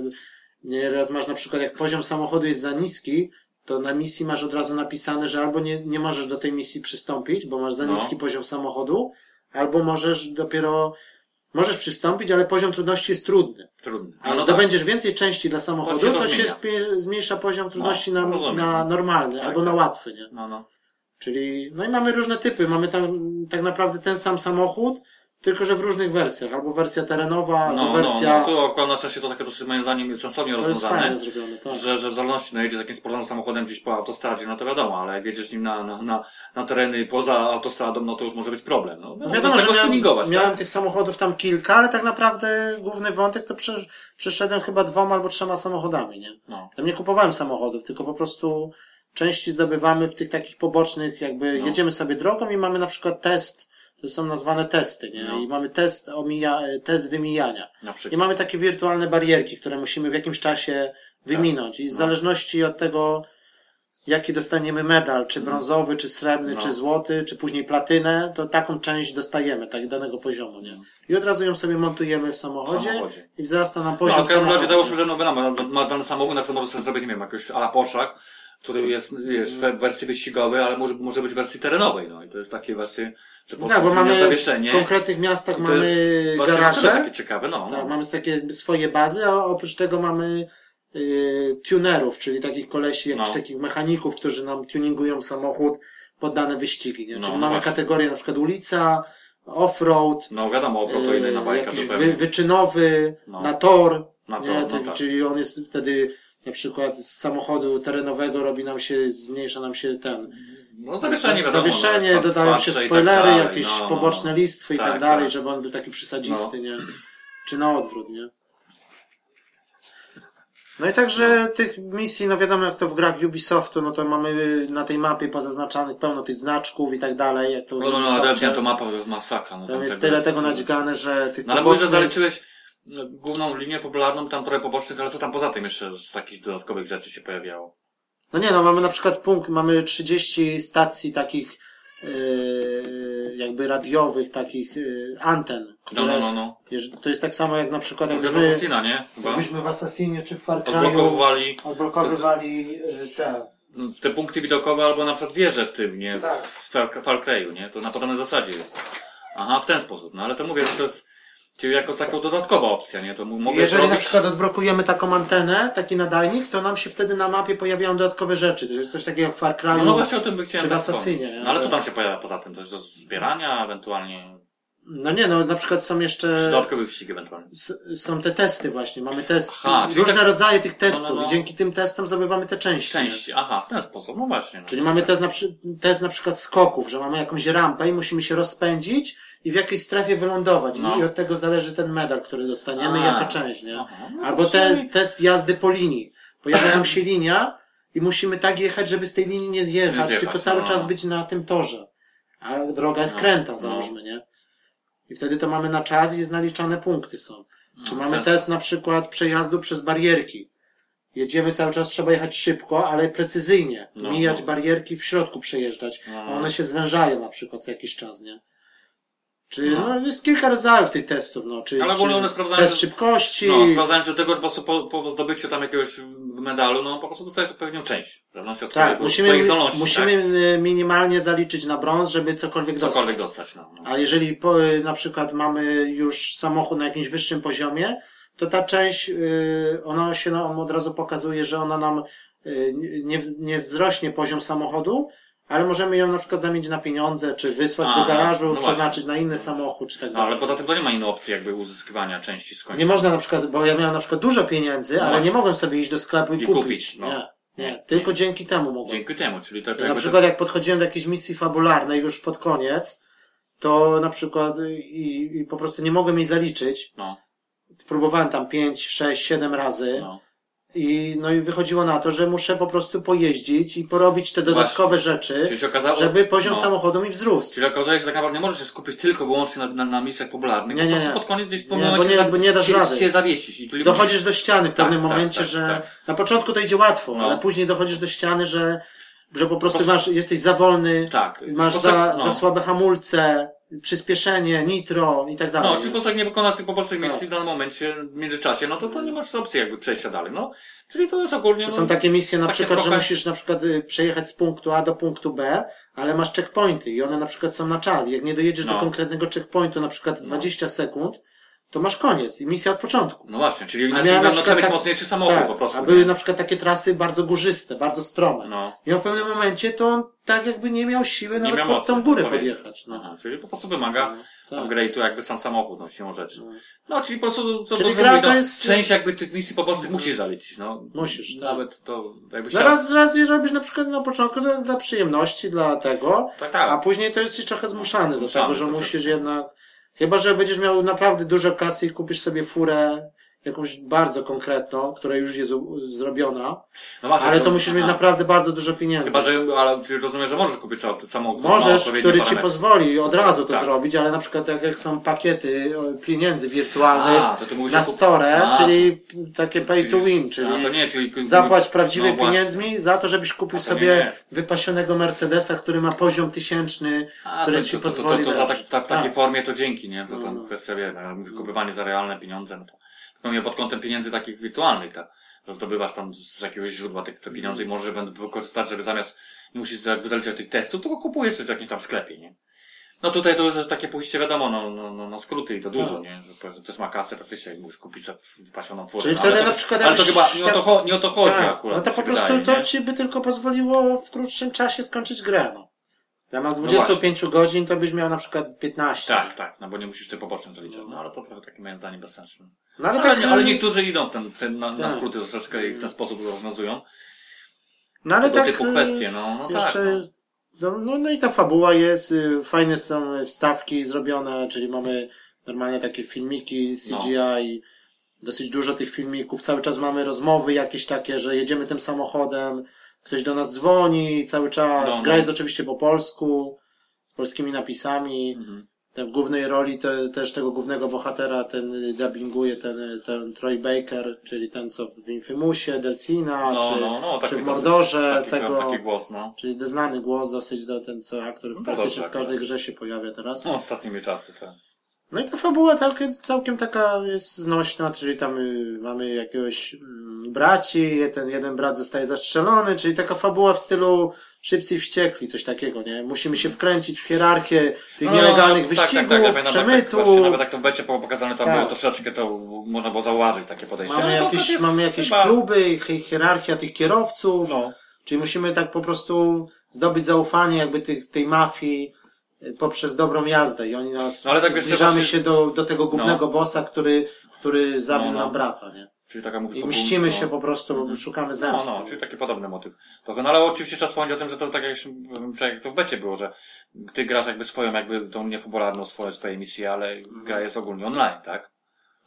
Nieraz masz na przykład, jak poziom samochodu jest za niski, to na misji masz od razu napisane, że albo nie, nie możesz do tej misji przystąpić, bo masz za
No.
niski poziom samochodu, albo możesz dopiero, możesz przystąpić, ale poziom trudności jest trudny.
Trudno.
A
No,
jak zdobędziesz więcej części dla samochodu,
To się
to, się
rozmienia.
spie- zmniejsza poziom trudności
No,
na,
rozumiem.
na normalny
Tak,
albo
tak.
na łatwy, nie?
No, no.
Czyli, no i mamy różne typy. Mamy tam tak naprawdę ten sam samochód, tylko że w różnych wersjach. Albo wersja terenowa,
No,
albo
no,
wersja.
no, tu akurat na szczęście to takie dosyć moim zdaniem jest sensownie
to jest
rozwiązane.
fajnie zrobione, tak.
Że, że w zależności, no jedziesz jakimś sportowym samochodem gdzieś po autostradzie, no to wiadomo, ale jak jedziesz nim na, na, na, na tereny poza autostradą, no to już może być problem. No, no,
No wiadomo, że miałem,
tuningować,
miałem
tak?
tych samochodów tam kilka, ale tak naprawdę główny wątek to prze, przeszedłem chyba dwoma albo trzema samochodami, nie?
No.
Tam nie kupowałem samochodów, tylko po prostu części zdobywamy w tych takich pobocznych, jakby
No.
jedziemy sobie drogą i mamy na przykład test, to są nazwane testy, nie?
No.
I mamy test, omija, test wymijania.
Na
I
przykład. No,
mamy takie
Tak.
wirtualne barierki, które musimy w jakimś czasie wyminąć. I w zależności od tego, jaki dostaniemy medal, czy brązowy, czy srebrny,
Mhm. No.
czy złoty, czy później platynę, to taką część dostajemy, tak, danego poziomu, nie? I od razu ją sobie montujemy w samochodzie,
W samochodzie.
i wzrasta nam
No,
poziom
w każdym razie
samochodu.
załóżmy, że no, wiadomo, ma, ma dany samochód, na którym może sobie zrobić, nie wiem, jakoś ala Porszak, który jest, wiesz,
Mm.
w wersji wyścigowej, ale może, może być w wersji terenowej, no. I to jest takie właśnie, że
Tak,
po prostu
bo
zmienia
mamy
zawieszenie.
w konkretnych miastach
I to
mamy
jest właśnie
garaże,
takie ciekawe, no.
tak, mamy takie swoje bazy, a oprócz tego mamy y, tunerów, czyli takich kolesi, jakichś
No.
takich mechaników, którzy nam tuningują samochód pod dane wyścigi. Nie?
No,
Czyli
no
mamy
właśnie.
kategorie na przykład ulica, off-road,
No wiadomo, offroad to
y,
inna na bajka, to
jakiś
pewnie.
wy, wyczynowy,
No.
na tor,
Na
nie?
tor, no
Ty-
tak.
czyli on jest wtedy na przykład z samochodu terenowego robi nam się, zmniejsza nam się ten
No zawieszenie wiadomo.
zawieszenie,
no, jest tam
dodają się
twarze i tak
spoilery,
dalej,
jakieś
no, no,
poboczne
no.
listwy i tak,
Tak, No.
dalej,
tak.
żeby on był taki przysadzisty, nie? Czy na odwrót, nie? No i także tych misji, no wiadomo jak to w grach Ubisoftu, no to mamy na tej mapie pozaznaczanych pełno tych znaczków i tak dalej, jak to w
No, no, no,
Ubisoftie.
ale to mapa to jest masakra. No,
Tam jest tyle tego nadźgane, że tych
No ale mówisz, że
pobocznych-
zaleczyłeś no, główną linię popularną, tam trochę pobocznych, ale co tam poza tym jeszcze z takich dodatkowych rzeczy się pojawiało?
No nie, no mamy na przykład punkt, mamy 30 stacji takich yy, jakby radiowych, takich yy, anten,
No,
które
no, no, no.
Wiesz, To jest tak samo jak na przykład jak
Trochę z
wy,
Assassina, no. nie? Chyba.
jakbyśmy w Assassinie czy w Far Cry'u
Odblokowywali
odblokowywali y, te...
no, te punkty widokowe albo na przykład wieże w tym, nie?
Tak.
W Far- Far Cry'u, nie? To na podobnej zasadzie jest. Aha, w ten sposób. No ale to mówię, że to jest czyli jako taka dodatkowa opcja, nie? To mu- mogę
Jeżeli na
zrobić...
przykład odblokujemy taką antenę, taki nadajnik, to nam się wtedy na mapie pojawiają dodatkowe rzeczy. To jest coś takiego jak w Far Cry'u.
No, no właśnie o tym by chciałem
Czy w
tak
Assassinie,
wspomnieć.
nie?
No ale
Mm. Że-
co tam się pojawia poza tym? To jest do zbierania, ewentualnie...
No nie, no na przykład są jeszcze...
Czy dodatkowy wyścig ewentualnie?
s- Są te testy właśnie, mamy testy,
Aha, czyli
różne
tak-
rodzaje tych testów
No, no, no.
i dzięki tym testom zdobywamy te części.
Części, aha, w ten sposób, no właśnie. No.
Czyli mamy test na, przy- test na przykład skoków, że mamy jakąś rampę i musimy się rozpędzić i w jakiejś strefie wylądować. I-
No.
I od tego zależy ten medal, który dostaniemy i
A.
jaka część, nie?
Aha, no to
Albo te,
przynajmniej-
test jazdy po linii. Pojawia nam się linia i musimy tak jechać, żeby z tej linii nie zjechać,
Nie zjechać,
tylko cały
no.
czas być na tym torze. A droga jest
No,
kręta,
no.
załóżmy, nie? I wtedy to mamy na czas i znaliczane punkty są. Czy mamy
No, test.
test na przykład przejazdu przez barierki. Jedziemy cały czas, trzeba jechać szybko, ale precyzyjnie.
No,
mijać
no.
barierki, w środku przejeżdżać.
No,
A
no.
one się zwężają na przykład co jakiś czas, nie? Czy, no.
No.
jest kilka rodzajów tych testów, no. Czy, czy
Ale ogólnie one sprawdzają,
test
że-
szybkości.
No, sprawdzałem się do tego, że po prostu po, po zdobyciu tam jakiegoś medalu, no po prostu dostajesz pewną część, w zależności od
tak,
twojego,
musimy,
twoich zdolności,
musimy
tak?
y, minimalnie zaliczyć na brąz, żeby cokolwiek dostać.
Cokolwiek dostać, no. no.
A jeżeli po, y, na przykład mamy już samochód na jakimś wyższym poziomie, to ta część, y, ona się nam od razu pokazuje, że ona nam y, nie, w- nie wzrośnie poziom samochodu, ale możemy ją na przykład zamienić na pieniądze, czy wysłać
A,
do garażu,
no właśnie.
przeznaczyć na inny samochód, czy tak
No,
dalej.
ale poza tym to nie ma innej opcji jakby uzyskiwania części z końca.
Nie można na przykład, bo ja miałem na przykład dużo pieniędzy, ale
No właśnie.
nie mogłem sobie iść do sklepu i,
I
kupić.
kupić, no.
Nie, nie,
Nie,
tylko dzięki temu mogłem.
Dzięki temu, czyli to, to
Ja na
jakby
przykład jak podchodziłem do jakiejś misji fabularnej już pod koniec, to na przykład y, i, i po prostu nie mogłem jej zaliczyć.
No,
Próbowałem tam 5, 6, 7 razy
no.
i no i wychodziło na to, że muszę po prostu pojeździć i porobić te dodatkowe
Czyli
rzeczy,
się okazało...
żeby poziom
no.
samochodu mi wzrósł.
Czyli okazuje się, że tak naprawdę nie możesz się skupić tylko wyłącznie na, na, na misjach popularnych.
Nie,
po
nie,
prostu
nie.
pod koniec gdzieś w
Nie,
pewnym
bo
momencie
nie-
za-
bo nie dasz
się,
rady.
się zawiesić. I czyli
Dochodzisz
musisz-
do ściany w
Tak,
pewnym
tak,
momencie,
tak,
że
tak.
na początku to idzie łatwo,
No.
ale później dochodzisz do ściany, że, że po prostu masz, jesteś za wolny,
Tak.
masz
Po
za,
prostu- no.
za słabe hamulce, przyspieszenie, nitro i tak dalej.
No, czyli po prostu jak nie wykonasz tych pobocznych
Tak.
misji w danym momencie, w międzyczasie, no to, to nie masz opcji jakby przejścia dalej, no. Czyli to jest ogólnie...
Czy
no,
są takie misje na
takie
przykład, że
trochę-
musisz na przykład y, przejechać z punktu A do punktu B, ale masz checkpointy i one na przykład są na czas. Jak nie dojedziesz do
No.
konkretnego checkpointu, na przykład 20 sekund, to masz koniec i misja od początku.
No właśnie, czyli
A
inaczej
miałem
no,
na
trzeba
przykład
mieć
tak-
mocniejszy samochód
tak,
po prostu.
A były
nie?
na przykład takie trasy bardzo górzyste, bardzo strome.
No.
I on w pewnym momencie to on tak jakby nie miał siły
Nie
nawet
miał
pod
mocy.
tą górę
powiedzieć.
podjechać. No.
Aha, czyli po prostu wymaga
tak.
upgrade'u jakby sam samochód, no siłą rzeczy. No, czyli po prostu to
Czyli
dobrze
gra
mówi,
to
no,
jest-
część jakby tych misji pobocznych musisz zaliczyć, no.
Musisz, tak.
Nawet to jakby
No
chciał...
raz, raz je robisz na przykład na początku dla, dla przyjemności, dla tego,
Tak, tak.
a później to jesteś trochę zmuszany do
Zmuszany znaczy.
tego, że
troszeczkę.
musisz jednak, chyba że będziesz miał naprawdę dużo kasy i kupisz sobie furę jakąś bardzo konkretną, która już jest u- zrobiona,
No właśnie,
ale to musisz mieć naprawdę bardzo dużo pieniędzy.
Chyba, że, ale czy rozumiem, że możesz kupić sam- samą którą ma
Możesz,
odpowiednie
który ci
parametry.
pozwoli od razu to
Tak.
zrobić, ale na przykład tak jak są pakiety e, pieniędzy wirtualnych
A, to ty mówisz
na
o kup-
store,
A,
czyli takie pay to
Czyli-
win, czyli
A, to nie, czyli
zapłać prawdziwe
no właśnie.
pieniędzmi za to, żebyś kupił
A to
sobie
nie, nie.
wypasionego Mercedesa, który ma poziom tysięczny,
A,
który
to,
ci
to, to,
pozwoli
to, to za tak,
wiesz.
tak, w takiej formie to dzięki, nie? To, to
No, no.
kwestia wiem, wykupywanie za realne pieniądze, no to, tylko mnie pod kątem pieniędzy takich wirtualnych, tak? Że Zdobywasz tam z jakiegoś źródła te, te pieniądze
Mm.
i możesz będą wykorzystać, żeby zamiast nie musisz jakby zaliczać tych testów, tylko kupujesz coś w jakimś tam sklepie, nie? No tutaj to już jest takie pójście wiadomo, no, no, no, no skróty i to dużo, nie? Że powiedzmy, też ma kasę praktycznie, jak musisz kupić za wypasioną furę.
Czyli
No,
wtedy
ale to-
na przykład
Ale to
jakbyś
chyba nie o to,
tak-
cho- nie o to chodzi
Tak,
akurat.
No to
mi
po
się
prostu
wydaje,
to
nie?
ci by tylko pozwoliło w krótszym czasie skończyć grę. No. Zamiast
właśnie.
25 godzin to byś miał na przykład 15.
Tak, tak, no bo nie musisz tych pobocznych zaliczać. No ale to trochę takie moim zdaniem bez sensu.
No ale,
Ale,
tak,
nie, ale niektórzy idą ten, ten na, na
Tak.
skróty to troszeczkę i w ten sposób rozwiązują.
no, ale
Tego
tak
typu
e,
kwestie, no, no tak.
jeszcze,
No.
no. No, no i ta fabuła jest, y, fajne są wstawki zrobione, czyli mamy normalnie takie filmiki
No.
CGI i dosyć dużo tych filmików, cały czas mamy rozmowy jakieś takie, że jedziemy tym samochodem, ktoś do nas dzwoni cały czas,
No, no.
gra jest oczywiście po polsku, z polskimi napisami,
Mhm.
ten w głównej roli te, też tego głównego bohatera ten y, dubbinguje ten, y, ten Troy Baker, czyli ten co w Infamousie, Delsina,
No,
czy,
no, no,
czy
taki
w
dosyć-
Mordorze,
taki,
tego,
taki głos, no.
czyli znany głos dosyć do ten co aktor
to
praktycznie
tak,
w każdej
tak.
grze się pojawia teraz.
No, ostatnimi czasy, tak.
No i ta fabuła całkiem, całkiem taka jest znośna, czyli tam y, mamy jakiegoś mm, braci, ten jeden brat zostaje zastrzelony, czyli taka fabuła w stylu szybcy i wściekli, coś takiego, nie? Musimy się wkręcić w hierarchię tych
No,
nielegalnych
tak, tak,
wyścigów,
ja pamiętam, Tak, tak,
przemytów.
właśnie, nawet jak to będzie pokazane, tam
Tak.
było troszeczkę, to można było zauważyć takie podejście.
Mamy
Ale to
jakieś,
jest
mamy jakieś
chyba-
kluby, ich- ich hierarchia tych kierowców,
No.
czyli musimy tak po prostu zdobyć zaufanie jakby tych, tej mafii y, poprzez dobrą jazdę i oni nas,
No, ale tak wiesz,
zbliżamy
właśnie-
się do, do tego głównego bossa, który, który zabił
No, no.
nam brata, nie?
Czyli taka mówi
I
po-
mścimy
no.
się po prostu, szukamy
No,
zemsty.
no, czyli taki podobny motyw. Trochę, no ale oczywiście trzeba wspomnieć o tym, że to tak jak, już, że jak to w becie było, że ty grasz jakby swoją, jakby tą niepopularną swoją, swoje misje, ale gra jest ogólnie online, tak?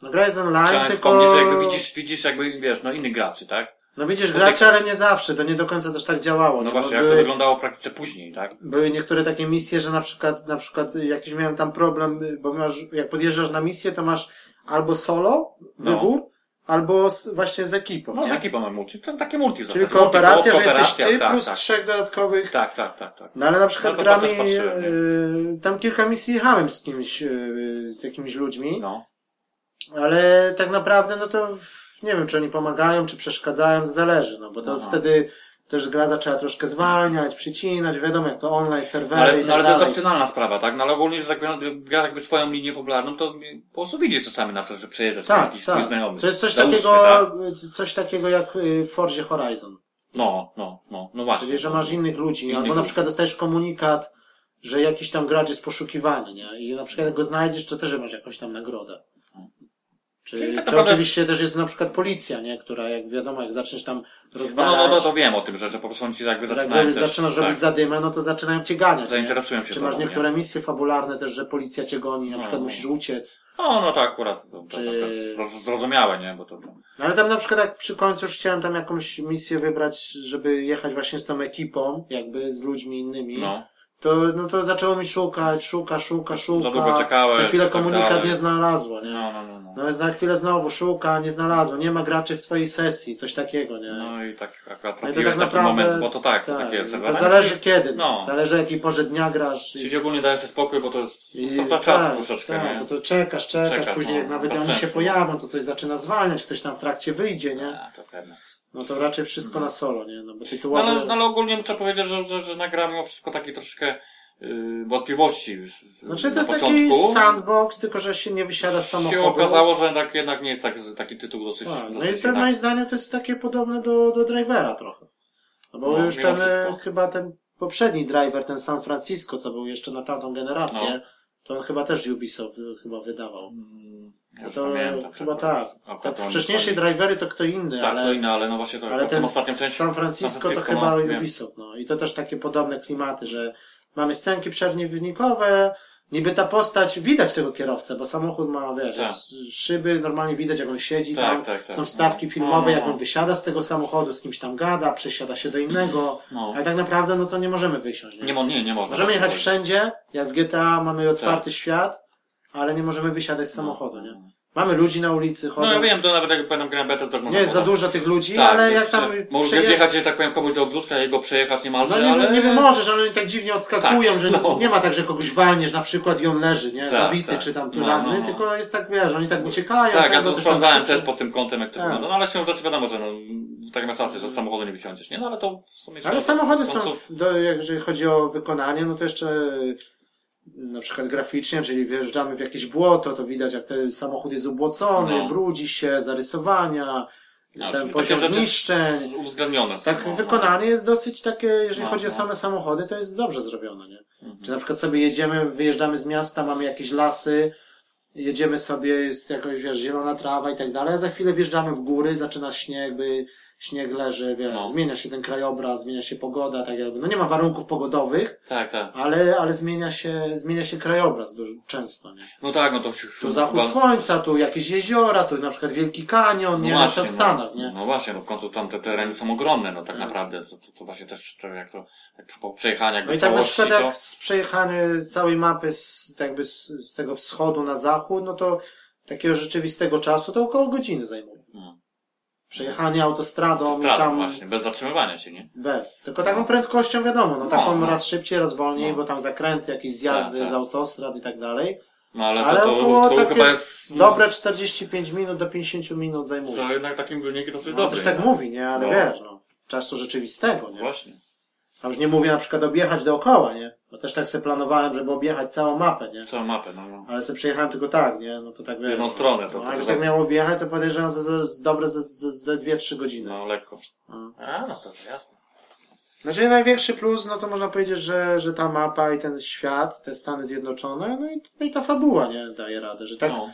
No, gra jest online,
Chciałem wspomnieć,
Mhm. tylko...
że jakby widzisz, widzisz jakby, wiesz, no innych graczy, tak?
No widzisz
bo
gracze,
tak-
ale nie zawsze, to nie do końca też tak działało.
No
nie?
właśnie,
Bo
jak to
były-
wyglądało w praktyce później, tak?
były niektóre takie misje, że na przykład, na przykład jakiś miałem tam problem, y, bo masz, jak podjeżdżasz na misję, to masz albo solo,
No.
wybór, albo z, właśnie z ekipą.
No z
nie?
ekipą mamy multi, tam takie multi
Czyli
w zasadzie. Multi,
kooperacja,
ko-
że jesteś
kooperacja,
ty
tak,
plus
tak,
trzech dodatkowych.
tak, tak, tak, tak.
No ale na przykład
No to
grami,
też patrzyłem, nie?
y, tam kilka misji jechałem z kimś, y, z jakimiś ludźmi,
No.
ale tak naprawdę, no to w- nie wiem, czy oni pomagają, czy przeszkadzają, to zależy, no bo to
Aha.
wtedy też gra zaczęła troszkę zwalniać, przycinać, wiadomo jak to online, serwery
Ale,
i tak
no, ale to
dalej.
jest opcjonalna sprawa, tak? No ale ogólnie, że tak powiem, gra jakby swoją linię popularną, to po prostu widzisz czasami na przykład, że przejeżdżasz tak, jakiś twój znajomy.
To jest coś
Załóżmy,
takiego,
tak?
coś takiego jak y, w Forzie Horizon.
No, no, no, no właśnie.
Czyli, że masz innych ludzi,
Innych
albo na
ludzi.
przykład dostajesz komunikat, że jakiś tam gracz jest poszukiwany, nie? I na przykład jak go znajdziesz, to też masz jakąś tam nagrodę. Czy,
Czyli tak
czy
naprawdę-
oczywiście też jest na przykład policja, nie? Która, jak wiadomo, jak zaczniesz tam
No, no,
rozwalać,
no, no, to wiem o tym, że, że po prostu oni ci jakby
jak
zaczynają
robisz,
też, tak.
zaczynasz robić zadymę, no to zaczynają cię ganiać. nie?
Zainteresują się
Czy masz
tobą, nie?
niektóre misje fabularne też, że policja cię goni, na
No,
przykład
no.
musisz uciec.
No, no to akurat, to, to,
Czy-
to jest zroz- zrozumiałe, nie? Bo to, to...
No ale tam na przykład jak przy końcu już chciałem tam jakąś misję wybrać, żeby jechać właśnie z tą ekipą, jakby z ludźmi innymi.
no.
To, no to zaczęło mi szukać, szuka, szuka, szuka.
długo czekałeś,
Za chwilę
tak
komunikat
dalej.
nie znalazło, nie?
No, no, no, no.
No jest na chwilę znowu szuka, nie znalazło, nie ma graczy w twojej sesji, coś takiego, nie?
No i tak akurat
No i
trafiłeś taki moment, bo to tak, to takie jest.
no To zależy kiedy,
No.
zależy jakiej porze dnia grasz.
Czyli ogólnie dajesz sobie spokój, bo to jest
i-
strata czasu
tak,
troszeczkę,
tak,
nie?
bo to czekasz, czekasz,
Czekasz,
później
no,
jak nawet
bez
oni się
sensu.
pojawią, to coś zaczyna zwalniać, ktoś tam w trakcie wyjdzie, nie?
A, to pewne.
No to raczej wszystko na solo, nie? No bo
No,
tytułowe...
ale, no, ale ogólnie muszę powiedzieć, że, że, że nagrałem mimo wszystko takie troszeczkę yy, wątpliwości. z- z-
Znaczy
na
to jest taki
początku.
sandbox, tylko że się nie wysiada z samochodu.
się okazało, że jednak, jednak nie jest tak, taki tytuł dosyć,
Tak, no
dosyć
i to
jednak-
moim zdaniem to jest takie podobne do, do drivera trochę. No bo
No,
już
mimo
ten, e,
wszystko.
chyba ten poprzedni driver, ten San Francisco, co był jeszcze na tamtą generację,
No.
to on chyba też Ubisoft e, chyba wydawał.
Ja już
to
pamiętam,
chyba
że-
tak.
akurat
tak
on-
wcześniejsze drivery to kto inny,
Tak,
ale,
to inne, ale no właśnie to
ale
w tym
ten
ostatnim części.
San Francisco,
San Francisco,
to chyba
no, wiem.
Ubisoft. No. I to też takie podobne klimaty, że mamy scenki przerwnikowe, Niby ta postać, widać tego kierowcę, bo samochód ma, wiesz,
Tak.
z- szyby, normalnie widać jak on siedzi
Tak,
tam,
tak, tak.
są wstawki filmowe,
No,
jak
no.
on wysiada z tego samochodu, z kimś tam gada, przesiada się do innego,
No.
ale tak naprawdę no to nie możemy wysiąść.
Nie, mo- nie, nie można.
Możemy jechać wszędzie, jak w GTA mamy otwarty
Tak.
świat, ale nie możemy wysiadać z samochodu, nie? Mamy ludzi na ulicy, chodzą.
No ja wiem, to nawet jak pamiętam grałem betę, też można
nie jest za
było-
dużo tych ludzi,
Tak,
ale
że
jak tam
prze- Możesz
przejeżdż-
wjechać, że tak powiem, komuś do ogródka i go przejechać niemalże,
No nie,
ale...
nie możesz, ale oni tak dziwnie odskakują,
Tak,
że
no.
nie ma tak, że kogoś walniesz na przykład i on leży, nie?
Tak,
Zabity
tak.
czy tam tu
No,
ranny,
no, no.
tylko jest tak, wiesz, oni tak uciekają.
Tak, ja
bo
to
coś tam
sprawdzałem
krzyczą.
też pod tym kątem, jak to
Tak.
wygląda. No ale się rzeczy wiadomo, że no, tak masz rację, że z samochodu nie wysiądziesz, nie? No ale to w sumie...
Ale samochody
w
są,
końcu-
w- do, jak- jeżeli chodzi o wykonanie, no to jeszcze y, na przykład graficznie, czyli wjeżdżamy w jakieś błoto, to widać jak ten samochód jest ubłocony,
No.
brudzi się, zarysowania,
no,
ten
takie
poziom
rzeczy
zniszczeń.
s- Uwzględnione są.
Tak,
no, no.
wykonanie jest dosyć takie, jeżeli
No,
chodzi o
no. Mhm.
same samochody, to jest dobrze zrobione, nie? Czy na przykład sobie jedziemy, wyjeżdżamy z miasta, mamy jakieś lasy, jedziemy sobie, jest jakaś, wiesz, zielona trawa i tak dalej, a za chwilę wjeżdżamy w góry, zaczyna śnieg, by śnieg leży, wiesz,
No.
zmienia się ten krajobraz, zmienia się pogoda, tak jakby, no nie ma warunków pogodowych,
Tak, tak.
ale, ale zmienia się, zmienia się krajobraz dużo, często, nie?
No tak, no to... się-
Tu zachód
chyba-
słońca, tu jakieś jeziora, tu na przykład Wielki Kanion, nie? Właśnie, to w Stanach,
no,
nie?
No właśnie, no w końcu tam te tereny są ogromne, no tak naprawdę. To, to, to właśnie też to, jak to jak po przejechaniu jakby
No i tak na
całości,
przykład
to...
jak z przejechany całej mapy z, tak jakby z, z tego wschodu na zachód, no to takiego rzeczywistego czasu to około godziny zajmuje.
No.
Przejechanie autostradą,
To strada
i tam
właśnie, bez zatrzymywania się, nie?
bez. Tylko taką prędkością wiadomo, no taką
no.
raz szybciej, raz wolniej,
No.
bo tam zakręty, jakieś zjazdy
Tak, tak.
z autostrad i tak dalej.
No ale,
Ale
to, to,
około
to
takie
chyba jest... no,
dobre 45 minut do 50 minut zajmuje.
Co jednak takim wynikiem dosyć
no,
dobry.
też tak
nie?
mówi, nie? Ale
No.
wiesz, no. Czasu rzeczywistego, nie?
Właśnie.
A już nie mówię na przykład objechać dookoła, nie? Bo też tak sobie planowałem, żeby objechać całą mapę, nie?
Całą mapę, no. no.
Ale se przejechałem tylko tak, nie? No to tak wiesz.
Jedną stronę to
No,
tak
a jak tak
zaraz-
miało jechać, to podejrzewam za, za dobre ze ze- ze dwie, trzy godziny.
No lekko.
Mm.
A, no to jasne.
Znaczy największy plus, no to można powiedzieć, że, że ta mapa i ten świat, te Stany Zjednoczone, no i, no i ta fabuła, nie? Daje radę, że tak
No.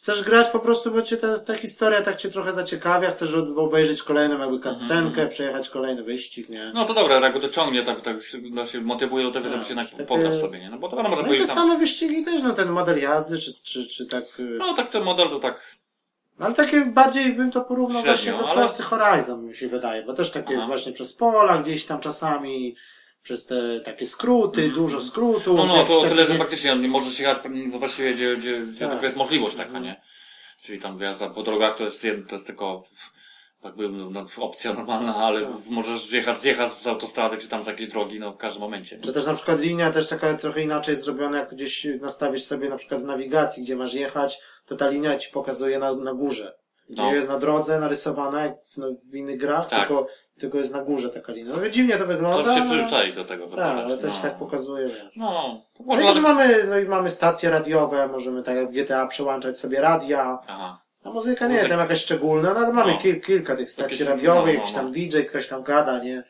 chcesz grać po prostu, bo cię ta, ta historia tak cię trochę zaciekawia, chcesz od- obejrzeć kolejną jakby cutscenkę, przejechać kolejny wyścig, nie?
Mhm, no to dobra, tak go to ciągnie, tak, tak się, no, się motywuje do tego, żeby
Tak,
się jednak
takie-
pograć sobie, nie? No bo to wiadomo, że
No i te
pójdziesz tam...
same wyścigi też, no ten model jazdy, czy, czy, czy tak... y,
No tak ten model to tak...
No Ale takie bardziej bym to porównał
Średnio,
właśnie do
ale-
Forcy Horizon, mi się wydaje, bo też takie
Aha.
właśnie przez pola gdzieś tam czasami, przez te takie skróty, dużo skrótów.
No, no,
jakieś
to o
takie
tyle, że
nie-
faktycznie nie możesz jechać no, właściwie, gdzie, gdzie, gdzie
Tak.
tylko jest możliwość taka, nie? Czyli tam jazda po drogach to jest jedno, to jest tylko tak bym, no, opcja normalna, ale
Tak.
możesz wjechać, zjechać z autostrady czy tam z jakiejś drogi, no w każdym momencie. nie?
Czy też na przykład linia też taka trochę inaczej zrobiona, jak gdzieś nastawisz sobie na przykład w nawigacji, gdzie masz jechać, to ta linia ci pokazuje na, na górze.
No.
Nie jest na drodze narysowana jak w, no, w innych grach,
Tak.
tylko, tylko jest na górze taka linia. No dziwnie to wygląda.
Co się
no,
przyzwyczai do tego.
Tak, ale
teraz,
to się
no.
tak pokazuje. Wiesz.
No,
No i
można...
też mamy, no i mamy stacje radiowe, możemy tak jak w GTA przełączać sobie radia.
Aha.
No muzyka nie jest tam jakaś szczególna, no ale mamy
No.
kil, kilka tych stacji
Jakieś-
radiowych,
no, no,
jakiś tam DJ, ktoś tam gada, nie?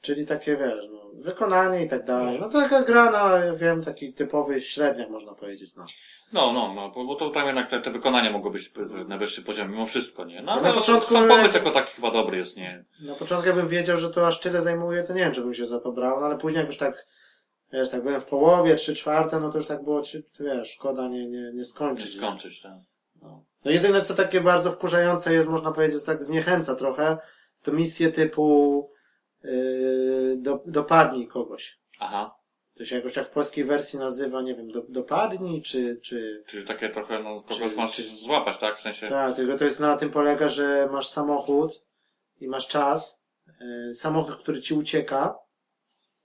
Czyli takie, wiesz, no, wykonanie i tak dalej. No taka gra na, ja wiem, taki typowy średniak można powiedzieć, no.
No, no, no, bo bo to tam jednak te, te wykonania mogą być na wyższy poziom mimo wszystko, nie? No,
No,
ale
na początku-
sam pomysł jako taki chyba dobry jest, nie?
Na początku jakbym wiedział, że to aż tyle zajmuje, to nie wiem, czy bym się za to brał, no ale później jak już tak, wiesz, tak byłem w połowie, trzy czwarte, no to już tak było, ci- wiesz, szkoda nie, nie, nie
Czy
skończyć. nie?
skończyć, tak?
No jedyne co takie bardzo wkurzające jest, można powiedzieć, tak zniechęca trochę, to misje typu yy, do, dopadnij kogoś.
Aha.
To się jakoś tak w polskiej wersji nazywa, nie wiem, do, dopadnij, czy, czy...
Czyli takie trochę, no, kogoś
Czy-
masz
czy-
złapać, tak? W sensie...
Tak, tylko to jest na tym polega, że masz samochód i masz czas, yy, samochód, który ci ucieka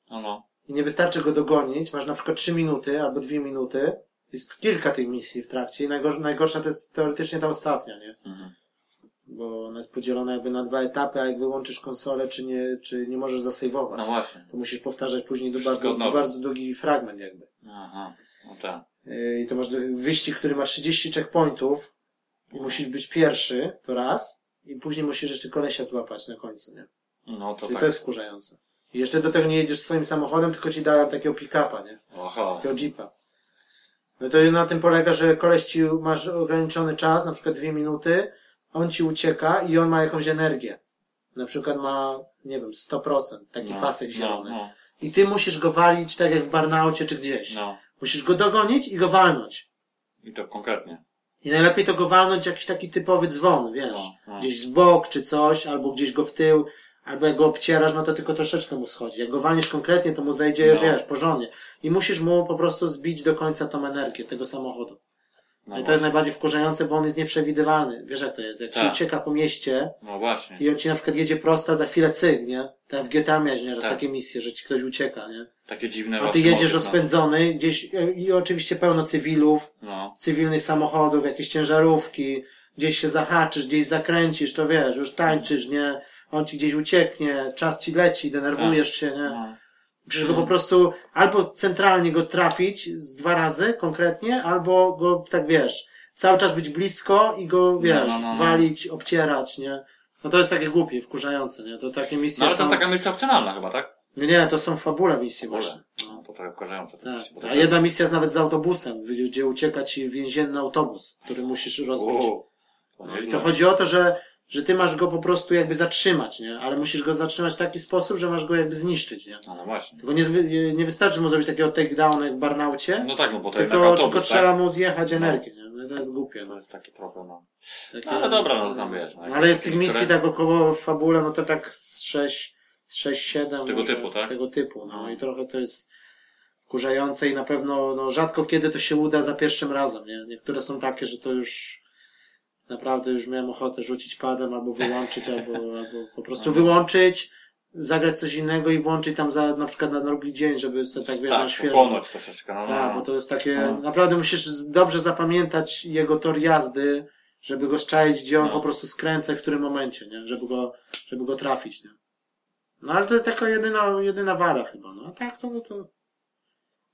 No, no.
i nie wystarczy go dogonić, masz na przykład 3 minuty albo 2 minuty, jest kilka tych misji w trakcie i najgorz, najgorsza to jest teoretycznie ta ostatnia, nie?
Mhm.
bo ona jest podzielona jakby na dwa etapy, a jak wyłączysz konsolę, czy nie, czy nie możesz zasejwować.
No właśnie.
to musisz powtarzać później do
Wszystko
bardzo,
od nowa.
do bardzo długi fragment jakby.
Aha. No tak.
Yy, I to masz wyścig, który ma 30 checkpointów i musisz być pierwszy, to raz, i później musisz jeszcze kolesia złapać na końcu, nie?
No to
Czyli
tak.
to jest wkurzające. I jeszcze do tego nie jedziesz swoim samochodem, tylko ci dają takiego pick-upa, nie?
Aha.
takiego jeepa. No to na tym polega, że koleś ci, masz ograniczony czas, na przykład dwie minuty, on ci ucieka i on ma jakąś energię. Na przykład ma, nie wiem, 100%, taki pasek zielony.
No,
I ty musisz go walić tak jak w Barnaucie czy gdzieś.
no,
Musisz go dogonić i go walnąć.
I to konkretnie.
I najlepiej to go walnąć jakiś taki typowy dzwon, wiesz,
No, no.
gdzieś z bok czy coś, albo gdzieś go w tył, albo jak go obcierasz, no to tylko troszeczkę mu schodzi. Jak go walniesz konkretnie, to mu zajdzie,
No.
wiesz, porządnie. I musisz mu po prostu zbić do końca tą energię tego samochodu.
No,
No I to jest najbardziej wkurzające, bo on jest nieprzewidywalny. Wiesz jak to jest, jak się
Tak.
ucieka po mieście,
no właśnie.
i on ci na przykład jedzie prosta, za chwilę cyk, nie? Tak jak w GTA miałeś nieraz
Tak.
takie misje, że ci ktoś ucieka, nie?
Takie dziwne
A ty
właśnie no.
jedziesz
motyw,
rozpędzony gdzieś e, i oczywiście pełno cywilów,
No. no.
cywilnych samochodów, jakieś ciężarówki, gdzieś się zahaczysz, gdzieś zakręcisz, to wiesz, już tańczysz, nie? On ci gdzieś ucieknie, czas ci leci, denerwujesz się, nie?
No.
Musisz go po prostu albo centralnie go trafić z dwa razy konkretnie, albo go, tak wiesz, cały czas być blisko i go, wiesz,
no, no, no.
walić, obcierać, nie? No to jest takie głupie, wkurzające, nie? To takie misje
no ale to
są...
jest taka misja opcjonalna chyba, tak?
Nie, nie, to są fabule misje
Fabule.
właśnie.
No, to tak wkurzające.
Tak.
faktycznie, bo
A jedna misja jest nawet z autobusem, gdzie- gdzie ucieka ci więzienny autobus, który musisz rozbić.
Uuu, to
No, I
nieźle.
to chodzi o to, że, że ty masz go po prostu jakby zatrzymać, nie? Ale musisz go zatrzymać w taki sposób, że masz go jakby zniszczyć, nie?
No, no właśnie.
Tylko nie, zwy- yy, nie wystarczy mu zrobić takiego takedowna jak w Barnaucie,
No tak, no bo to jednak
tylko, tylko
autobus,
trzeba
tak?
mu zjechać energię, nie? No i to jest głupie.
To jest takie trochę, no.
Takie-
No ale dobra, no to tam wiesz. No,
No, ale jest tych
niektóre-
misji tak około w fabule, no to tak z 6, z 6 7
Tego typu, tak?
Tego typu, no
No.
i trochę to jest wkurzające i na pewno no, rzadko kiedy to się uda za pierwszym razem, nie? Niektóre są takie, że to już naprawdę już miałem ochotę rzucić padem albo wyłączyć,
(laughs)
albo, albo po prostu wyłączyć, zagrać coś innego i włączyć tam za, na przykład na drugi dzień, żeby sobie tak wiesz, na
Tak,
świeżo.
ponoć troszeczkę, no,
Tak,
no.
bo to jest takie,
No.
naprawdę musisz z- dobrze zapamiętać jego tor jazdy, żeby go szczaić, gdzie on
No.
po prostu skręca i w którym momencie, nie? Żeby go, żeby go trafić, nie? No ale to jest taka jedyna, jedyna wada chyba, no a tak to, no to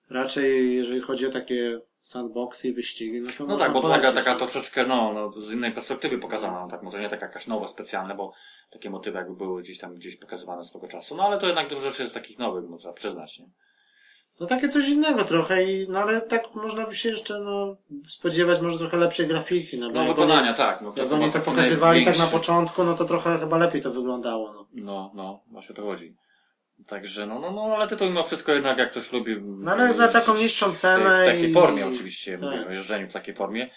raczej jeżeli chodzi o takie sandboxy i wyścigi, no to
No
można
tak, bo to taka,
polecić,
taka
no.
troszeczkę, no, no, z innej perspektywy pokazana, no, tak, może nie taka jakaś nowa, specjalna, bo takie motywy jakby były gdzieś tam, gdzieś pokazywane z tego czasu, no ale to jednak dużo rzeczy jest takich nowych, no, trzeba przyznać, nie?
No takie coś innego trochę i, no ale tak można by się jeszcze, no, spodziewać może trochę lepszej grafiki, no bo
No
jak oni-
wykonania, tak. No,
jak
chyba
oni to
taki
pokazywali tak na
największy-
początku, no to trochę chyba lepiej to wyglądało, no.
No, no, właśnie o to chodzi. Także, no, no, no, ale ty to mimo wszystko jednak, jak ktoś lubi...
No ale za taką niższą
W
cenę
tej- w takiej
i-
formie oczywiście,
tak.
mówię o jeżdżeniu w takiej formie,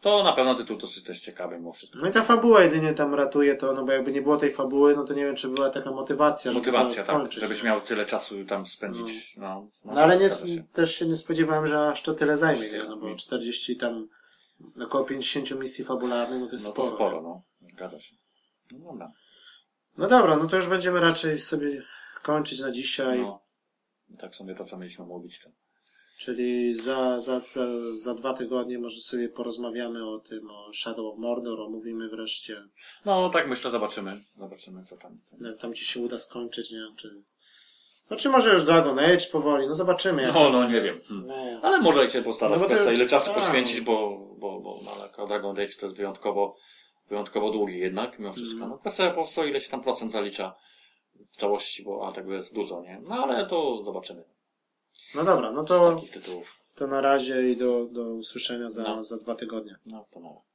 to na pewno tytuł dosyć też ciekawy mimo wszystko.
No i ta fabuła jedynie tam ratuje to, no bo jakby nie było tej fabuły, no to nie wiem, czy była taka motywacja, żeby
Motywacja,
to
tak,
skończyć.
żebyś
nie?
miał tyle czasu tam spędzić, no.
No ale nie,
zgadza się.
też się nie spodziewałem, że aż to tyle zajmie,
Aż
nie?
tyle,
no bo
no.
40 tam, około 50 misji fabularnych, no to jest
No to
sporo.
sporo, no. Zgadza się. No dobra.
No dobra, no to już będziemy raczej sobie kończyć na dzisiaj,
No. Tak sobie to, co mieliśmy mówić. To.
czyli za, za, za, za dwa tygodnie może sobie porozmawiamy o tym, o Shadow of Mordor, omówimy wreszcie,
No tak myślę, zobaczymy. Zobaczymy, co tam.
jak tam ci się uda skończyć, nie wiem, czy... No czy może już Dragon Age powoli, no zobaczymy jak
No, no nie wiem. Hmm.
No.
Ale może się postarać
No bo to
Pesa,
jest-
ile czasu
tak.
poświęcić, bo, bo, bo no, ale Dragon Age to jest wyjątkowo, wyjątkowo długi jednak, mimo wszystko.
Mhm.
No Pesa po prostu ile się tam procent zalicza w całości, bo a tego jest dużo, nie? No ale to zobaczymy
No dobra, no
z
to,
takich tytułów.
to na razie i do, do usłyszenia za,
No.
za dwa tygodnie.
No to nawet.